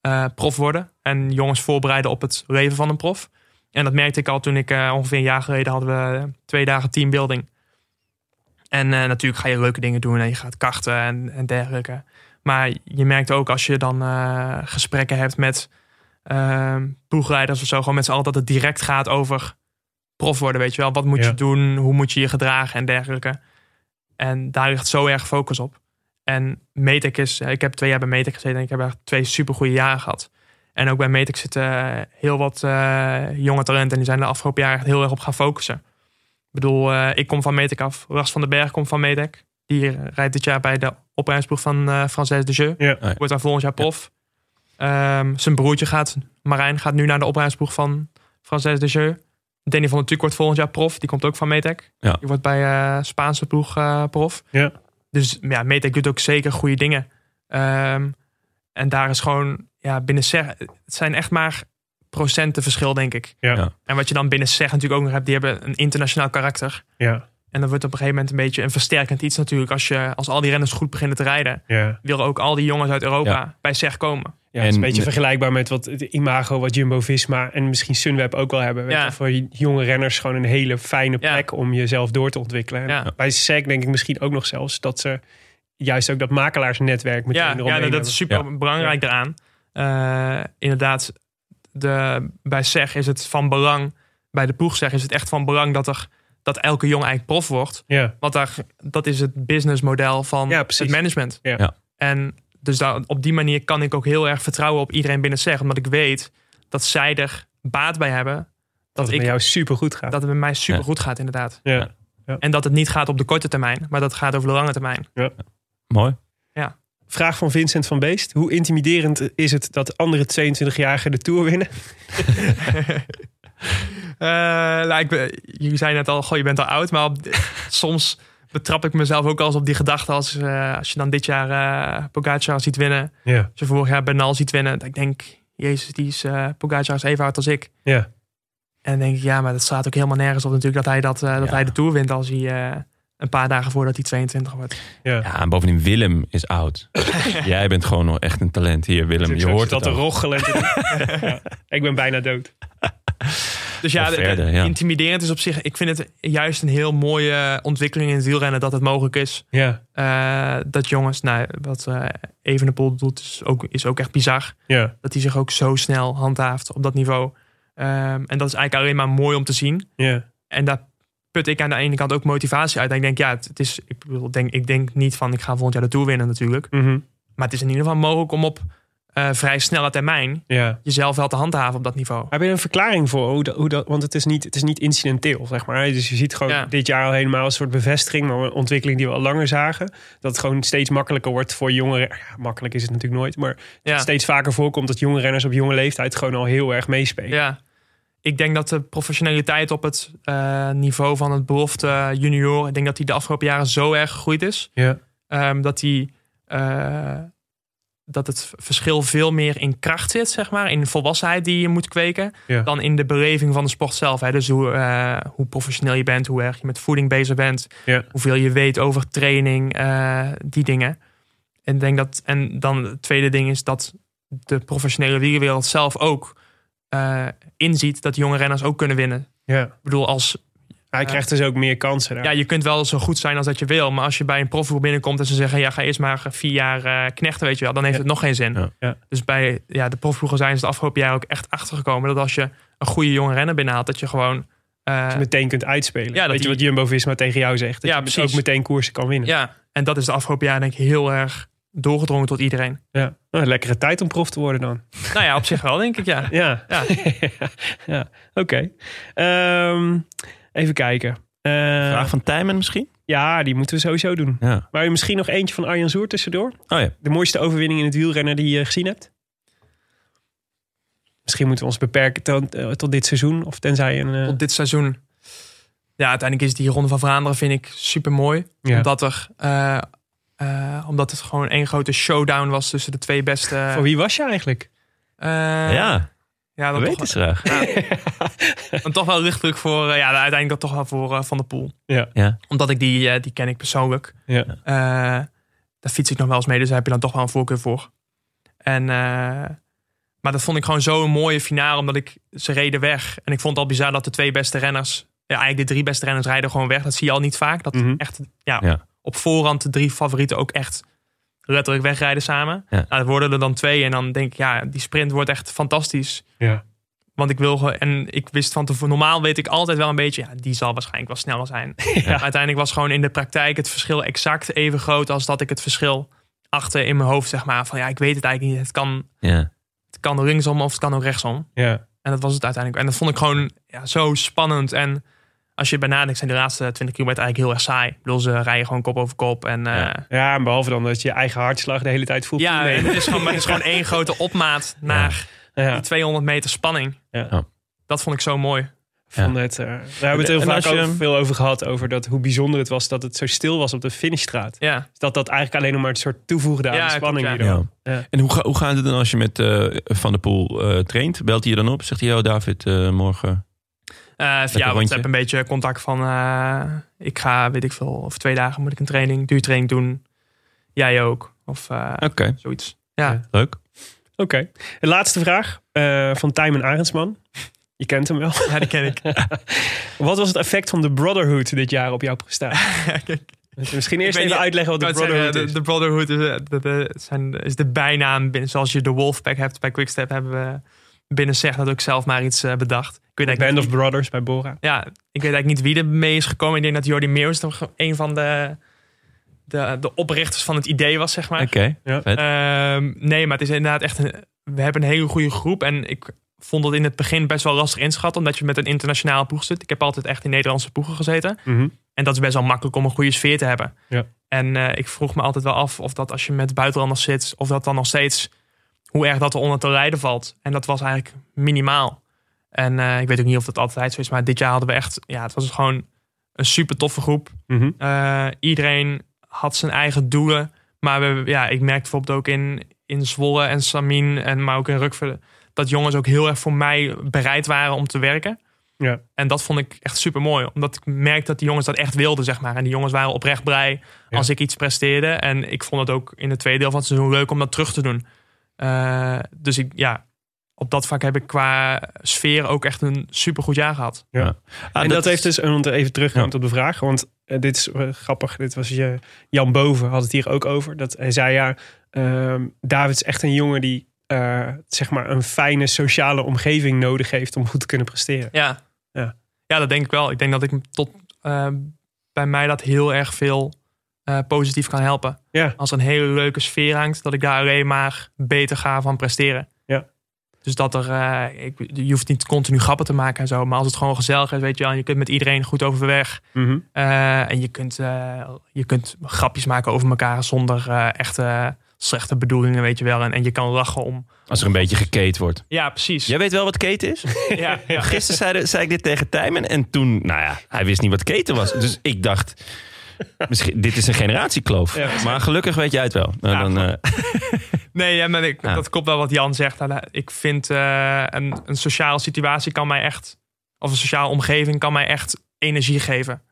C: eh, prof worden. En jongens voorbereiden op het leven van een prof. En dat merkte ik al toen ik eh, ongeveer een jaar geleden hadden we eh, twee dagen teambuilding. En eh, natuurlijk ga je leuke dingen doen en je gaat karten en, en dergelijke. Maar je merkt ook als je dan eh, gesprekken hebt met eh, ploegleiders of zo, gewoon met z'n allen, dat het direct gaat over prof worden, weet je wel. Wat moet
B: Ja.
C: je doen? Hoe moet je je gedragen en dergelijke. En daar ligt zo erg focus op. En Metec is, ik heb twee jaar bij Metec gezeten en ik heb echt twee supergoeie jaren gehad. En ook bij Metec zitten heel wat eh, jonge talenten en die zijn de afgelopen jaren echt heel erg op gaan focussen. Ik bedoel, eh, ik kom van Metec af. Ras van den Berg komt van Metec. Die rijdt dit jaar bij de opleidingsploeg van eh Frances de Jeu.
B: Ja.
A: ja.
C: Wordt daar volgend jaar prof. Ehm, zijn broertje gaat, Marijn, gaat nu naar de opleidingsploeg van Frances de Jeu. Danny van der Tuuk wordt volgend jaar prof. Die komt ook van Metec.
A: Ja.
C: Die wordt bij eh, Spaanse ploeg eh, prof.
B: Ja.
C: Dus ja, Metec doet ook zeker goede dingen. Ehm, en daar is gewoon, ja, binnen zeg, het zijn echt maar procenten verschil, denk ik.
B: Ja.
A: Ja.
C: En wat je dan binnen zeg natuurlijk ook nog hebt, die hebben een internationaal karakter.
B: Ja,
C: En dan wordt op een gegeven moment een beetje een versterkend iets natuurlijk. Als, je, als al die renners goed beginnen te rijden,
B: ja.
C: willen ook al die jongens uit Europa bij SEG komen.
B: ja het is een
A: En-
B: beetje vergelijkbaar met wat het imago, wat Jumbo-Visma en misschien Sunweb ook wel hebben. Weet
C: Ja.
B: je, voor jonge renners gewoon een hele fijne
C: Ja.
B: plek om jezelf door te ontwikkelen. En
C: Ja.
B: Bij SEC denk ik misschien ook nog zelfs dat ze juist ook dat makelaarsnetwerk meteen
C: Ja,
B: eromheen
C: ja dat- dat
B: hebben.
C: is super belangrijk daaraan. Eh, inderdaad, de, bij SEG is het van belang, bij de ploeg SEG is het echt van belang dat, er, dat elke jongen eigenlijk prof wordt.
B: Ja,
C: Want daar, dat is het businessmodel van
B: Ja, precies.
C: het management.
B: Ja.
A: Ja.
C: En dus daar, op die manier kan ik ook heel erg vertrouwen op iedereen binnen SEG. Omdat ik weet dat zij er baat bij hebben. Dat,
B: dat het
C: ik
B: met jou super goed gaat.
C: dat het met mij super goed gaat, inderdaad.
B: ja.
C: En dat het niet gaat op de korte termijn, maar dat het gaat over de lange termijn.
A: Mooi.
B: Vraag van Vincent van Beest. Hoe intimiderend is het dat andere 22-jarigen de Tour winnen?
C: Eh, nou, ik ben- jullie zei net al, goh, je bent al oud. Maar op- soms betrap ik mezelf ook al eens op die gedachte. Als, eh, als je dan dit jaar eh Pogacar ziet winnen.
B: Ja,
C: Als je vorig jaar Bernal ziet winnen. Dat ik denk, jezus, die is, eh Pogacar is even oud als ik.
B: ja.
C: En dan denk ik, ja, maar dat staat ook helemaal nergens op natuurlijk. Dat hij, dat, eh, dat
A: Ja.
C: hij de Tour wint als hij... eh, een paar dagen voordat hij 22 wordt.
A: Ja, en bovendien, Willem is oud. Jij bent gewoon nog echt een talent hier, Willem. Je hoort
B: dat
A: dat
B: te
A: ook.
B: rochelen. ja. Ik ben bijna dood.
C: Dus ja,
A: Of
C: de- de-
A: verder, ja.
C: intimiderend is op zich... Ik vind het juist een heel mooie ontwikkeling in het wielrennen... dat het mogelijk is.
B: Ja,
C: Eh, dat jongens, nou, wat eh Evenepoel doet, is ook, is ook echt bizar.
B: ja,
C: Dat hij zich ook zo snel handhaaft op dat niveau. Ehm, en dat is eigenlijk alleen maar mooi om te zien.
B: ja.
C: En daar put ik aan de ene kant ook motivatie uit. En ik denk, ja, het, het is, ik, bedoel, denk, ik denk niet van ik ga volgend jaar de Tour winnen natuurlijk.
B: Mhm.
C: Maar het is in ieder geval mogelijk om op eh, vrij snelle termijn
B: ja.
C: jezelf wel te handhaven op dat niveau.
B: Heb je een verklaring voor hoe dat, hoe dat want het is, niet, het is niet incidenteel, zeg maar. Dus je ziet gewoon
C: Ja.
B: dit jaar al helemaal een soort bevestiging, maar een ontwikkeling die we al langer zagen. Dat het gewoon steeds makkelijker wordt voor jongeren. Ja, makkelijk is het natuurlijk nooit, maar
C: Ja.
B: steeds vaker voorkomt dat jonge renners op jonge leeftijd gewoon al heel erg meespelen.
C: Ja. Ik denk dat de professionaliteit op het eh, niveau van het belofte junior... ik denk dat die de afgelopen jaren zo erg gegroeid is.
B: Ja.
C: Ehm, dat, die, eh, dat het verschil veel meer in kracht zit, zeg maar. In de volwassenheid die je moet kweken.
B: Ja.
C: Dan in de beleving van de sport zelf. Hè. Dus hoe, eh, hoe professioneel je bent, hoe erg je met voeding bezig bent.
B: Ja.
C: Hoeveel je weet over training, eh, die dingen. En, ik denk dat, en dan het tweede ding is dat de professionele wielerwereld zelf ook eh, inziet dat jonge renners ook kunnen winnen.
B: Ja.
C: Ik bedoel, als
B: Hij
C: Ja.
B: krijgt dus ook meer kansen. Daar.
C: ja, je kunt wel zo goed zijn als dat je wil. Maar als je bij een profvoer binnenkomt en ze zeggen... ja, ga eerst maar vier jaar eh, knechten, weet je wel. Dan heeft
B: Ja.
C: het nog geen zin.
A: Ja.
B: Ja.
C: Dus bij ja, de profvoeren zijn ze het afgelopen jaar ook echt achtergekomen... dat als je een goede jonge renner binnenhaalt... dat je gewoon... eh,
B: Dat je meteen kunt uitspelen.
C: Ja, dat
B: Weet je
C: die-
B: wat Jumbo-Visma tegen jou zegt? Dat
C: Ja,
B: je dus
C: precies.
B: ook meteen koersen kan winnen.
C: ja, en dat is de afgelopen jaar denk ik heel erg doorgedrongen tot iedereen.
B: Ja. Nou, een lekkere tijd om prof te worden dan.
C: nou ja, op zich wel, denk ik, ja.
B: Ja.
C: Ja.
B: ja. Oké. Ehm, even kijken. Eh,
A: Vraag van Tijmen misschien?
B: Ja, die moeten we sowieso doen.
A: Ja.
B: Maar misschien nog eentje van Arjan Soer tussendoor.
A: Oh ja.
B: De mooiste overwinning in het wielrennen die je gezien hebt? Misschien moeten we ons beperken tot, eh, tot dit seizoen. Of tenzij een... eh,
C: Op dit seizoen... Ja, uiteindelijk is die Ronde van Vlaanderen, vind ik, super mooi.
B: ja.
C: Omdat, er, eh, eh, omdat het gewoon één grote showdown was tussen de twee beste...
B: Voor wie was je eigenlijk?
C: eh,
A: ja,
C: ja,
A: dat
C: dan
A: weet
C: toch,
A: het graag.
C: Dan toch wel luchtdruk voor, eh, ja, uiteindelijk dat toch wel voor eh, Van der Poel.
B: Ja.
A: Ja.
C: Omdat ik die, eh, die ken ik persoonlijk.
B: Ja.
C: Eh, daar fiets ik nog wel eens mee, dus daar heb je dan toch wel een voorkeur voor. En, eh, Maar dat vond ik gewoon zo'n mooie finale, omdat ik ze reden weg. En ik vond het al bizar dat de twee beste renners, ja, eigenlijk de drie beste renners rijden gewoon weg. Dat zie je al niet vaak. Dat
D: Mhm.
C: echt, ja,
A: Ja.
C: op voorhand de drie favorieten ook echt letterlijk wegrijden samen.
A: Ja.
C: Nou, dat worden er dan twee en dan denk ik, ja, die sprint wordt echt fantastisch.
B: Ja.
C: Want ik wil gewoon, en ik wist van tevoren, normaal weet ik altijd wel een beetje, ja, die zal waarschijnlijk wel sneller zijn. Maar Uiteindelijk was gewoon in de praktijk het verschil exact even groot als dat ik het verschil achter in mijn hoofd, zeg maar. Van ja, ik weet het eigenlijk niet. Het kan,
A: Ja.
C: het kan linksom of het kan ook rechtsom.
B: Ja.
C: En dat was het uiteindelijk. En dat vond ik gewoon ja, zo spannend. En als je bij nadenkt, zijn de laatste 20 kilometer eigenlijk heel erg saai. Ik bedoel, ze rijden gewoon kop over kop. En, eh,
A: Ja.
B: ja, en behalve dan dat je je eigen hartslag de hele tijd voelt.
C: Ja,
B: Nee.
C: en het, is gewoon, maar het is gewoon één grote opmaat naar
B: Ja.
C: die 200 meter spanning.
B: Ja.
A: Ja.
C: Dat vond ik zo mooi.
B: Van het, eh, daar hebben we het
A: En
B: heel vaak
A: als je-
B: over- veel over gehad. Over dat, hoe bijzonder het was dat het zo stil was op de finishstraat. Dus
C: Ja,
B: Dat dat eigenlijk alleen nog maar een soort toevoegde aan
C: Ja,
B: de
C: klopt,
B: spanning.
C: ja.
B: hierdoor.
A: Ja.
B: Ja.
A: En hoe, ga- hoe gaat het dan als je met eh, Van der Poel eh, traint? Belt hij je dan op? Zegt hij, oh David, eh, morgen.
C: Eh
A: rondje.
C: via WhatsApp een beetje contact van... eh, ik ga, weet ik veel, of twee dagen moet ik een training, duurtraining doen. Jij ook. Of eh,
A: Oké,
C: zoiets. Ja.
B: Ja.
A: leuk.
B: Oké. En laatste vraag eh, van Tijmen Arendsman. Je kent hem wel.
C: ja, die ken ik.
B: Wat was het effect van de Brotherhood dit jaar op jouw prestatie?
C: Kijk,
B: Misschien eerst
C: weet
B: even
C: niet-
B: uitleggen wat de
C: ik wou zeggen,
B: Brotherhood
C: de,
B: is.
C: de Brotherhood is, eh, de, de- zijn, is de bijnaam. binnen- Zoals je de Wolfpack hebt bij Quickstep, hebben we binnen zeg dat ook zelf maar iets eh, bedacht. Ik weet eigenlijk
B: Band
C: niet
B: of Brothers bij Bora.
C: Ja, ik weet eigenlijk niet wie er mee is gekomen. Ik denk dat Jordi Meeuwis toch een van de, de, de oprichters van het idee was, zeg maar.
A: Oké, vet.
C: Ehm, nee, maar het is inderdaad echt... Een, we hebben een hele goede groep. En ik vond het in het begin best wel lastig inschatten. Omdat je met een internationale ploeg zit. Ik heb altijd echt in Nederlandse ploegen gezeten.
B: Mhm.
C: En dat is best wel makkelijk om een goede sfeer te hebben.
B: Ja.
C: En eh, ik vroeg me altijd wel af of dat als je met buitenlanders zit... of dat dan nog steeds... hoe erg dat er onder te lijden valt. En dat was eigenlijk minimaal. En eh, ik weet ook niet of dat altijd zo is. Maar dit jaar hadden we echt... Ja, het was gewoon een super toffe groep.
B: Mhm.
C: Eh, iedereen had zijn eigen doelen. Maar we, ja, ik merkte bijvoorbeeld ook in, in Zwolle en Samin, en, maar ook in Rukvelen... dat jongens ook heel erg voor mij bereid waren om te werken.
B: Ja.
C: En dat vond ik echt super mooi. Omdat ik merkte dat die jongens dat echt wilden, zeg maar. En die jongens waren oprecht blij
B: Ja.
C: als ik iets presteerde. En ik vond het ook in het tweede deel van het seizoen leuk om dat terug te doen. Eh, dus ik, ja, op dat vak heb ik qua sfeer ook echt een supergoed jaar gehad.
A: Ah,
B: en dat, heeft
A: is-
B: dus, en om te even terug te komen
A: Ja.
B: op de vraag, want eh, dit is eh, grappig, dit was je, Jan Boven had het hier ook over, dat hij zei ja, ehm, David is echt een jongen die eh, zeg maar een fijne sociale omgeving nodig heeft om goed te kunnen presteren.
C: Ja.
B: Ja.
C: ja. dat denk ik wel. Ik denk dat ik m- tot eh, bij mij dat heel erg veel eh, positief kan helpen.
B: Ja.
C: Als er een hele leuke sfeer hangt, dat ik daar alleen maar beter ga van presteren.
B: Ja.
C: Dus dat er, eh, ik, je hoeft niet continu grappen te maken en zo, maar als het gewoon gezellig is, weet je wel, en je kunt met iedereen goed overweg. eh, en je kunt, eh, je kunt grapjes maken over elkaar zonder eh, echte slechte bedoelingen, weet je wel. En, en je kan lachen om.
A: Als er een beetje gekate wordt.
C: Ja, precies.
A: Jij weet wel wat keten is?
C: Ja, ja.
A: Gisteren zei, zei ik dit tegen Tijmen en toen, nou ja, hij wist niet wat keten was. Dus ik dacht, misschien, dit is een generatiekloof. maar gelukkig weet jij het wel. Nou,
C: Ja,
A: dan, eh,
C: Nee, ja, maar ik,
A: Ja.
C: dat klopt wel wat Jan zegt. Ik vind eh, een, een sociale situatie kan mij echt, of een sociale omgeving kan mij echt energie geven.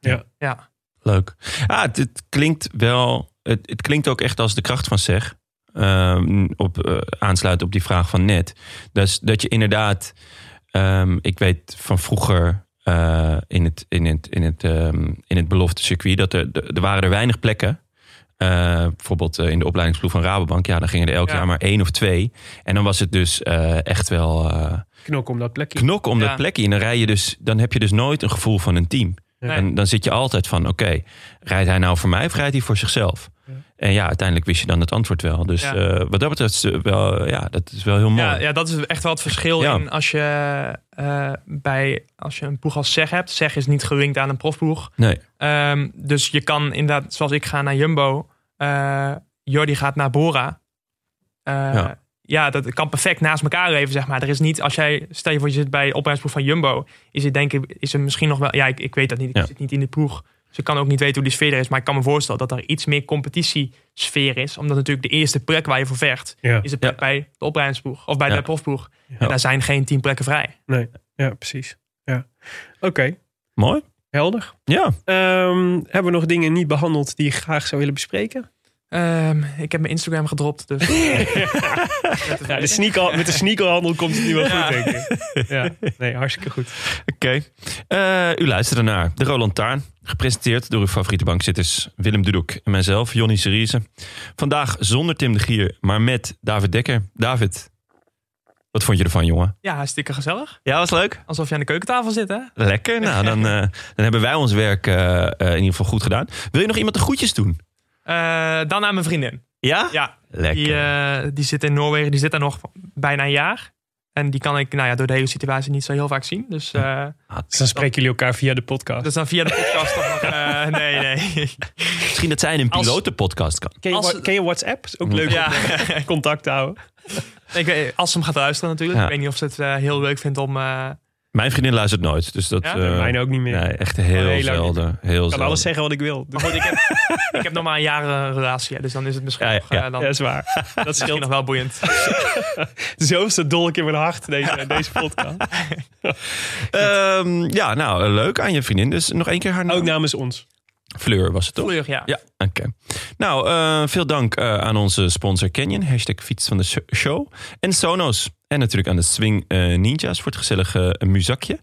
A: leuk. Ah, het, het klinkt wel, het, het klinkt ook echt als de kracht van zeg. Ehm, op, eh, aansluit op die vraag van net. Dus dat je inderdaad, ehm, ik weet van vroeger eh, in, het, in, het, in, het, ehm, in het belofte circuit, dat er, er er waren er weinig plekken. Eh, bijvoorbeeld eh, in de opleidingsploeg van Rabobank, ja, dan gingen er elk
C: Ja.
A: jaar maar één of twee. En dan was het dus eh, echt wel eh,
B: Knok om dat plekje.
A: knok om dat
C: Ja.
A: plekje. En dan, rij je dus, dan heb je dus nooit een gevoel van een team.
B: Ja.
A: En dan zit je altijd van, oké, rijdt hij nou voor mij of rijdt hij voor zichzelf? En ja, uiteindelijk wist je dan het antwoord wel. Dus
C: Ja.
A: eh, wat dat betreft, is het wel, ja, dat is wel heel mooi.
C: Ja, ja, dat is echt wel het verschil
A: Ja.
C: in als je, eh, bij, als je een ploeg als SEG hebt. SEG is niet gelinkt aan een profploeg.
A: Nee.
C: Ehm, dus je kan inderdaad, zoals ik ga naar Jumbo, eh Jordi gaat naar Bora. Eh,
A: Ja.
C: ja. dat kan perfect naast elkaar leven, zeg maar. Er is niet, als jij, stel je voor je zit bij de opleidingsploeg van Jumbo, is het denk ik, is er misschien nog wel, ja, ik, ik weet dat niet, ik
A: Ja.
C: zit niet in de ploeg. Ze kan ook niet weten hoe die sfeer er is, maar ik kan me voorstellen dat er iets meer competitiesfeer is, omdat natuurlijk de eerste plek waar je voor vecht,
B: Ja.
C: is de plek
A: Ja.
C: bij de opleidingsploeg of bij
A: Ja.
C: de profploeg.
B: Ja.
C: En daar zijn geen tien plekken vrij.
B: Ja, precies. Ja. Oké,
A: Mooi.
B: helder.
A: Ja.
B: Ehm, hebben we nog dingen niet behandeld die je graag zou willen bespreken?
C: Eh, Ehm, ik heb mijn Instagram gedropt. Dus.
B: Ja, de sneaker, met de sneakerhandel komt het nu wel goed, denk ik. Ja, nee, hartstikke goed.
A: Oké. Eh, u luisterde naar De Roland Taarn. Gepresenteerd door uw favoriete bankzitters Willem Dudok en mijzelf, Jonny Seriese. Vandaag zonder Tim de Gier, maar met David Dekker. David, wat vond je ervan, jongen?
C: Ja, hartstikke gezellig.
A: Ja, was leuk.
C: Alsof je aan de keukentafel zit, hè?
A: Lekker. Nou, dan, eh, dan hebben wij ons werk eh, eh, in ieder geval goed gedaan. Wil je nog iemand de groetjes doen?
C: Eh, dan aan mijn vriendin.
A: Ja?
C: Ja,
A: Lekker.
C: die, eh, die zit in Noorwegen. Die zit daar nog bijna een jaar. En die kan ik nou ja, door de hele situatie niet zo heel vaak zien. Dus, eh,
B: Dus dan spreken jullie elkaar via de podcast.
C: dus dan via de podcast toch nog... eh, nee, nee.
A: Misschien dat zij in een
B: Als-
A: pilotenpodcast kan.
B: Ken je,
C: Als-
B: wa- ken je WhatsApp? Is ook leuk
C: Ja.
B: om contact te houden.
C: Ik weet, als ze hem gaat luisteren natuurlijk.
A: Ja.
C: Ik weet niet of ze het eh, heel leuk vindt om... eh,
A: Mijn vriendin luistert nooit, dus dat...
C: Ja?
A: eh,
B: Mijn ook niet meer.
A: Nee, echt heel
B: Nee, lang niet.
A: zelden. Heel
B: Ik kan alles zeggen wat ik wil.
C: maar
B: Dus-
C: goed, Oh, ik heb, ik heb nog maar een jaar een relatie. hè, Dus dan is het misschien
A: Ja, ja,
C: nog, eh,
A: ja.
C: dan,
B: Ja, is waar. Dat
C: misschien
B: scheelt
C: nog wel boeiend.
B: zo'n dolk in mijn hart, deze, deze podcast.
A: Ehm, ja, nou, eh, leuk aan je vriendin. Dus nog één keer haar naam.
B: Ook nou. namens ons.
A: Fleur was het toch?
C: Kleur, ja.
A: Ja, oké. Nou, eh, veel dank eh, aan onze sponsor Canyon. Hashtag fiets van de sh- show. En Sonos. En natuurlijk aan de Swing eh, Ninjas voor het gezellige eh, muzakje.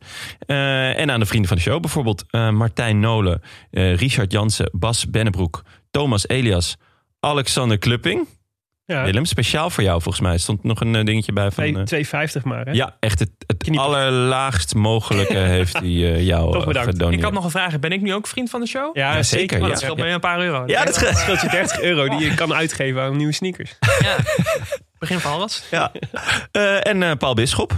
A: Eh, en aan de vrienden van de show. Bijvoorbeeld eh, Martijn Nolen, eh, Richard Jansen, Bas Bennebroek, Thomas Elias, Alexander Klupping.
B: Ja.
A: Willem, speciaal voor jou volgens mij. Stond nog een eh, dingetje bij van...
B: Twee-
A: eh,
B: 2,50 maar. Hè?
A: ja, echt het, het
B: Kniepert.
A: allerlaagst mogelijke heeft hij eh, jou
B: Toch
A: eh,
B: bedankt.
A: gedoneerd.
C: Ik had nog een vraag. Ben ik nu ook vriend van de show?
B: Ja,
A: Ja, zeker,
B: zeker.
C: Oh,
B: Maar
C: dat
A: ja.
C: scheelt me een paar euro.
A: Ja, dat
B: Dat scheelt je 30 euro die je kan uitgeven aan nieuwe sneakers.
C: Begin van alles.
A: Ja. Eh, en eh, Paul Bisschop.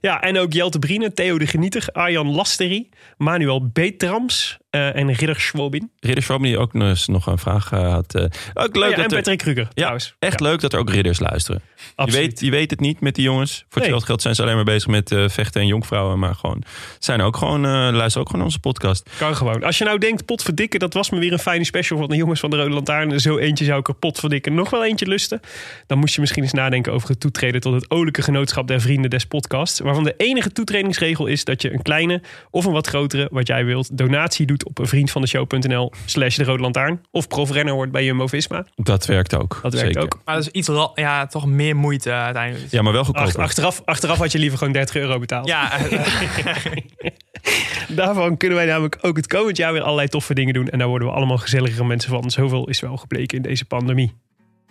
B: Ja, en ook Jelte Brine, Theo de Genieter, Arjan Lasterie, Manuel Betrams eh, en Ridder Schwobin.
A: Ridders Schwab die ook nog eens nog een vraag eh, had. eh. ook leuk
B: Oh ja, en
A: dat er,
B: Patrick Kruger trouwens.
A: echt leuk dat er ook ridders luisteren. Je
B: Absoluut.
A: weet, je weet het niet met die jongens. Voor
B: Nee.
A: hetzelfde geld zijn ze alleen maar bezig met eh, vechten en jonkvrouwen. Maar gewoon, zijn ook gewoon, eh, luisteren ook gewoon onze podcast.
B: Kan gewoon. Als je nou denkt, potverdikken, dat was me weer een fijne special van de jongens van de Rode Lantaarn. Zo eentje zou ik er potverdikken nog wel eentje lusten. Dan moest je misschien eens nadenken over het toetreden tot het olijke genootschap der vrienden des podcasts. Waarvan de enige toetredingsregel is dat je een kleine of een wat grotere, wat jij wilt, donatie doet op vriendvandeshow.nl slash de Rode Lantaarn. Of profrenner wordt bij Jumbo-Visma.
A: Dat werkt ook.
B: Dat werkt
A: zeker.
B: ook.
C: Maar dat is iets, ra- ja, toch meer moeite eh, uiteindelijk.
A: Ja, maar wel
B: Ach-
A: goedkoper.
B: achteraf, achteraf had je liever gewoon 30 euro betaald.
C: Ja, eh,
B: Daarvan kunnen wij namelijk ook het komend jaar weer allerlei toffe dingen doen. En daar worden we allemaal gezelligere mensen van. Zoveel is wel gebleken in deze pandemie.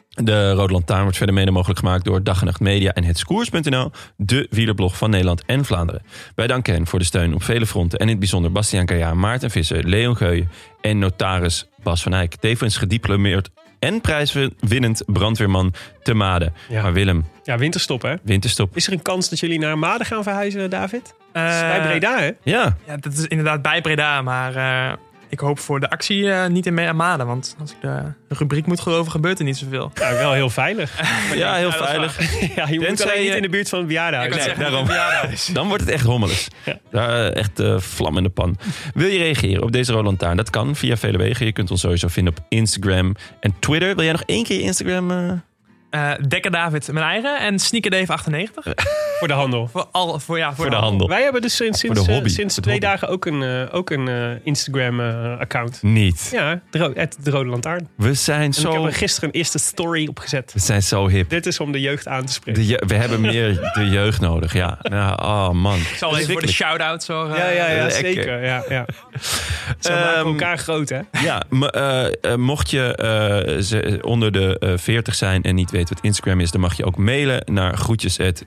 A: De Rode Lantaarn wordt verder mede mogelijk gemaakt door Dag en Nacht Media en Hetskoers.nl, de wielerblog van Nederland en Vlaanderen. Wij danken hen voor de steun op vele fronten en in het bijzonder Bastiaan Kajaan, Maarten Visser, Leon Geuyen en notaris Bas van Eyck. Tevens gediplomeerd en prijswinnend brandweerman te Made.
B: Ja.
A: Maar Willem,
B: Ja, winterstop hè?
A: winterstop.
B: Is er een kans dat jullie naar Maden gaan verhuizen, David? Dat is
C: eh,
B: Dus bij Breda, hè?
A: Ja,
C: Ja, dat is inderdaad bij Breda. Maar eh, ik hoop voor de actie eh, niet in Me- Maden. Want als ik de rubriek moet geloven, gebeurt er niet zoveel.
B: Nou, wel heel veilig.
A: ja heel
C: dat is
A: veilig.
B: ja, je moet
A: Tenzij
B: alleen
A: je-
B: niet in de buurt van het
C: Ik
B: bejaardenhuis.
C: kan
A: Nee,
C: zeggen,
A: daarom.
C: ja, dat is-
A: Dan wordt het echt rommelig.
B: Ja.
A: Daar, eh, echt eh, vlam in de pan. Wil je reageren op deze Roland Taarn? Dat kan via vele wegen. Je kunt ons sowieso vinden op Instagram en Twitter. Wil jij nog één keer je Instagram... eh,
C: Eh, Dekker David, mijn eigen. En Sneaker Dave 98.
B: Voor de handel.
C: Voor, al, voor, ja, voor,
A: voor de handel.
B: Wij hebben dus sinds,
A: Voor de
B: sinds, eh,
A: hobby.
B: sinds
A: Het
B: twee
A: hobby.
B: dagen ook een, eh, ook een Instagram-account.
A: Niet.
B: ja, de, ro- het de Rode Lantaarn. En
A: We zijn
B: Ik heb
A: zo,
B: er gisteren een eerste story opgezet.
A: we zijn zo hip.
B: Dit is om de jeugd aan te spreken.
A: De je- we hebben meer de jeugd nodig, ja. Nou, oh man.
C: Ik zal even voor de shout-out zorgen.
B: Ja, ja, ja,
A: Lekker.
B: zeker. Ja, ja. Ze maken
A: Ehm,
B: elkaar groot, hè?
A: Ja, m- eh, eh, mocht je eh, ze- onder de eh, 40 zijn en niet weten wat Instagram is... dan mag je ook mailen naar groetjes at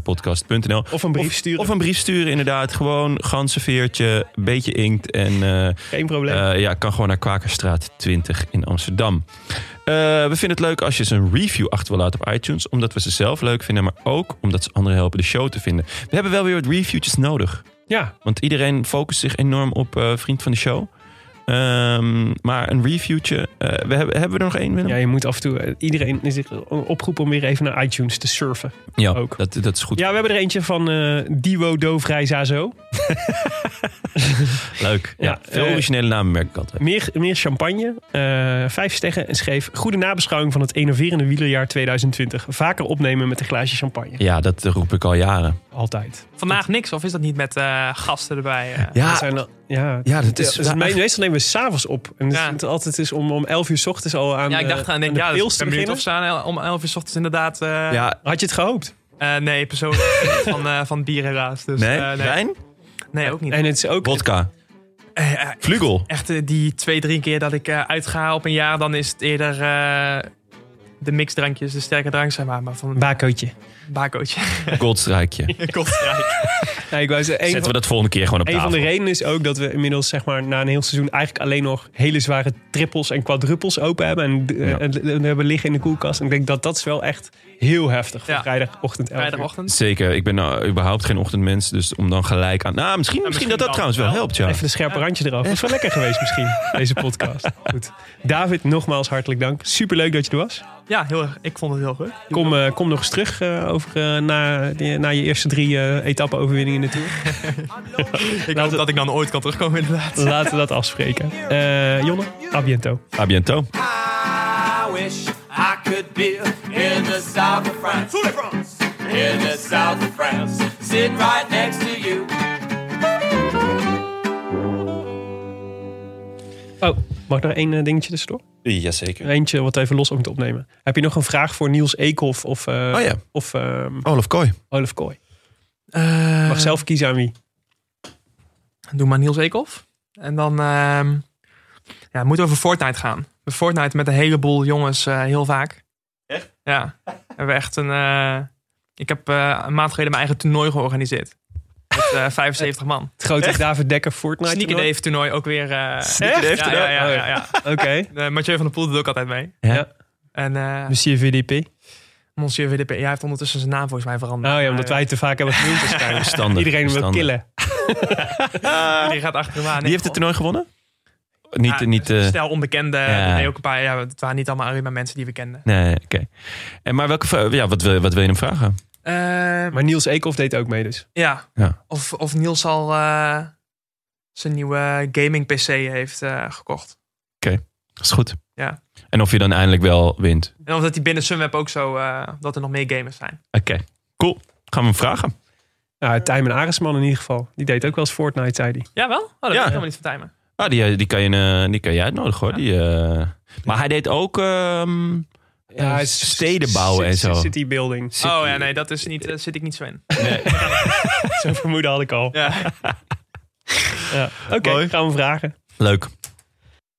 A: deroodlantaarnpodcast.nl.
B: Of een brief sturen.
A: Of een brief sturen, inderdaad. Gewoon ganzenveertje, beetje inkt en... eh,
B: Geen probleem.
A: Eh, ja, kan gewoon naar Kwakerstraat 20 in Amsterdam. Eh, we vinden het leuk als je eens een review achter wil laten op iTunes. Omdat we ze zelf leuk vinden, maar ook omdat ze anderen helpen de show te vinden. We hebben wel weer wat reviewtjes nodig.
B: ja,
A: Want iedereen focust zich enorm op eh, vriend van de show. Ehm, maar een reviewtje. eh, we hebben, hebben we er nog één, Willem?
B: ja, je moet af en toe... eh, Iedereen is een oproep om weer even naar iTunes te surfen.
A: Ja,
B: ook.
A: Dat, dat is goed.
B: Ja, we hebben er eentje van eh Diwo Dovrij Zazo.
A: Leuk. Ja,
B: Ja,
A: veel
B: eh,
A: originele namen merk ik altijd.
B: Meer, meer champagne, eh, vijf sterren en schreef... Goede nabeschouwing van het enerverende wielerjaar 2020. Vaker opnemen met een glaasje champagne.
A: Ja, dat roep ik al jaren.
B: Altijd.
C: Vandaag niks, of is dat niet met eh, gasten erbij? eh?
B: Dat zijn, al- Ja,
A: Ja, dat is-
B: dus me- meestal nemen we s'avonds op. En
C: Ja.
B: het, altijd is om, om 11 uur s ochtends al aan,
C: Ja, ik dacht
B: eh,
C: aan, denk,
B: de
C: ja,
B: pils
C: dus ik
B: te
C: ben benieuwd
B: beginnen.
C: of ze aan el- om 11 uur s ochtends inderdaad... eh,
A: Ja,
B: Had je het gehoopt?
C: eh, nee, persoonlijk van, eh, van bier helaas. Dus,
A: nee,
C: eh, nee,
A: wijn,
C: Nee, ook niet.
B: En het is ook...
A: vodka,
C: Eh, eh,
A: vlugel.
C: echt eh, die twee, drie keer dat ik eh, uitga op een jaar, dan is het eerder eh, de mixdrankjes, de sterke drank, zeg maar. Maar van een
B: Bakootje.
C: bakootje.
A: Goldstruikje.
B: Nee, ik wou zeggen, een,
A: Zetten we
B: van,
A: dat volgende keer gewoon op
B: een
A: tafel.
B: van de redenen is ook dat we inmiddels zeg maar, na een heel seizoen... eigenlijk alleen nog hele zware trippels en quadrupels open hebben. En, eh,
A: Ja.
B: en, en hebben liggen in de koelkast. En ik denk dat dat is wel echt heel heftig voor
C: Ja.
B: vrijdagochtend 11 uur.
C: Vrijdagochtend.
A: Zeker, ik ben nou überhaupt geen ochtendmens, dus om dan gelijk aan... Nou, misschien, misschien,
C: misschien
A: dat dat
C: wel.
A: trouwens wel
C: Wel.
A: helpt, ja.
B: Even de scherpe randje eraf. Dat is wel lekker geweest misschien, deze podcast. Goed. David, nogmaals hartelijk dank. Superleuk dat je er was.
C: Ja, heel erg. Ik vond het heel goed.
B: Kom, eh, kom nog eens terug eh, over, eh, na, die- na je eerste drie eh etappe-overwinningen in de Tour.
C: Ik hoop Nou, dat ik dan ooit kan terugkomen, inderdaad.
B: Laten we dat afspreken. Eh, Jonne, a biento.
A: A bientôt.
E: I wish I could be in the south of France. In the south of France. Sitting right next to you.
B: Oh, mag ik nog één eh, dingetje tussendoor?
A: Jazeker.
B: Eentje wat we even los moeten opnemen. Heb je nog een vraag voor Niels Eekhoff of, eh,
A: Oh ja,
B: of ehm,
A: Olaf Kooi.
B: Olaf Kooi?
A: Eh,
B: Mag zelf kiezen aan wie.
C: Doe maar Niels Eekhoff. En dan ehm ja, het moet over Fortnite gaan. We Fortnite met een heleboel jongens eh, heel vaak. Echt? Ja. We hebben echt een... eh, ik heb eh, een maand geleden mijn eigen toernooi georganiseerd. Met eh, 75 man.
B: Het grote David Dekker Fortnite.
C: Sneaker Dave toernooi ook weer. eh,
B: Sneaker
C: echt?
B: Dave
C: ja, ja, ja,
B: toernooi?
C: ja, ja.
B: Oké.
C: Eh, Mathieu van der Poel doet ook altijd mee.
A: Ja.
C: En eh,
A: Dus-
B: Monsieur VDP.
C: Monsieur WDP, jij heeft ondertussen zijn naam volgens mij veranderd.
B: Nou
A: Oh
B: ja, omdat
C: Eh,
B: wij het te vaak hebben genoemd waarschijnlijk.
A: Verstandig,
B: Iedereen wil
A: verstandig.
B: killen.
C: eh, die gaat achter hem aan.
A: Die heeft het toernooi gewonnen? Niet,
C: Ja,
A: niet... eh,
C: Stel onbekende.
A: Ja.
C: Nee, ook een paar. Ja, het waren niet allemaal alleen maar mensen die we kenden.
A: Nee, oké. En maar welke, vra- ja, wat, wil, wat wil je hem vragen?
C: Eh,
B: Maar Niels Eekhoff deed ook mee dus.
C: ja.
A: Ja.
C: Of, of Niels al eh, zijn nieuwe gaming PC heeft eh, gekocht.
A: Dat is goed.
C: Ja.
A: En of je dan eindelijk wel wint.
C: En omdat die binnen Sunweb ook zo eh, dat er nog meer gamers zijn.
A: Oké, cool. Gaan we hem vragen?
B: Nou, Tijmen Aresman in ieder geval. Die deed ook wel eens Fortnite, zei hij.
C: Ja, wel? Oh, dat
A: Ja.
C: ja. ik helemaal niet van timen.
A: Ah, die, eh, die, kan je, eh, die kan je uitnodigen hoor. Die, eh, maar hij deed ook ehm, Ja,
B: hij
A: s- steden bouwen en zo.
B: City building.
A: Zit-
C: oh ja, nee, dat is niet, daar zit ik niet zo in.
B: Zo'n vermoeden had ik al.
C: Ja.
B: Ja. Oké, gaan we vragen.
A: leuk.